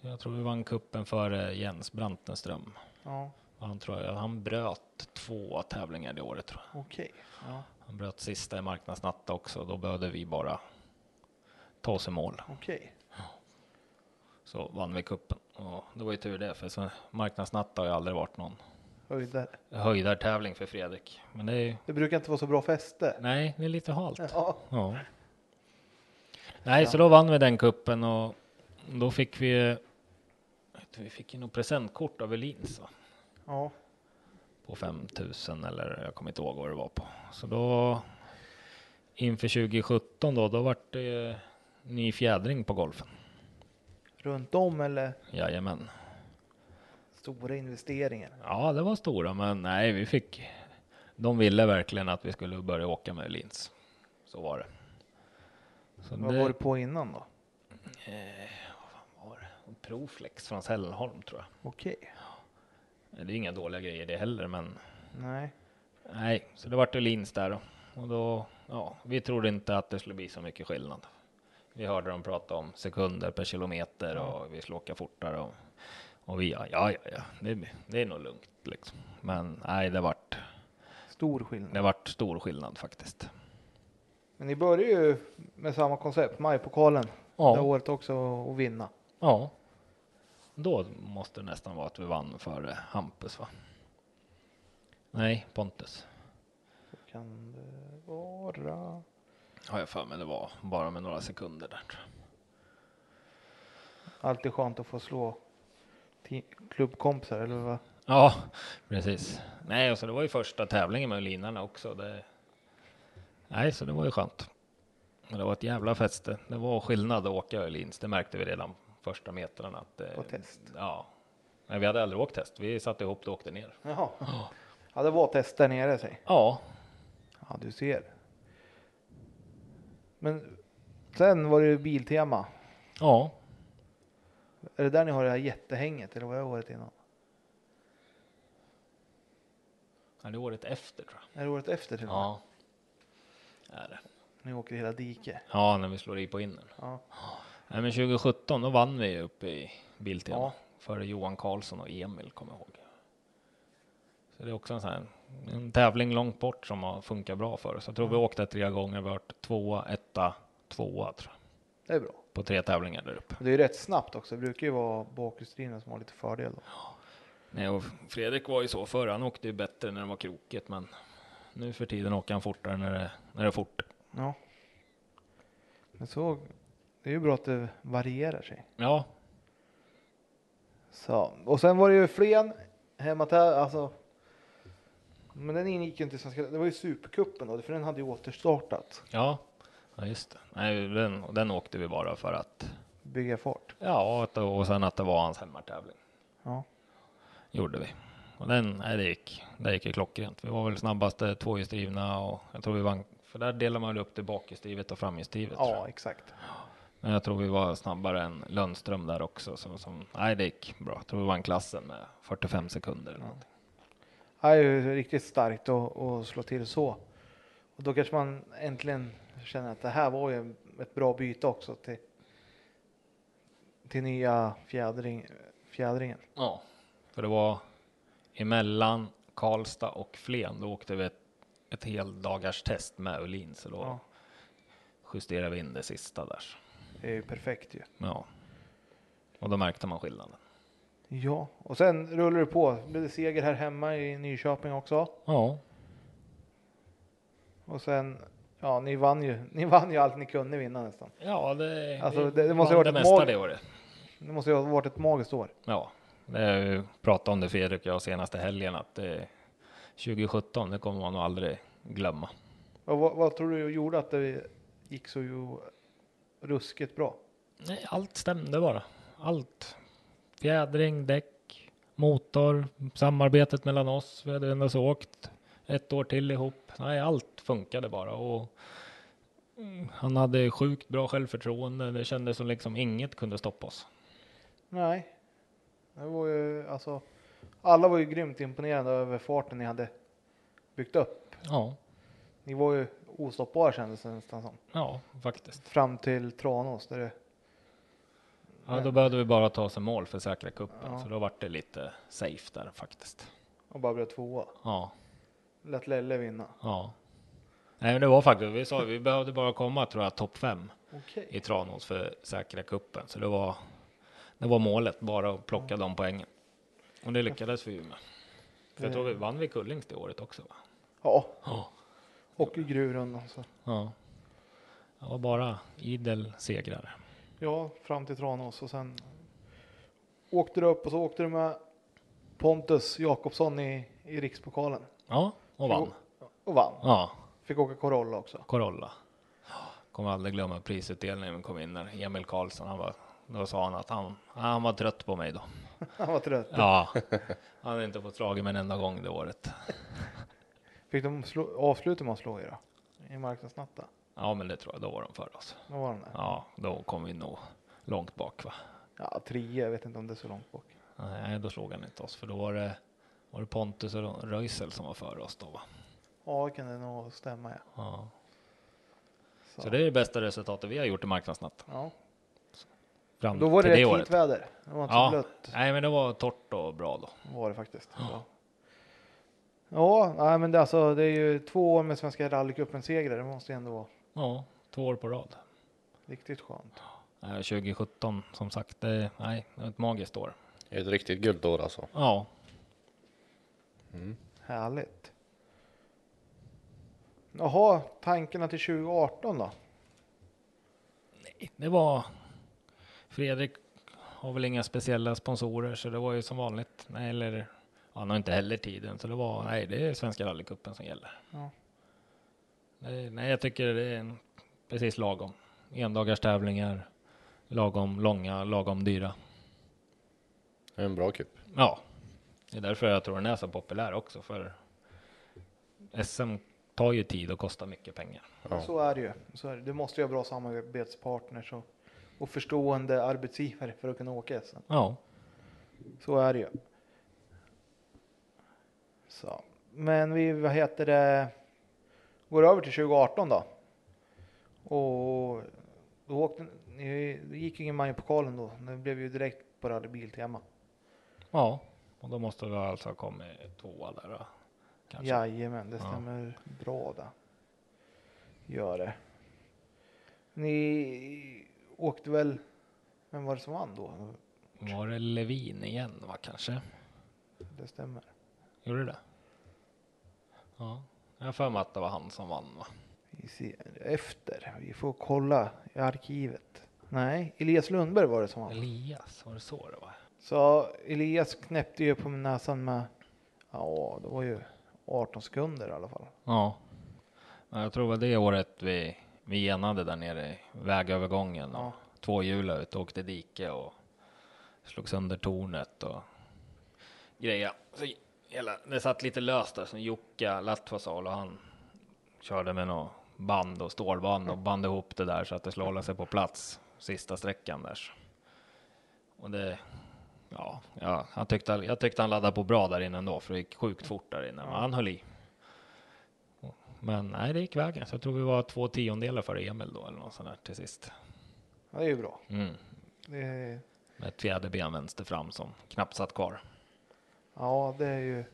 Jag tror vi vann kuppen före Jens Brantenström.
Ja,
Han, tror jag, han bröt två tävlingar det året. Tror jag.
okej. Ja,
Han bröt sista i marknadsnatta också. Då behövde vi bara ta oss i mål.
okej.
så vann vi kuppen. Och det var ju tur det, för så marknadsnatt har ju aldrig varit någon
Höjder.
höjdartävling för Fredrik. Men det är ju,
Det brukar inte vara så bra fäste.
nej, det är lite halt.
Ja,
Ja. Nej, så då vann vi den kuppen och då fick vi, vi fick ju något presentkort av Elins va?
ja.
på 5000 eller jag kommer inte ihåg vad det var på. Så då inför 2017 då, då vart det ju ny fjädring på golfen.
runt om eller
Jajamän.
stora investeringar.
Ja, det var stora, men nej, vi fick. De ville verkligen att vi skulle börja åka med Lins. Så var det. Så
Vad
det,
var du på innan då?
var det? Proflex från Sällholm tror
Okej,
jag. Det är inga dåliga grejer det heller, men
nej.
nej, så det vart ju Lins där då. och då. Ja, vi trodde inte att det skulle bli så mycket skillnad. Vi hörde dem prata om sekunder per kilometer och vi skulle åka fortare och, och vi ja, ja, ja, ja, det, det är nog lugnt liksom. Men nej, det vart.
Stor skillnad.
Det vart stor skillnad faktiskt.
Men ni började ju med samma koncept, majpokalen.
Ja.
Det året också och vinna.
Ja. Då måste det nästan vara att vi vann före Hampus va? Nej, Pontus.
Kan det vara?
Har jag för mig det var. Bara med några sekunder där. tror jag.
Alltid skönt att få slå ti- klubbkompisar eller vad?
Ja, precis. Nej, och så det var ju första tävlingen med Ulinarna också. Det... Nej, så det var ju skönt. Men det var ett jävla fäste. Det var skillnad att åka Öhlins. Det märkte vi redan första metrarna. Att, det-
På test.
Ja. Nej, vi hade aldrig åkt test. Vi satte ihop det och åkte ner.
Jaha. Ja, det var test där nere sig.
Ja,
Ja, du ser. Men sen var det ju Biltema.
ja,
Är det där ni har det här jättehänget eller var det året innan?
Ja, det är året efter tror jag.
Är det året efter till och med?
Ja. Är det.
Ni åker hela diket.
Ja, när vi slår i på inner.
Ja.
Nej, men 2017 då vann vi uppe i Biltema.
Ja.
Före Johan Karlsson och Emil, kommer jag ihåg. Så det är också en, sån här, en tävling långt bort som har funkat bra för oss. Jag tror vi åkte tre gånger, vi har varit tvåa, etta, tvåa tror jag.
Det är bra.
På tre tävlingar där uppe.
Och Det är ju rätt snabbt också. Det brukar ju vara bakhjulsdrivna som har lite fördel. Då.
Nej, och Fredrik var ju så förr, han åkte ju bättre när det var krokigt, men nu för tiden åker han fortare när det, när det är fort.
Ja. Men så, det är ju bra att det varierar sig.
Ja,
Så. Och sen var det ju Flen hemma till, alltså. Men den ingick ju inte i Svenska, det var ju Supercupen då, för den hade ju återstartat.
ja, ja just det. Nej, den, den åkte vi bara för att
Bygga fart.
Ja, och att- och sen att det var hans hemmatävling
Ja.
gjorde vi. Och den, nej, det gick, det gick ju klockrent. Vi var väl snabbaste tvåhjulsdrivna och jag tror vi vann, för där delar man väl upp det bakhjulsdrivet och framhjulsdrivet. tror
Ja,
jag.
exakt.
Men jag tror vi var snabbare än Lundström där också. Så, som, nej, det gick bra. Jag tror vi vann klassen med 45 sekunder. Eller någonting.
Det är ju riktigt starkt att, att slå till så. Och då kanske man äntligen känner att det här var ju ett bra byte också till, till nya fjädring, fjädringen.
Ja, för det var emellan Karlstad och Flen. Då åkte vi ett, ett heldagars test med Öhlin, så då
Ja.
justerade vi in det sista där.
Det är ju perfekt ju.
Ja, och då märkte man skillnaden.
Ja, och sen rullar det på. Det blev seger här hemma i Nyköping också.
Ja,
Och sen, ja, ni vann ju. Ni vann ju allt ni kunde vinna nästan.
ja, det,
Alltså,
vi
det- det måste ha varit
vann det
ett
mesta
mål.
det året.
Det måste ju ha varit ett magiskt år.
Ja, det pratade om det Fredrik och jag senaste helgen att eh, 2017, det kommer man nog aldrig glömma.
Och vad, vad tror du gjorde att det gick så ju ruskigt bra?
Nej, allt stämde bara. Allt. Fjädring, däck, motor, samarbetet mellan oss. Vi hade ändå så åkt ett år till ihop. Nej, allt funkade bara och mm, han hade sjukt bra självförtroende. Det kändes som liksom inget kunde stoppa oss.
Nej, det var ju alltså. Alla var ju grymt imponerade över farten ni hade byggt upp.
Ja,
Ni var ju ostoppbara kändes det nästan som.
ja, faktiskt.
Fram till Tranås där det,
Ja, då behövde vi bara ta oss en mål för att säkra cupen,
Ja.
så då vart det lite safe där faktiskt.
och bara blev tvåa.
Ja,
Lät Lelle vinna.
ja. Nej, men det var faktiskt, vi sa vi behövde bara komma tror jag topp fem
Okej.
i Tranås för att säkra cupen, så det var, det var målet bara att plocka de poängen. Och det lyckades vi ju med. För jag tror vi vann vi Kullings det året också. Va?
Ja,
Ja.
och i Grurundan så.
ja. Det var bara idel segrar.
Ja, fram till Tranås och sen åkte du upp och så åkte du med Pontus Jakobsson i, i rikspokalen.
Ja, och vann.
Och vann.
Ja,
Fick åka Corolla också.
Corolla. Kommer aldrig glömma prisutdelningen vi kom in där. Emil Karlsson, han var, då sa han att han, han var trött på mig då.
Han var trött.
Ja, han hade inte fått slag i mig en enda gång det året.
Fick de slå, avsluta med att slå er då? I marknadsnatta?
Ja, men det tror jag, då var de för oss.
Då var de där.
Ja, då kom vi nog långt bak va.
Ja, trea. Jag vet inte om det är så långt bak.
Nej, då slog han inte oss, för då var det, var det Pontus och Röisel som var för oss då va.
Ja, det kan det nog stämma ja.
Ja. Så det är det bästa resultatet vi har gjort i marknadsnatt.
Ja.
Fram
Då var det
till det
rätt
året.
fint väder. Det var inte
Ja.
så blött.
Nej, men det var torrt och bra då.
var det faktiskt. Ja, ja nej, men det, alltså, det är ju två år med Svenska rallycupen-segrar. Det måste ju ändå vara
Ja, två år på rad.
riktigt skönt.
Nej, 2017 som sagt, det, nej, det var ett magiskt år.
Ett riktigt guldår alltså.
Ja,
Härligt. Jaha, tankarna till 2018 då?
det var Fredrik har väl inga speciella sponsorer så det var ju som vanligt. Nej, eller han har inte heller tiden så det var nej, det är Svenska rallycupen som gäller.
Ja.
Nej, nej, jag tycker det är en- precis lagom. Endagars tävlingar, lagom långa, lagom dyra.
Det är En bra kupp.
Ja, det är därför jag tror den är så populär också för SM tar ju tid och kostar mycket pengar.
Ja.
Så är det ju. Så är det. Du måste ju ha bra samarbetspartners och, och förstående arbetsgivare för att kunna åka SM.
Ja.
Så är det ju. Så. Men vi, vad heter det, går över till 2018 då. Och då åkte, ni- det gick ju ingen man i pokalen då. Det blev ju direkt på rallybiltema.
Ja, och då måste vi alltså ha kommit tvåa där då. Kanske.
Alltså.
Jajamän, det
Ja.
stämmer bra det. Gör det. Ni åkte väl, vem var det som vann då?
Var det Levin igen va kanske?
Det stämmer.
Gjorde det? Ja, jag har för mig att det var han som vann va?
Vi ser efter. Vi får kolla i arkivet. Nej, Elias Lundberg var det som vann.
Elias, var det så det var?
Så Elias knäppte ju på näsan med, ja det var ju 18 sekunder i alla fall.
Ja, men jag tror väl det året vi, vi enade där nere i vägövergången och
Ja.
tvåhjulade ut och åkte i dike och slog sönder tornet och grejer. Så hela, det satt lite löst där som Jocke Lattvasal och han körde med något band och stålband och band ihop det där så att det skulle hålla sig på plats sista sträckan där. Och det, Ja, ja han tyckte, jag tyckte han laddade på bra där inne ändå, för det gick sjukt fort där inne. Men han höll i. Men nej, det gick vägen. Så jag tror vi var två tiondelar före Emil då, eller något sånt där till sist.
Ja, det är ju bra.
Mm.
Det är,
Med ett fjäderben vänster fram som knappt satt kvar.
ja, det är ju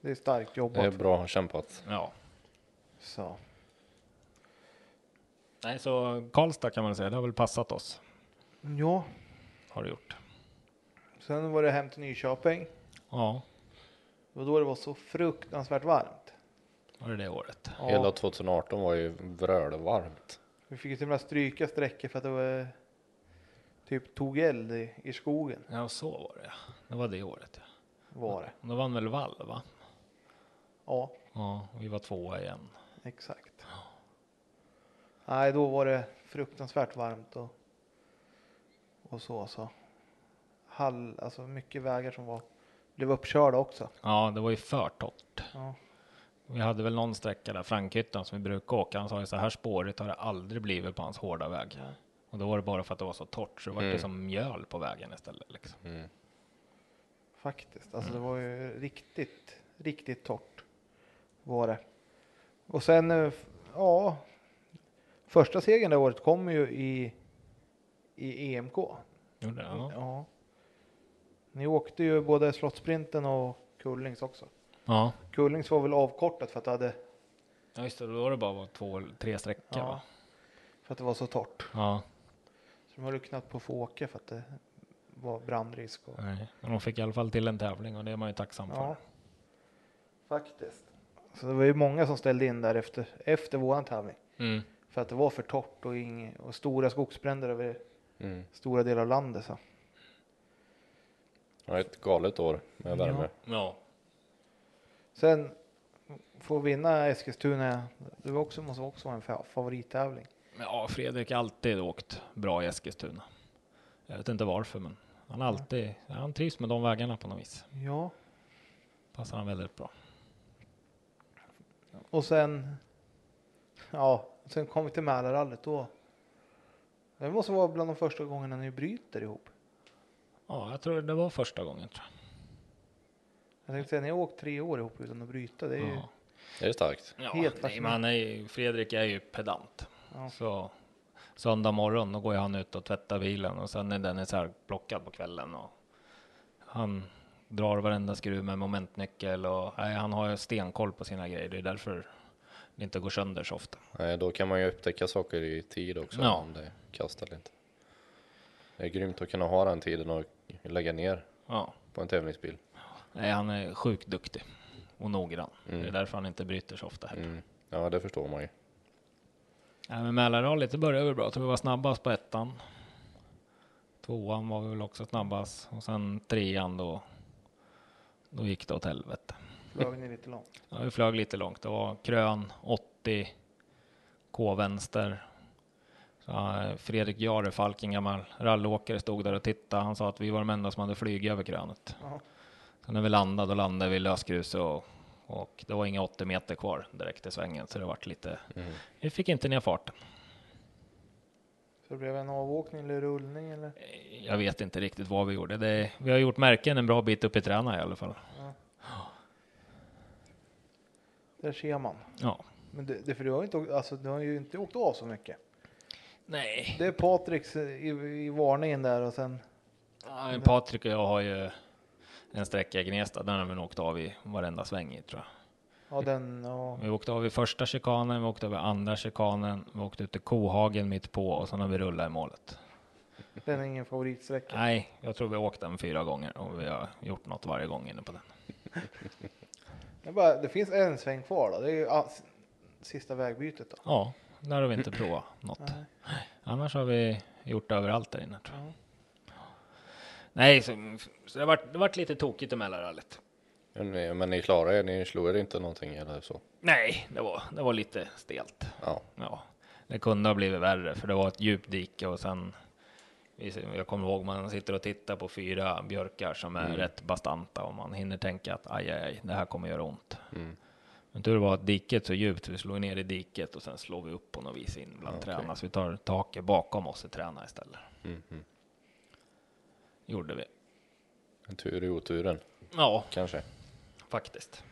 det är starkt
Det är
jobbat.
bra kämpat.
Ja.
Så.
Nej, så Karlstad kan man säga, det har väl passat oss.
Ja,
Har det gjort.
sen var det hem till Nyköping.
Ja,
Det var då det var så fruktansvärt varmt.
var det det året.
Ja,
Hela 2018 var ju vrölvarmt.
Vi fick ju till och med stryka sträckor för att det var, eh, typ tog eld i, i skogen.
Ja, så var det ja. Det var det året ja.
Var det.
Då vann väl Wall va?
Ja,
Ja, vi var tvåa igen.
exakt. Nej, då var det fruktansvärt varmt och, och så. så. Hall, alltså mycket vägar som var, blev uppkörda också.
Ja, det var ju för torrt.
Ja.
Vi hade väl någon sträcka där, Frankhyttan, som vi brukar åka. Han sa ju så här spårigt har det aldrig blivit på hans hårda väg. Och då var det bara för att det var så torrt, så det var det
Mm.
som mjöl på vägen istället. Liksom.
Faktiskt. Alltså det var ju riktigt, riktigt torrt. Var det. Och sen, eh, f- ja. Första segern det året kom ju i, i EMK.
Gjorde det? Ja.
Ja. Ni åkte ju både Slottsprinten och Kullings också.
ja.
Kullings var väl avkortat för att det, hade,
Ja, just det. Då var det bara två, tre sträckor
Ja.
va?
för att det var så torrt.
Ja.
Så de höll ju knappt på att få åka för att det var brandrisk. Och,
Nej. Men de fick i alla fall till en tävling och det är man ju tacksam
ja.
för.
Faktiskt. Så det var ju många som ställde in där efter, efter våran tävling.
Mm.
För att det var för torrt och, ing, och stora skogsbränder över
Mm.
stora delar av landet. Så.
Det var ett galet år med värme.
Ja.
Sen får vinna Eskilstuna. Det var också, måste också vara en fa- favorittävling.
Ja, Fredrik har alltid åkt bra i Eskilstuna. Jag vet inte varför, men han har alltid, ja, han trivs med de vägarna på något vis.
Ja,
Passar han väldigt bra.
och sen. Ja, sen kom vi till Mälarrallyt då. Det måste vara bland de första gångerna ni bryter ihop.
Ja, jag tror det var första gången. Tror
Jag tänkte säga, ni har åkt tre år ihop utan att bryta. Det är
jag.
ju,
Ja.
Det är starkt.
Ja,
Helt
nej,
fascinerande.
men han är ju, Fredrik är ju pedant.
Ja.
Så söndag morgon då går ju han ut och tvättar bilen och sen är den så här plockad på kvällen. Och han drar varenda skruv med momentnyckel och nej, han har ju stenkoll på sina grejer. Det är därför det inte går sönder så ofta.
Nej, Då kan man ju upptäcka saker i tid också.
Ja.
Om det kastar lite. Det är grymt att kunna ha den tiden och lägga ner
Ja.
på en tävlingsbil.
Nej, han är sjukt duktig och noggrann.
Mm.
Det är därför han inte bryter så ofta. heller.
Mm. Ja, det förstår man ju.
Nej, men Mälarrallyt, det började väl bra. Jag tror vi var snabbast på ettan. Tvåan var vi väl också snabbast och sen trean då. Då gick det åt helvete.
flög ni lite långt.
Ja, vi flög lite långt. Det var krön 80 K vänster. Så, eh, Fredrik Jarefalk, en gammal rallyåkare, stod där och tittade. Han sa att vi var de enda som hade flugit över krönet.
Ja.
Så när vi landade, då landade vi i lösgruset och, och det var inga 80 meter kvar direkt i svängen. Så det vart lite, vi fick inte ner farten.
Så det blev en avåkning eller rullning eller?
Jag vet inte riktigt vad vi gjorde. Det, vi har gjort märken en bra bit upp i träna i alla fall.
Där ser man.
Ja.
Men det, det, för du har, ju inte, åkt- alltså, du har ju inte åkt av så mycket.
Nej.
Det är Patriks i, i varningen där och sen
Ja, Patrik och jag har ju en sträcka i Gnesta. Den har vi nog åkt av i varenda sväng i tror jag.
ja, den och
Vi åkte av i första chikanen, vi åkte av i andra chikanen, vi åkte ut i kohagen mitt på och sen har vi rullat i målet.
den är ingen favoritsträcka.
Nej, jag tror vi har åkt den fyra gånger och vi har gjort något varje gång inne på den.
Det, är bara, det finns en sväng kvar då. Det är ju ah, s- sista vägbytet då.
Ja, där har vi inte provat något. Annars har vi gjort överallt där inne tror jag. Nej, så, så det vart det vart lite tokigt i Mälarrallyt.
Men ni- Men ni klarade er, ni slog er inte någonting eller så?
Nej, det var, det var lite stelt.
Ja,
Ja, det kunde ha blivit värre för det var ett djupt dike och sen. vi- Jag kommer ihåg man sitter och tittar på fyra björkar som är rätt bastanta och man hinner tänka att aj, aj, aj det här kommer göra ont. Men tur var att diket så djupt så vi slog ner i diket och sen slår vi upp på något vis in bland träna så vi tar taket bakom oss i träna istället. Gjorde vi.
En tur i oturen
Ja,
kanske.
faktiskt.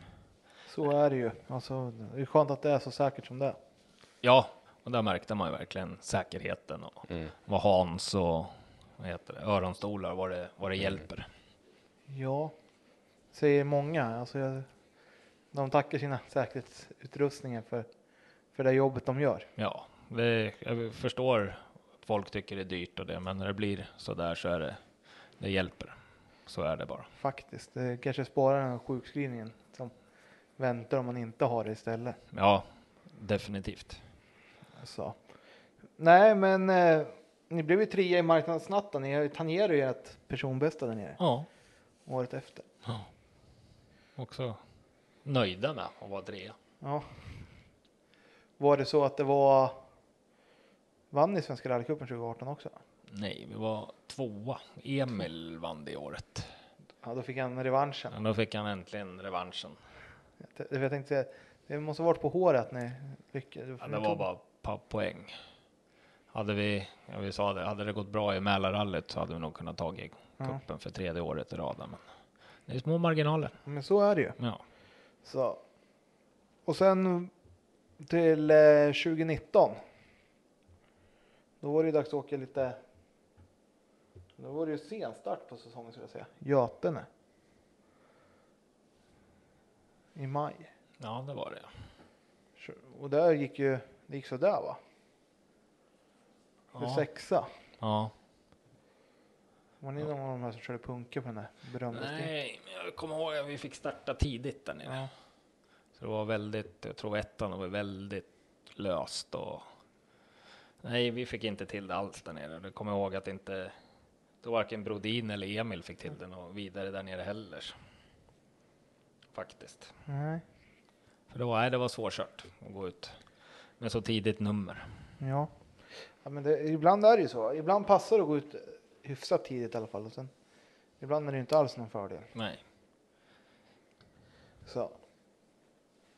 Så är det ju. Alltså, det är skönt att det är så säkert som det är.
Ja, och där märkte man ju verkligen säkerheten och vad Hans och vad heter det, öronstolar, vad det, vad det hjälper.
Ja, säger många. Alltså, jag, de tackar sina säkerhetsutrustningar för, för det jobbet de gör.
Ja, det, jag förstår att folk tycker det är dyrt och det, men när det blir så där så är det, det hjälper. Så är det bara.
Faktiskt. Det kanske sparar den här sjukskrivningen som väntar om man inte har det istället.
Ja, definitivt.
Så. Nej, men eh, ni blev ju trea i marknadsnatten. Ni har ju tangerat ju ert personbästa där nere
Ja,
året efter.
också nöjda med att vara trea.
Ja. Var det så att det var... Vann ni Svenska rallycupen 2018 också?
Nej, vi var tvåa. Emil vann det året.
Ja, då fick han revanschen.
Men då fick han äntligen revanschen.
Det- Jag tänkte säga, det måste ha varit på håret att ni lyckades.
Ja, det var bara pa- poäng. Hade vi, ja, vi sa det, hade det gått bra i Mälarrallyt så hade vi nog kunnat ta i
Ja.
cupen för tredje året i rad. där, Men det är små marginaler.
Men så är det ju.
Ja.
Så. Och sen till eh, 2019. Då var det ju dags att åka lite. Då var det ju sen start på säsongen skulle jag säga. Götene. I maj.
ja, det var det.
Och där gick ju, det gick sådär va? Du
Ja.
sexa.
ja.
Var ni någon av de här som körde punka på den där berömda stigen?
Nej, men jag kommer ihåg att vi fick starta tidigt där nere.
Ja.
Så det var väldigt, jag tror ettan var väldigt löst och nej, vi fick inte till det alls där nere. Jag kommer ihåg att inte, då varken Brodin eller Emil fick till det och vidare där nere heller. Faktiskt.
Nej.
För det var, nej, det var svårkört att gå ut med så tidigt nummer.
Ja. ja men det, ibland är det ju så. Ibland passar det att gå ut hyfsat tidigt i alla fall. Och sen, ibland är det ju inte alls någon fördel.
Nej,
Så.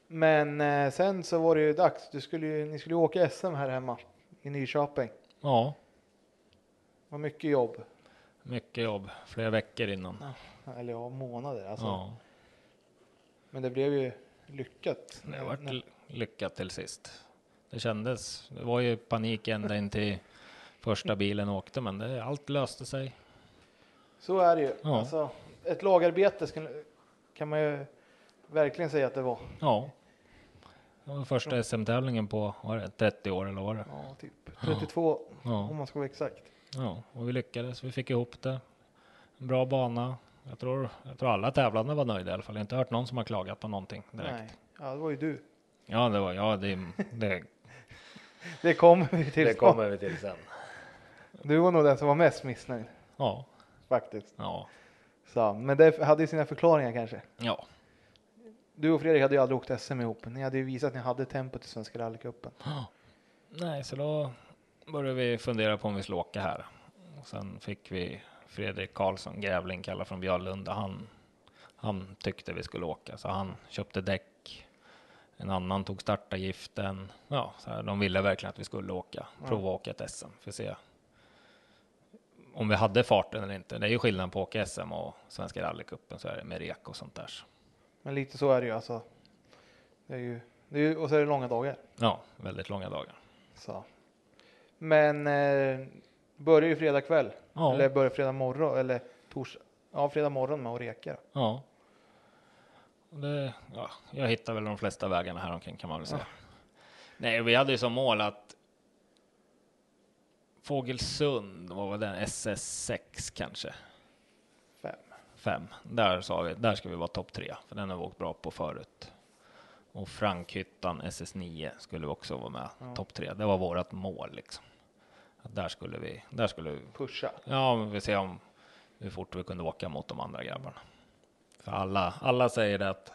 Men eh, sen så var det ju dags. Du skulle ju, ni skulle ju åka SM här hemma i Nyköping.
ja,
Det var mycket jobb.
mycket jobb, flera veckor innan.
Eller ja, månader alltså.
Ja,
Men det blev ju lyckat.
det var lyckat till sist. Det kändes, det var ju panik ända in till första bilen åkte, men det, allt löste sig.
Så är det ju.
Ja.
Alltså, ett lagarbete skulle, kan man ju verkligen säga att det var.
Ja. Det var första SM-tävlingen på vad är det, 30 år eller vad det?
Ja, typ 32 om
Ja.
man ska vara exakt.
ja, och vi lyckades. Vi fick ihop det. En bra bana. Jag tror, jag tror alla tävlande var nöjda i alla fall. Jag har inte hört någon som har klagat på någonting direkt.
Nej, ja, det var ju du.
Ja, det var, ja, det, det,
Det kommer vi till.
vi till sen.
Du var nog den som var mest missnöjd
Ja,
faktiskt.
ja,
Så, men det hade ju sina förklaringar kanske.
ja,
Du och Fredrik hade ju aldrig åkt SM ihop. Ni hade ju visat att ni hade tempot i Svenska rallycupen.
nej, så då började vi fundera på om vi skulle åka här. Och sen fick vi Fredrik Karlsson, grävling kallad från Björlunda. Han, han tyckte vi skulle åka, så han köpte däck. En annan tog startavgiften. Ja, så här, de ville verkligen att vi skulle åka, prova att åka ett SM för att se om vi hade farten eller inte. Det är ju skillnad på att åka SM och Svenska rallycupen så är det med rek och sånt där.
Men lite så är det ju alltså. Det är ju, det är ju, och så är det långa dagar.
Ja, väldigt långa dagar.
Så. Men eh, börjar ju fredag kväll.
Ja.
Eller börjar fredag morgon. Eller tors, ja, fredag morgon med att reka. då.
Ja. Och Det, ja. Jag hittar väl de flesta vägarna här omkring kan man väl säga. Nej, vi hade ju som mål att Fågelsund, vad var den? SS6 kanske?
Fem.
Fem. Där sa vi, där ska vi vara topp tre, för den har vi åkt bra på förut. Och Frankhyttan SS9 skulle vi också vara med, topp tre. Det var vårat mål liksom. Att där skulle vi, där skulle vi
Pusha.
Ja, men vi ser om hur fort vi kunde åka mot de andra grabbarna. För alla, alla säger det att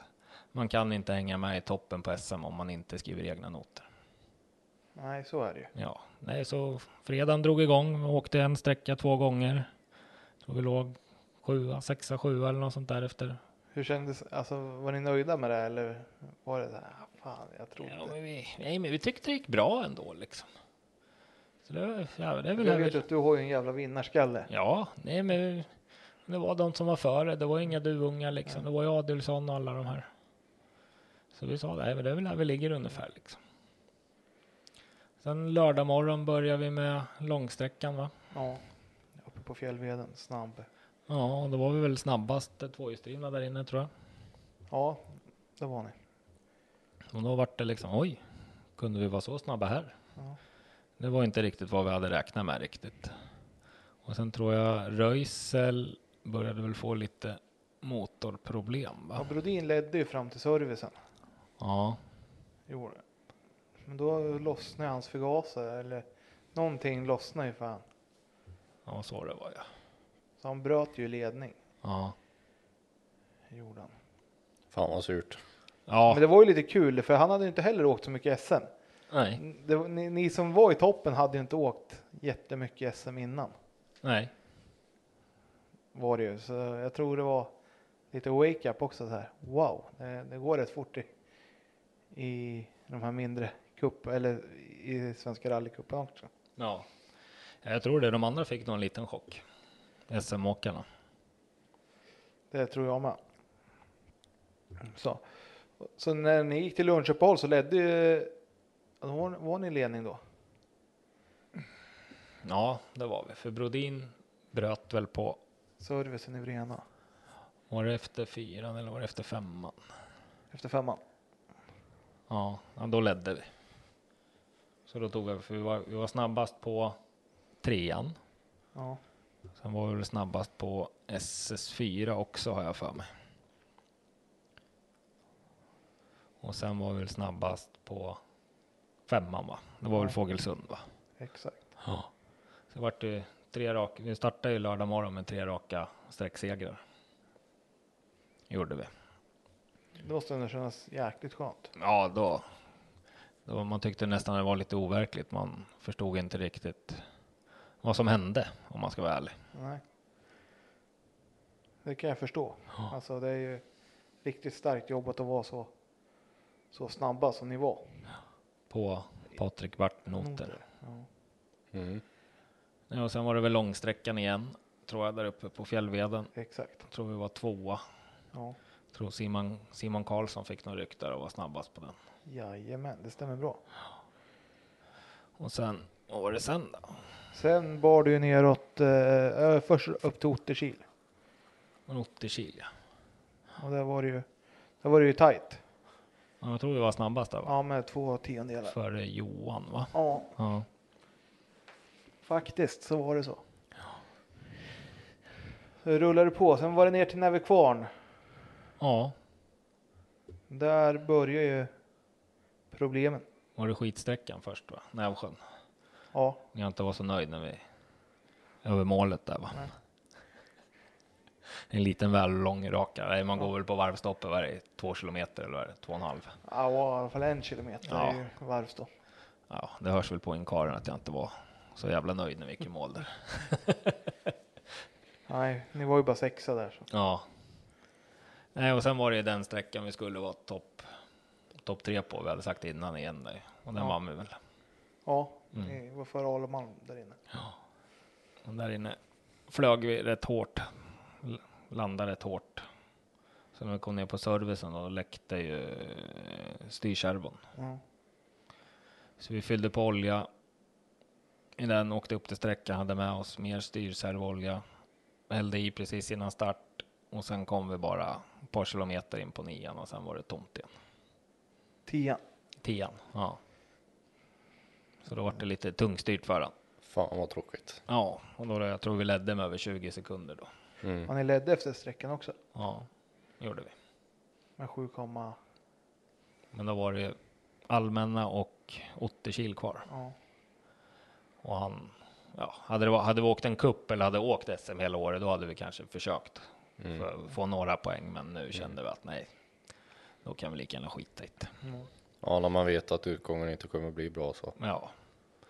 man kan inte hänga med i toppen på SM om man inte skriver egna noter.
Nej, så är det ju.
Ja, nej, så fredagen drog igång. Vi åkte en sträcka två gånger. Jag tror vi låg sjua, sexa, sjua eller något sånt där efter.
Hur kändes, alltså var ni nöjda med det eller var det så här, "Ah, fan jag trodde.
Ja, men vi, nej, men vi tyckte det gick bra ändå liksom. Så det, var- ja, det är väl
jag
det vi-
vet ju att du har ju en jävla vinnarskalle.
Ja, nej men Det var de som var före, det var inga duvungar liksom. Det var ju Adelsson och alla de här. Så vi sa, nej men det är väl där vi ligger ungefär liksom. Sen lördag morgon börjar vi med långsträckan va?
Ja, uppe på fjällveden, snabb.
Ja, och då var vi väl snabbast eh, tvåhjulsdrivna där inne tror jag.
Ja, det var ni.
Och då vart det liksom, oj, kunde vi vara så snabba här?
Ja.
Det var inte riktigt vad vi hade räknat med riktigt. Och sen tror jag Röisel började väl få lite motorproblem
Ja,
va?
Brodin ledde ju fram till servicen.
Ja,
Gjorde. det. Men då lossnade hans förgasare eller någonting lossnade ju för han.
ja så det var ja.
Så han bröt ju ledning.
Ja,
Gjorde han.
Fan vad surt.
ja
Men det var ju lite kul för han hade ju inte heller åkt så mycket SM.
nej,
Det, var- ni, ni som var i toppen hade ju inte åkt jättemycket SM innan.
nej.
Var det ju. Så jag tror det var lite wake-up också. Så här. Wow, det, det går rätt fort i, i de här mindre cup eller i Svenska rallycupen också.
Ja, jag tror det. De andra fick nog en liten chock. SM-åkarna.
Det tror jag med. Så, så när ni gick till lunchuppehåll så ledde ju... ja, Var, var ni i ledning då?
Ja, det var vi. För Brodin bröt väl på,
Servicen i Vrena
var det efter fyran eller var det efter femman?
efter femman.
Ja, ja då ledde vi. Så då tog vi, för vi var, vi var snabbast på trean.
Ja,
Sen var vi väl snabbast på SS4 också har jag för mig. Och sen var vi väl snabbast på femman va? Det var väl
Ja.
Fågelsund va?
exakt.
Ja. Så vart det tre raka, vi startade ju lördag morgon med tre raka sträcksegrar. Gjorde vi.
Det måste ändå kännas jäkligt skönt.
Ja, då. då. Man tyckte nästan det var lite overkligt. Man förstod inte riktigt vad som hände om man ska vara ärlig.
Nej. Det kan jag förstå. Alltså det är ju riktigt starkt jobbat att vara så, så snabba som ni var.
På Patrik Bart-noter.
Noter, Ja.
Mm.
Ja, och sen var det väl långsträckan igen, tror jag, där uppe på Fjällveden.
Exakt.
Tror vi var tvåa.
Ja.
Tror Simon, Simon Karlsson fick någon ryck där och var snabbast på den.
Jajamän, det stämmer bra.
Och sen, vad var det sen då?
Sen bar du ju neråt, eh, först upp till Otterkil.
Var det 80 kil, ja.
Och där var det ju, där var det ju tajt.
Ja, Jag tror vi var snabbast där, va?
Ja, med två tiondelar.
Före Johan, va?
Ja,
Ja.
faktiskt så var det så. Så rullade det på. Sen var det ner till Nävekvarn.
ja.
Där börjar ju problemen.
Var det skitsträckan först, va? Nävsjön.
Ja,
när jag inte var så nöjd när vi över målet där va.
Nej.
En liten väl lång raka. Nej, man går väl på varvstoppet varje två kilometer eller vad är det? två och en halv.
ja i alla fall en kilometer
Ja.
är ju varvstopp.
Ja, det hörs väl på inkaren att jag inte var så jävla nöjd när vi gick i mål där.
Nej, ni var ju bara sexa där. Så.
Ja. Nej, och sen var det ju den sträckan vi skulle vara topp topp tre på. Vi hade sagt innan igen där. och den
Ja.
vann vi väl.
Ja,
Mm.
ni var före Alemalm där inne.
Och där inne flög vi rätt hårt. L- Landade rätt hårt. Så när vi kom ner på servicen då läckte ju eh, styrkärvon.
Ja.
Så vi fyllde på olja. I den åkte upp till sträckan, hade med oss mer styrservolja. Hällde i precis innan start och sen kom vi bara ett par kilometer in på nian och sen var det tomt igen.
Tian.
Tian, ja. Så då var det lite tungstyrt för han.
Fan vad tråkigt.
Ja, och då jag tror vi ledde med över 20 sekunder då.
Mm.
Och ni ledde efter sträckan också
Ja, gjorde vi.
med 7,
Men då var det ju allmänna och 80 kil kvar.
ja.
Och han, ja, hade, det, va- hade vi åkt en kupp eller hade åkt SM hela året, då hade vi kanske försökt för, få några poäng. Men nu kände vi att nej, då kan vi lika gärna skita i det.
Ja, när man vet att utgången inte kommer bli bra så.
Men Ja,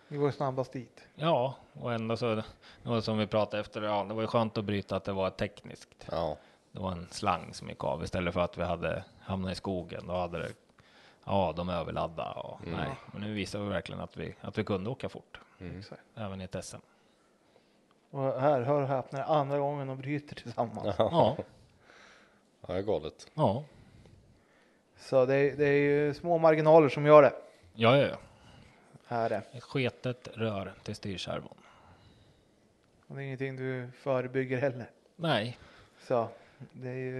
Ni var ju snabbast dit.
ja, och ändå så, det var som vi pratade efter, ja, det var ju skönt att bryta att det var tekniskt.
Ja,
Det var en slang som gick av istället för att vi hade hamnat i skogen. Då hade det, ja, de överladda och nej, Mm. men nu visar vi verkligen att vi, att vi kunde åka fort,
Exakt.
även i ett SM.
Och här, hör och häpna, det är andra gången de bryter tillsammans.
Ja,
Ja, det är galet.
ja,
Så det, är- det är ju små marginaler som gör det.
ja, ja. ja.
Är det.
Ett sketet rör till styrservon.
Och det är ingenting du förebygger heller.
Nej,
Så det är ju,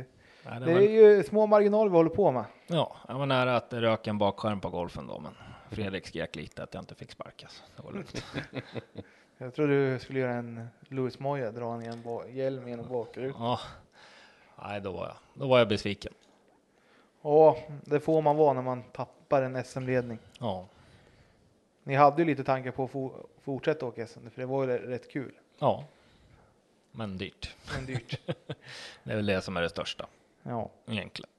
Nej,
det
det
är
var,
ju små marginaler vi håller på med.
ja, jag var nära att det rök en bakskärm på golfen då, men Fredrik skrek lite att jag inte fick sparkas. Det var lugnt.
Jag tror du skulle göra en Louis Moya, dra en genom ba- hjälm genom bakrutan.
Ja, nej, då var jag, då var jag besviken.
Ja, det får man vara när man tappar en SM-ledning.
Ja,
Ni hade ju lite tankar på att fo- fortsätta åka SM, för det var ju re- rätt kul,
ja, men dyrt.
men dyrt.
Det är väl det som är det största
Ja.
egentligen.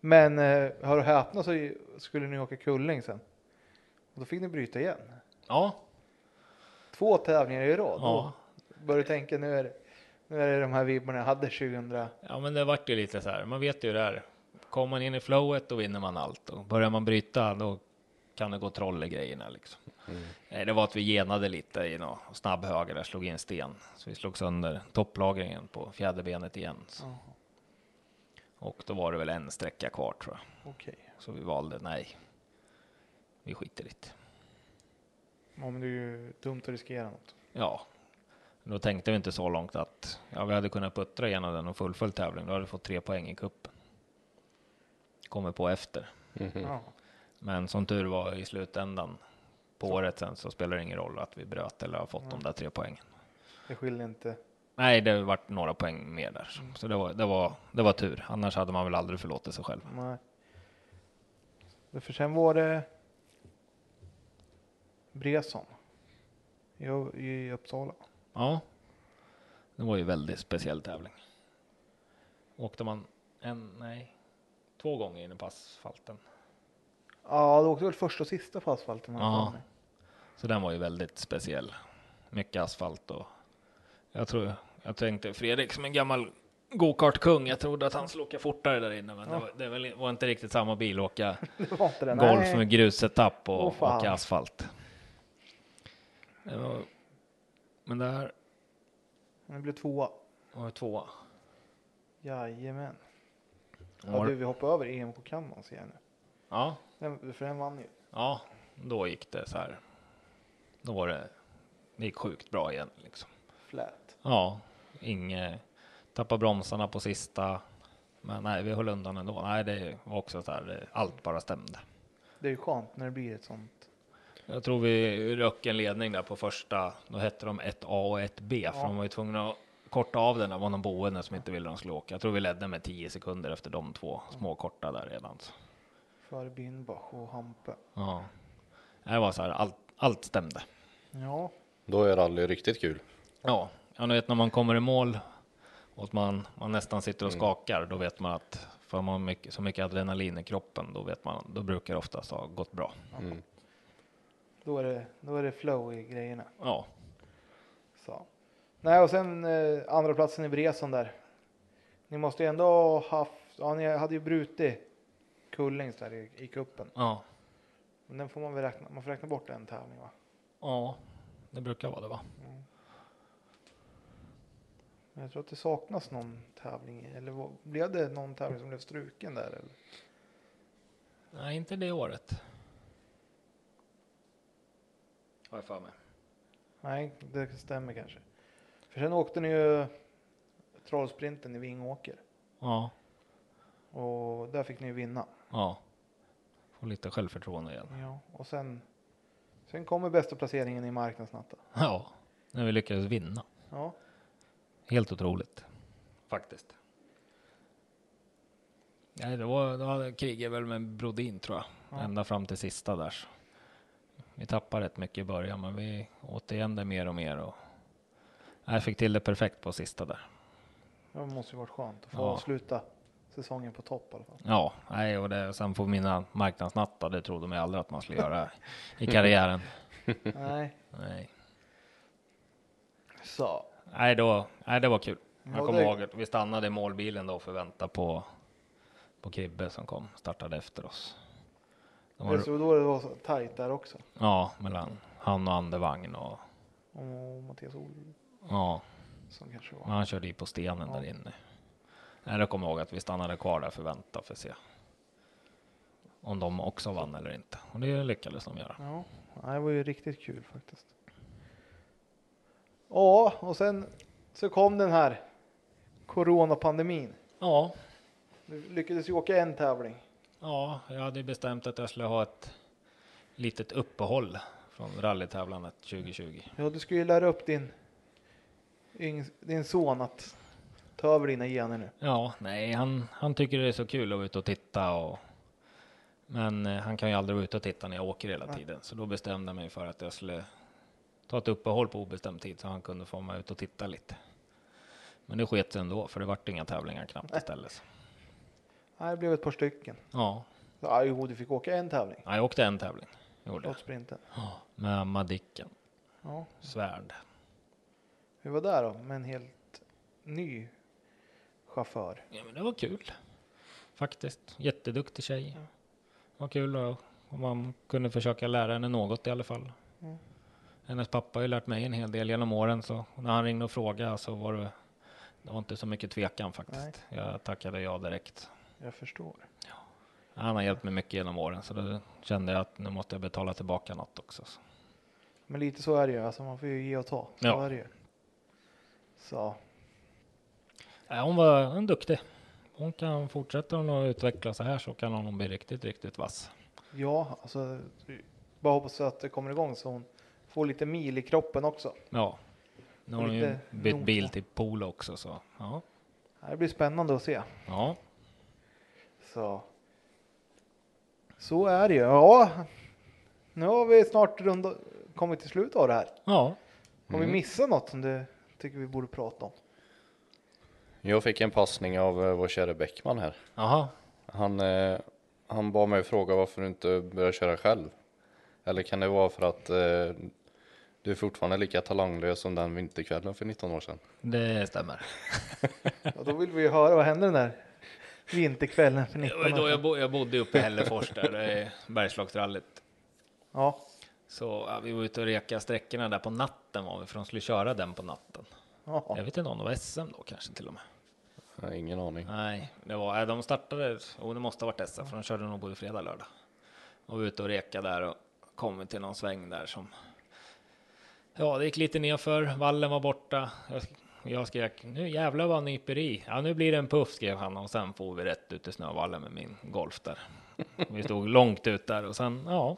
Men eh, hör och häpna så ju- skulle ni åka Kulling sen. Och då fick ni bryta igen.
Ja,
Två tävlingar i rad.
Ja.
Då började du tänka nu är, det, nu är det de här vibbarna jag hade 2000.
Ja, men det vart ju lite så här. Man vet ju det här. Kommer man in i flowet då vinner man allt och börjar man bryta då kan det gå troll i grejerna liksom. Nej, det var att vi genade lite i någon snabb höger där, slog in sten. Så vi slog sönder topplagringen på fjäderbenet igen. Så.
Jaha.
Och då var det väl en sträcka kvar tror jag.
Okej.
Så vi valde nej. Vi skiter i det.
Ja, men det är ju dumt att riskera något.
Ja, då tänkte vi inte så långt att ja, vi hade kunnat puttra igenom den och fullföljt tävlingen. Då hade vi fått tre poäng i kuppen. Kommer på efter.
Ja.
Men som tur var i slutändan på året sen så spelar det ingen roll att vi bröt eller har fått de där tre poängen.
Det skiljer inte.
Nej, det har varit några poäng mer där, så- så det var, det, var, det var tur. Annars hade man väl aldrig förlåtit sig själv.
Nej. Det- För sen var det Bresson i, i Uppsala.
Ja, det var ju väldigt speciell tävling. Åkte man en, nej, två gånger inne på asfalten.
Ja, du åkte väl första och sista på asfalten? har jag
Ja.
för mig.
Så den var ju väldigt speciell. Mycket asfalt och jag tror jag tänkte Fredrik som en gammal gokartkung. Jag trodde att han skulle åka fortare där inne, men det, var, det var, var inte riktigt samma bil att åka
Det var inte det.
golf
nej.
med grusetapp och
Åh, fan.
åka asfalt. Det var, men där
Det blev tvåa.
var det tvåa.
Jajamän. Ja,
Var-
du, vi hoppar över EM på Kanans igen nu.
Ja,
Den, för den vann ju.
ja, då gick det så här. Då var det. Det gick sjukt bra igen liksom.
Flät.
Ja, inget. Tappa bromsarna på sista. Men nej, vi höll undan ändå. Nej, det var också så här. det- Allt bara stämde.
Det är ju skönt när det blir ett sånt.
Jag tror vi röck en ledning där på första. Då hette de 1A och 1B, för
Ja.
de var ju tvungna att korta av den. Det var någon boende som inte ville de skulle åka. Jag tror vi ledde med 10 sekunder efter de två små korta där redan. Så.
För Birnbach och Hampe.
Ja, det var så här. Allt, allt stämde.
Ja,
Då är rally riktigt kul.
Ja, ja ni vet när man kommer i mål och att man, man nästan sitter och skakar, då vet man att för man har mycket, så mycket adrenalin i kroppen, då vet man, då brukar det oftast ha gått bra.
Mm.
då är det, då är det flow i grejerna.
Ja,
Så. Nej, och sen eh, andra platsen i Bresson där. Ni måste ju ändå ha haft, ja ni hade ju brutit Kullings där i, i kuppen.
ja,
Men den får man väl räkna, man får räkna bort en tävling va?
ja, det brukar vara det va?
Men jag tror att det saknas någon tävling, eller vad, blev det någon tävling som blev struken där? Eller?
Nej, inte det året. Har jag för mig.
Nej, det stämmer kanske. För sen åkte ni ju trollsprinten i Vingåker
Ja,
och där fick ni ju vinna.
ja. Får lite självförtroende igen.
Ja, och sen, sen kommer bästa placeringen i marknadsnatten.
Ja, när vi lyckades vinna.
Ja,
Helt otroligt. Faktiskt. Nej, det var, då hade kriget väl med Brodin tror jag.
Ja.
Ända fram till sista där. Så. Vi tappade rätt mycket i början, men vi åt igen det mer och mer. Och... Jag fick till det perfekt på sista där.
det måste ju varit skönt att få
Ja.
avsluta säsongen på topp i alla fall.
Ja, nej, och det, sen på mina marknadsnattar, det trodde man ju aldrig att man skulle göra i karriären.
Nej,
Nej,
så.
nej, då, nej det var kul.
Ja,
Jag kommer
det-
ihåg att vi stannade i målbilen då för att vänta på, på Kribbe som kom, startade efter oss. De
Det var
var-
då det var så tajt där också.
Ja, mellan han och Andevagn och,
Ja. och Mattias Olsson
Ja,
kanske var.
men han körde ju på stenen där inne. Nej, Jag kommer ihåg att vi stannade kvar där för att vänta för att se om de också vann eller inte. Och det lyckades de göra.
Ja, det var ju riktigt kul faktiskt. Ja, och sen så kom den här coronapandemin.
Ja,
Du lyckades ju åka en tävling.
ja, jag hade ju bestämt att jag skulle ha ett litet uppehåll från rallytävlandet 2020.
Ja, du skulle ju lära upp din, yng- din son att ta över dina gener nu.
Ja, nej, han, han tycker det är så kul att vara ute och titta och men eh, han kan ju aldrig vara ute och titta när jag åker hela tiden, så då bestämde jag mig för att jag skulle ta ett uppehåll på obestämd tid så han kunde få mig ut och titta lite. Men det sket sig ändå, för det vart inga tävlingar knappt istället. så.
Nej, det blev ett par stycken.
Ja,
Ja, jo, du fick åka en tävling.
jag åkte en tävling, gjorde jag.
Trots sprinten.
Ja, med Madicken,
Ja,
Svärd.
vi var där då med en helt ny chaufför.
Ja, men det var kul faktiskt. Jätteduktig tjej. Var kul och, och man kunde försöka lära henne något i alla fall.
Mm.
Hennes pappa har ju lärt mig en hel del genom åren så när han ringde och frågade så var det, det var inte så mycket tvekan faktiskt. Jag tackade ja direkt.
Jag förstår.
Han har hjälpt mig mycket genom åren så då kände jag att nu måste jag betala tillbaka något också. Så.
Men lite så är det ju. Alltså, man får ju ge och ta. Så
Ja.
är det ju. Så.
Nej, hon var hon är duktig. Hon kan fortsätta att utveckla så här så kan hon bli riktigt, riktigt vass.
Ja, alltså bara hoppas att det kommer igång så hon får lite mil i kroppen också.
Ja, nu har hon ju
Lite
bytt bil
nota.
till Polo också så ja.
Det blir spännande att se.
Ja,
Så. Så är det ju. Ja, nu har vi snart runda, kommit till slut av det här.
ja,
Har vi missat något som du tycker vi borde prata om?
Jag fick en passning av eh, vår kära Bäckman här.
jaha,
Han, eh, han bad mig fråga varför du inte börjar köra själv. Eller kan det vara för att eh, du är fortfarande lika talanglös som den vinterkvällen för 19 år sedan?
det stämmer.
Ja, då vill vi ju höra vad hände den där vinterkvällen för 19
Det var ju
år
då jag,
sedan.
bo, jag bodde uppe i Hällefors där, det är Bergslagsrallyt.
Ja,
Så ja, vi var ute och reka sträckorna där på natten var vi, för de skulle köra den på natten.
ja.
Jag vet inte om det var SM då kanske till och med.
Jag har ingen aning.
Nej, det var, nej, de startade, oh, det måste ha varit SM, för de körde nog både fredag och lördag. Och vi var ute och reka där och kom till någon sväng där som, ja det gick lite nerför, vallen var borta. Jag, jag skrek, nu jävlar vad han nyper i. Ja nu blir det en puff skrev han och sen får vi rätt ut i snövallen med min golf där. Vi stod långt ut där och sen, ja,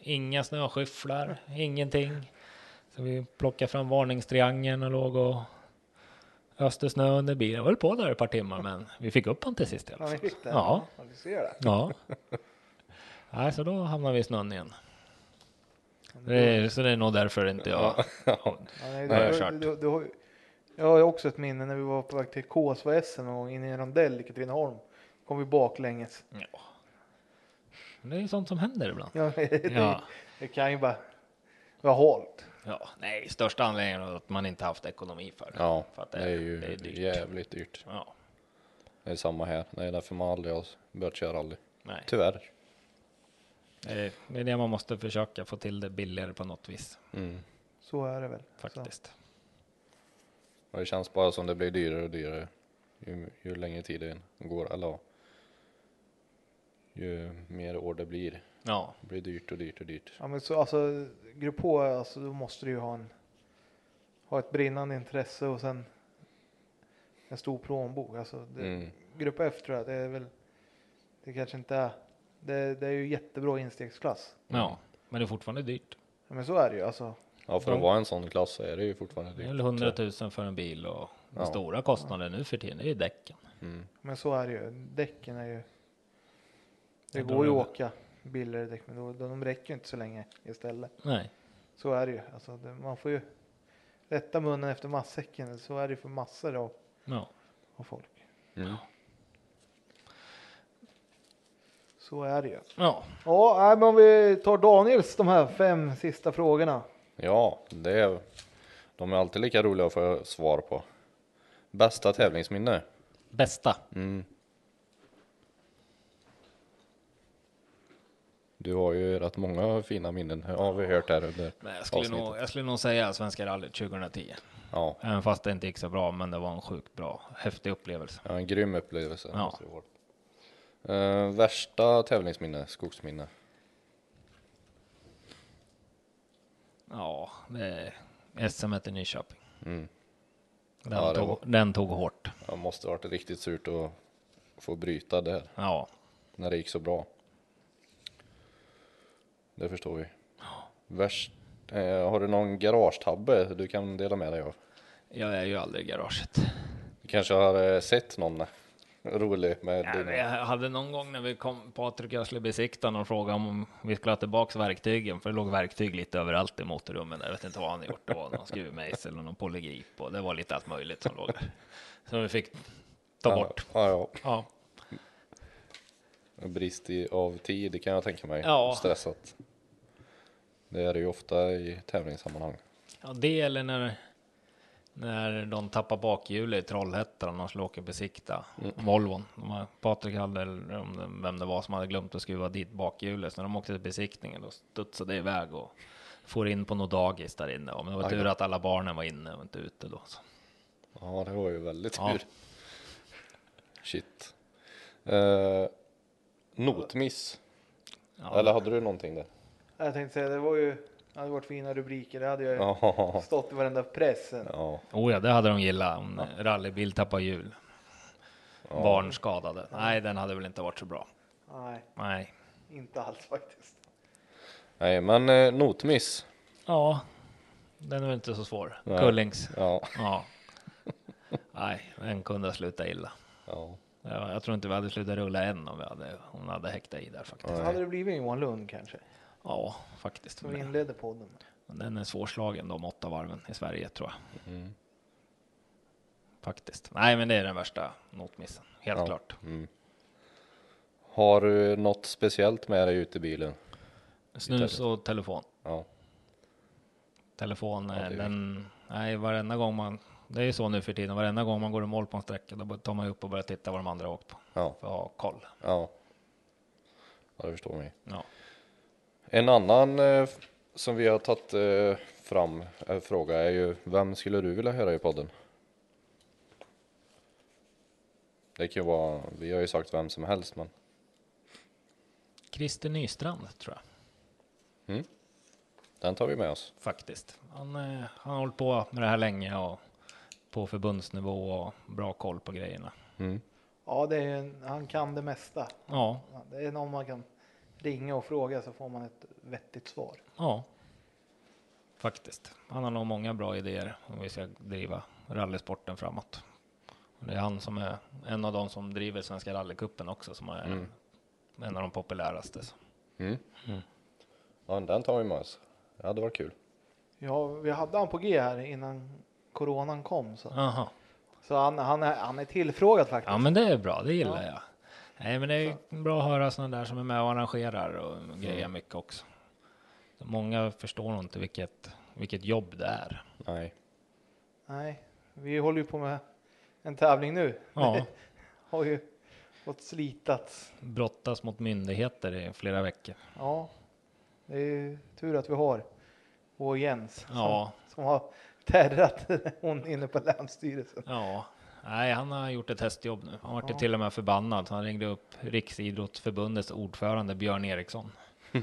inga snöskyfflar, ingenting. Så vi plockade fram varningstriangeln och log och öste snö under bilen. Jag höll på där ett par timmar men vi fick upp honom till sist i alla
ja ni
fall.
fick den.
Ja.
ja du ser det.
Ja. Nej, så då hamnar vi i snön igen. Det är, så det är nog därför inte jag...
Ja, nej,
Nej, jag
du,
har
du,
kört.
du, du, har ju- jag har ju också ett minne när vi var på väg till KSVS någon gång in i en rondell i Katrineholm. Kom vi baklänges.
Ja. Men Det är ju sånt som händer ibland.
Ja, det,
Ja.
det kan ju bara vara halt.
Ja, nej, största anledningen är att man inte haft ekonomi för det.
Ja,
för att
det är ju
det är dyrt.
jävligt dyrt.
Ja,
Det är samma här. Det är därför man aldrig har börjat köra rally.
nej.
Tyvärr.
Det är- Eh, Det är det man måste försöka få till det billigare på något vis
Mm.
Så är det väl. Så.
faktiskt.
Och det känns bara som det blir dyrare och dyrare ju, ju längre tiden går. Eller ja, ju mer år det blir.
Ja,
Det blir dyrt och dyrt och dyrt.
Ja, men så alltså grupp H, alltså då måste du ju ha en. Ha ett brinnande intresse och sen. En stor plånbok. Alltså det,
Mm.
Grupp F tror jag det är väl. Det kanske inte är. Det, det är ju jättebra instegsklass.
Mm.
ja, men det är fortfarande dyrt.
Ja, men så är det ju alltså.
Ja, för att vara en sån klass så är det ju fortfarande
Det är väl
dyrt.
100 000 för en bil och den
Ja.
stora kostnaden nu för tiden det är ju däcken.
Mm.
Men så är det ju. Däcken är ju. Det
Ja, då
går ju
är
att
det-
åka billigare däck, men då, de räcker ju inte så länge istället.
Nej,
Så är det ju. Alltså, det, man får ju rätta munnen efter matsäcken. Så är det ju för massor av,
ja.
av folk.
Mm.
Så är det ju.
ja.
Ja, nej, men om vi tar Daniels de här fem sista frågorna.
Ja, det är, de är alltid lika roliga att få svar på. Bästa tävlingsminne?
Bästa.
Mm. Du har ju rätt många fina minnen, har vi hört här under
Men jag skulle, nog, jag skulle nog säga Svenska rallyt 2010.
Ja,
Även fast det inte gick så bra, men det var en sjukt bra, häftig upplevelse.
ja, en grym upplevelse.
Ja.
måste det vara. Eh, värsta tävlingsminne, skogsminne?
Ja, det är SM i Nyköping.
Mm.
Den,
Ja, det
tog,
var-
den tog hårt.
Det måste ha varit riktigt surt att få bryta där,
Ja,
när det gick så bra. Det förstår vi. Värst, eh, har du någon garagetabbe du kan dela med dig av?
jag är ju aldrig i garaget.
Du kanske har eh, sett någon rolig med
Ja,
dina-
men jag hade någon gång när vi kom, Patrik och jag skulle besikta någon fråga om vi skulle ha tillbaks verktygen, för det låg verktyg lite överallt i motorrummen. där. Jag vet inte vad han hade gjort. Det var någon skruvmejsel och någon polygrip och det var lite allt möjligt som låg där. Som vi fick ta bort.
Ja, ja,
Ja,
ja. Brist i, av tid, det kan jag tänka mig.
Ja.
Stressat. Det är det ju ofta i tävlingssammanhang.
ja det eller när, när de tappar bakhjulet i Trollhättan och skulle åka och besikta Volvon. De här, Patrik hade, eller om det- vem det var som hade glömt att skruva dit bakhjulet, så när de åkte till besiktningen då studsade det iväg och for in på något dagis där inne. Ja, Men det var
Aj då.
tur att alla barnen var inne och inte ute då. Så.
Ja, det var ju väldigt tur.
Ja.
Shit. Eh, notmiss.
Ja.
Eller hade du någonting där?
Jag tänkte säga, det var ju, det hade varit fina rubriker. Det hade ju
Ja.
stått i varenda pressen.
ja.
Oh ja, det hade de gillat om ja. rallybil tappar hjul. Barn skadade. Nej, den hade väl inte varit så bra.
Nej,
Nej.
inte alls faktiskt.
Nej, men eh, notmiss.
Ja, den är väl inte så svår.
Nej.
Kullings.
Ja.
Ja. Nej, den kunde ha slutat illa.
ja.
Ja, Jag tror inte vi hade slutat rulla än om vi hade, hon hade häktat i där faktiskt.
Hade det blivit Johan Lund kanske?
Ja, faktiskt.
Som vi inledde podden med.
Den är svårslagen de åtta varven i Sverige tror jag.
Mm.
Faktiskt. Nej, men det är den värsta notmissen. Helt
Ja.
klart.
Mm. Har du något speciellt med dig ute i bilen?
Snus och telefon.
Ja.
Telefon,
det
eh,
är
den, nej, varenda gång man, det är ju så nu för tiden, varenda gång man går i mål på en sträcka, då tar man ju upp och börjar titta vad de andra har åkt på.
Ja.
För att ha koll.
Ja. Ja, det förstår mig.
Ja.
En annan eh, f- som vi har tagit eh, fram eh, fråga är ju vem skulle du vilja höra i podden? Det kan ju vara, vi har ju sagt vem som helst men
Christer Nystrand tror jag.
den tar vi med oss.
faktiskt. Han, eh, han har hållit på med det här länge och på förbundsnivå och bra koll på grejerna.
Ja, det är, en- han kan det mesta.
Ja,
Ja, Det är någon man kan ringa och fråga så får man ett vettigt svar.
ja, faktiskt. Han har nog många bra idéer om vi ska driva rallysporten framåt. Och Det är han som är en av de som driver Svenska rallycupen också, som är en av de populäraste. så.
Ja, den tar vi med oss. Det hade varit kul.
Ja, vi hade han på G här innan coronan kom. Så,
Aha.
så han, han, är, han är tillfrågad faktiskt.
Ja, men det är bra, det gillar jag. Nej, men det är bra att höra sådana där som är med och arrangerar och grejer mycket också. Många förstår nog inte vilket, vilket jobb det är.
Nej.
Nej, vi håller ju på med en tävling nu.
Ja,
Har ju fått slitats.
brottas mot myndigheter i flera veckor.
Ja, det är ju tur att vi har vår Jens som,
Ja.
som har terrat hon inne på Länsstyrelsen.
Ja, nej, han har gjort ett hästjobb nu. Han vart ju
Ja.
till och med förbannad. så Han ringde upp Riksidrottsförbundets ordförande Björn Eriksson.
Ja.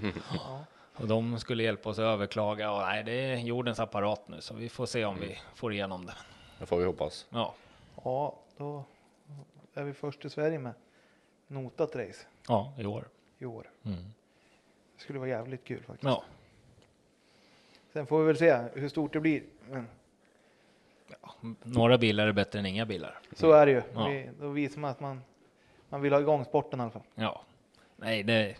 Och de skulle hjälpa oss att överklaga och nej, det är jordens apparat nu, så vi får se om vi får igenom det.
Det får vi hoppas.
Mm. Ja,
ja, då är vi först i Sverige med notat race
ja, i år.
i år.
Mm.
Det skulle vara jävligt kul faktiskt.
Ja.
Sen får vi väl se hur stort det blir. Men
Några bilar är bättre än inga bilar.
så är det ju.
Mm. Ja.
Vi, då visar man att man, man vill ha igång sporten i alla fall.
Ja, nej, det.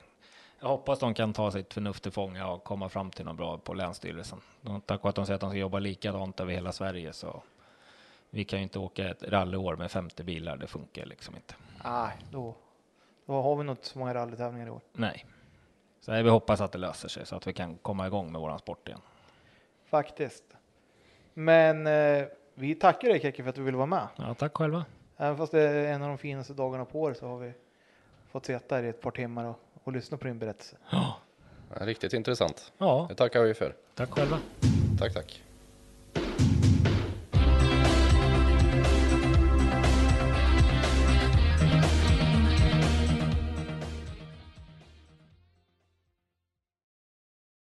Jag hoppas de kan ta sitt förnuft till fånga och komma fram till något bra på länsstyrelsen. De, tack vare att de säger att de ska jobba likadant över hela Sverige så. Vi kan ju inte åka ett rallyår med 50 bilar. Det funkar liksom inte.
Nej, då, då har vi nog inte så många rallytävlingar i år.
Nej, så nej, vi hoppas att det löser sig så att vi kan komma igång med våran sport igen.
Faktiskt. Men eh, vi tackar dig Keke för att du ville vara med.
Ja, tack själva.
Även fast det är en av de finaste dagarna på året så har vi fått sitta här i ett par timmar och, och lyssna på din berättelse.
Ja, Riktigt intressant.
Ja,
Det tackar vi för.
tack själva.
Tack, tack.